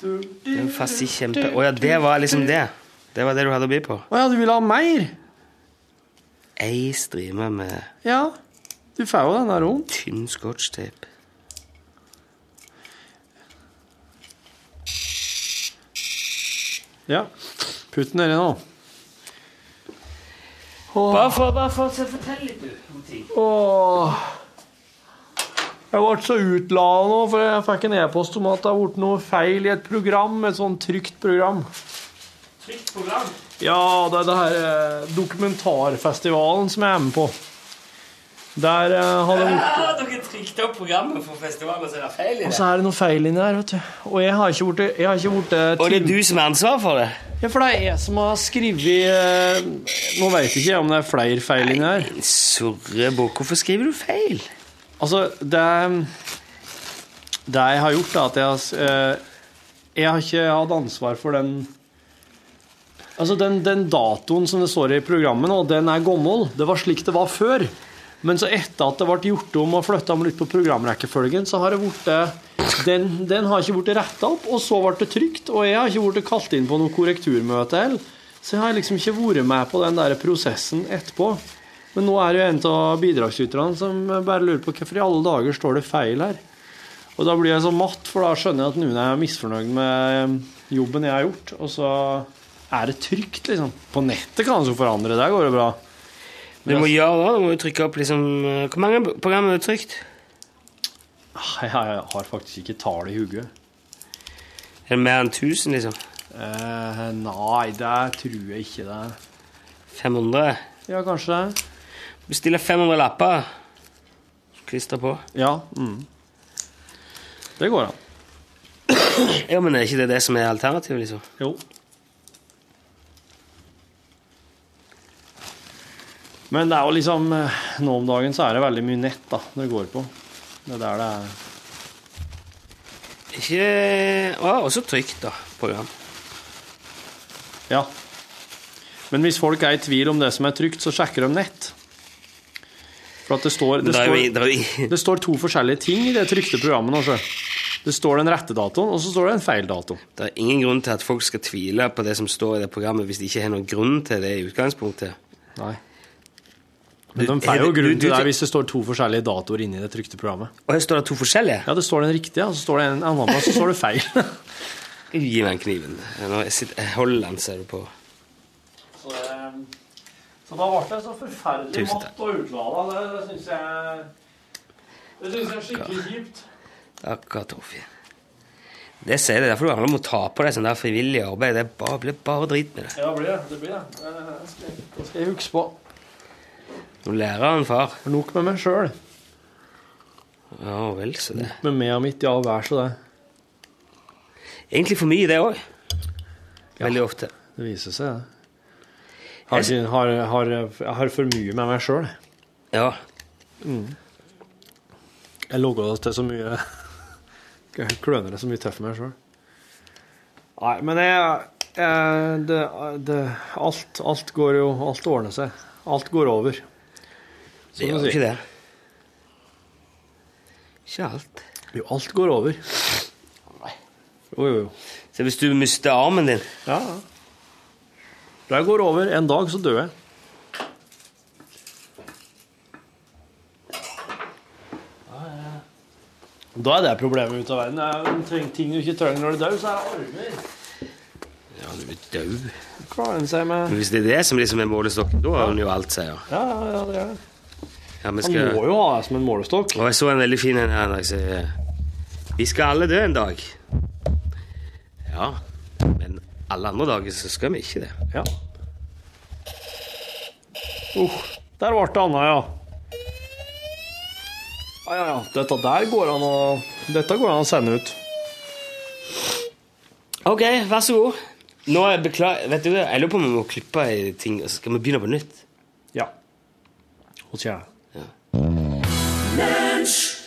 Speaker 2: Det er jo fast i kjempe... Å ja, det var liksom det. Det var det du hadde å by på.
Speaker 3: Å ja, du vil ha mer?
Speaker 2: Ei strime med
Speaker 3: Ja. Du får jo den der òg.
Speaker 2: tynn scotchtape.
Speaker 3: Ja. Putt den nedi nå.
Speaker 2: Bare for, bare for å fortelle litt, du, om ting.
Speaker 3: Åh. Jeg ble så utlada nå, for jeg fikk en e-post om at det har blitt noe feil i et program. Et sånn trygt program.
Speaker 2: Trygt program.
Speaker 3: Ja, det er det her eh, dokumentarfestivalen som jeg er med på. Der eh, har det blitt
Speaker 2: Ah, dere trykte opp programmet for festivalen, og så er det feil i
Speaker 3: Og
Speaker 2: det.
Speaker 3: så er det noe feil inni der, vet du. Og jeg har ikke blitt jeg har ikke blitt, eh,
Speaker 2: Og det er
Speaker 3: til-
Speaker 2: du som har ansvaret for det?
Speaker 3: Ja, for det er jeg som har skrevet eh, Nå veit ikke jeg om det er flere feil inni her.
Speaker 2: Surrebukk, hvorfor skriver du feil?
Speaker 3: Altså, det Det jeg har gjort, er at jeg har eh, Jeg har ikke hatt ansvar for den Altså, den, den datoen som det står i programmet nå, den er gammel. Det var slik det var før. Men så etter at det ble gjort om og flytta om litt på programrekkefølgen, så har det blitt den, den har ikke blitt retta opp, og så ble det trygt, og jeg har ikke blitt kalt inn på noe korrekturmøte heller. Så jeg har liksom ikke vært med på den der prosessen etterpå. Men nå er det jo en av bidragsyterne som bare lurer på hvorfor i alle dager står det feil her. Og da blir jeg så matt, for da skjønner jeg at noen er misfornøyd med jobben jeg har gjort. Og så er det trygt, liksom. På nettet kan det jo forandre, der går det bra.
Speaker 2: Du må gjøre det, du må jo trykke opp liksom eh, Hvor mange program er det trykt?
Speaker 3: Nei, Ah, Jeg har faktisk ikke tallet i hodet.
Speaker 2: Er det mer enn 1000, liksom?
Speaker 3: Eh, nei, det tror jeg ikke det er.
Speaker 2: 500?
Speaker 3: Ja, kanskje det.
Speaker 2: Bestiller 500 lapper. Klister på.
Speaker 3: Ja. Mm. Det går an.
Speaker 2: Ja, men er ikke det det som er alternativet, liksom?
Speaker 3: Jo. Men det er jo liksom eh, Nå om dagen så er det veldig mye nett da, det går på. Det er der det er
Speaker 2: Ikke Å, også trygt, da. Program.
Speaker 3: Ja. Men hvis folk er i tvil om det som er trygt, så sjekker de nett. For at det står, det,
Speaker 2: Det er jo i- det er
Speaker 3: står, det står to forskjellige ting i det trykte programmet. Også. Det står den rette datoen, og så står det en feil dato.
Speaker 2: Det er ingen grunn til at folk skal tvile på det som står i det programmet, hvis de ikke har noen grunn til det i utgangspunktet.
Speaker 3: Nei.
Speaker 2: Du-
Speaker 3: Men de får
Speaker 2: er det-
Speaker 3: jo grunn
Speaker 2: du-
Speaker 3: til
Speaker 2: du-
Speaker 3: det hvis det står to forskjellige datoer inni det trykte programmet.
Speaker 2: Og her står det to forskjellige?
Speaker 3: Ja, det står den riktige, og så står det en annen plass, så står det feil.
Speaker 2: Gi meg den kniven. Nå jeg sitter- jeg holder den, ser du på.
Speaker 3: Så, da ble det så forferdelig
Speaker 2: Tusen takk.
Speaker 3: og utlada. Det, det syns jeg Det syns jeg er
Speaker 2: skikkelig
Speaker 3: kjipt.
Speaker 2: Akkurat, Torfinn. Det sier det, derfor du aldri må ta på deg sånn der frivillig arbeid. Det er bare, blir bare drit med det.
Speaker 3: Ja, det blir det. Det blir det. Det skal jeg- Det skal jeg huske på.
Speaker 2: Du lærer han, far.
Speaker 3: Nok med meg sjøl.
Speaker 2: Ja vel, så det.
Speaker 3: Med meg og mitt, ja, vær så det.
Speaker 2: Egentlig for mye, det òg. Veldig ofte.
Speaker 3: Det viser seg, det. Har, har, har, jeg har for mye med meg sjøl.
Speaker 2: Ja.
Speaker 3: Jeg logger det til så mye Jeg kløner det så mye tøft med meg sjøl. Nei, men jeg, jeg det, det, alt, alt går jo Alt ordner seg. Alt går over.
Speaker 2: Det gjør ikke det. Ikke alt.
Speaker 3: Jo, alt går over. Jo, jo, jo.
Speaker 2: Så hvis du mister armen din
Speaker 3: Ja, ja. Det går over. En dag så dør jeg. Da er det problemet ute av verden. Det er ting- ting du ikke trenger når du dør, så er det armer.
Speaker 2: Ja, du er død.
Speaker 3: Klarer en seg med
Speaker 2: Men hvis det er det som liksom er målestokken, da har hun jo alt, sier
Speaker 3: Ja, ja, ja, det er det.
Speaker 2: ja, vi
Speaker 3: Han
Speaker 2: skal...
Speaker 3: må jo ha det som en målestokk.
Speaker 2: Og jeg så en veldig fin en her. når jeg sier, Vi skal alle dø en dag. Ja, men alle andre dager så skal vi ikke det.
Speaker 3: Ja. Uh, der ble det anna, ja. Ja, ja, ja. Dette der går an å Dette går an å sende ut.
Speaker 2: Ok, vær så god. Nå er jeg beklager... Vet du, jeg lurer på om vi må klippe i ting, og så skal vi begynne på nytt.
Speaker 3: Ja. Hos jeg.
Speaker 2: Ja.
Speaker 12: Lunsj!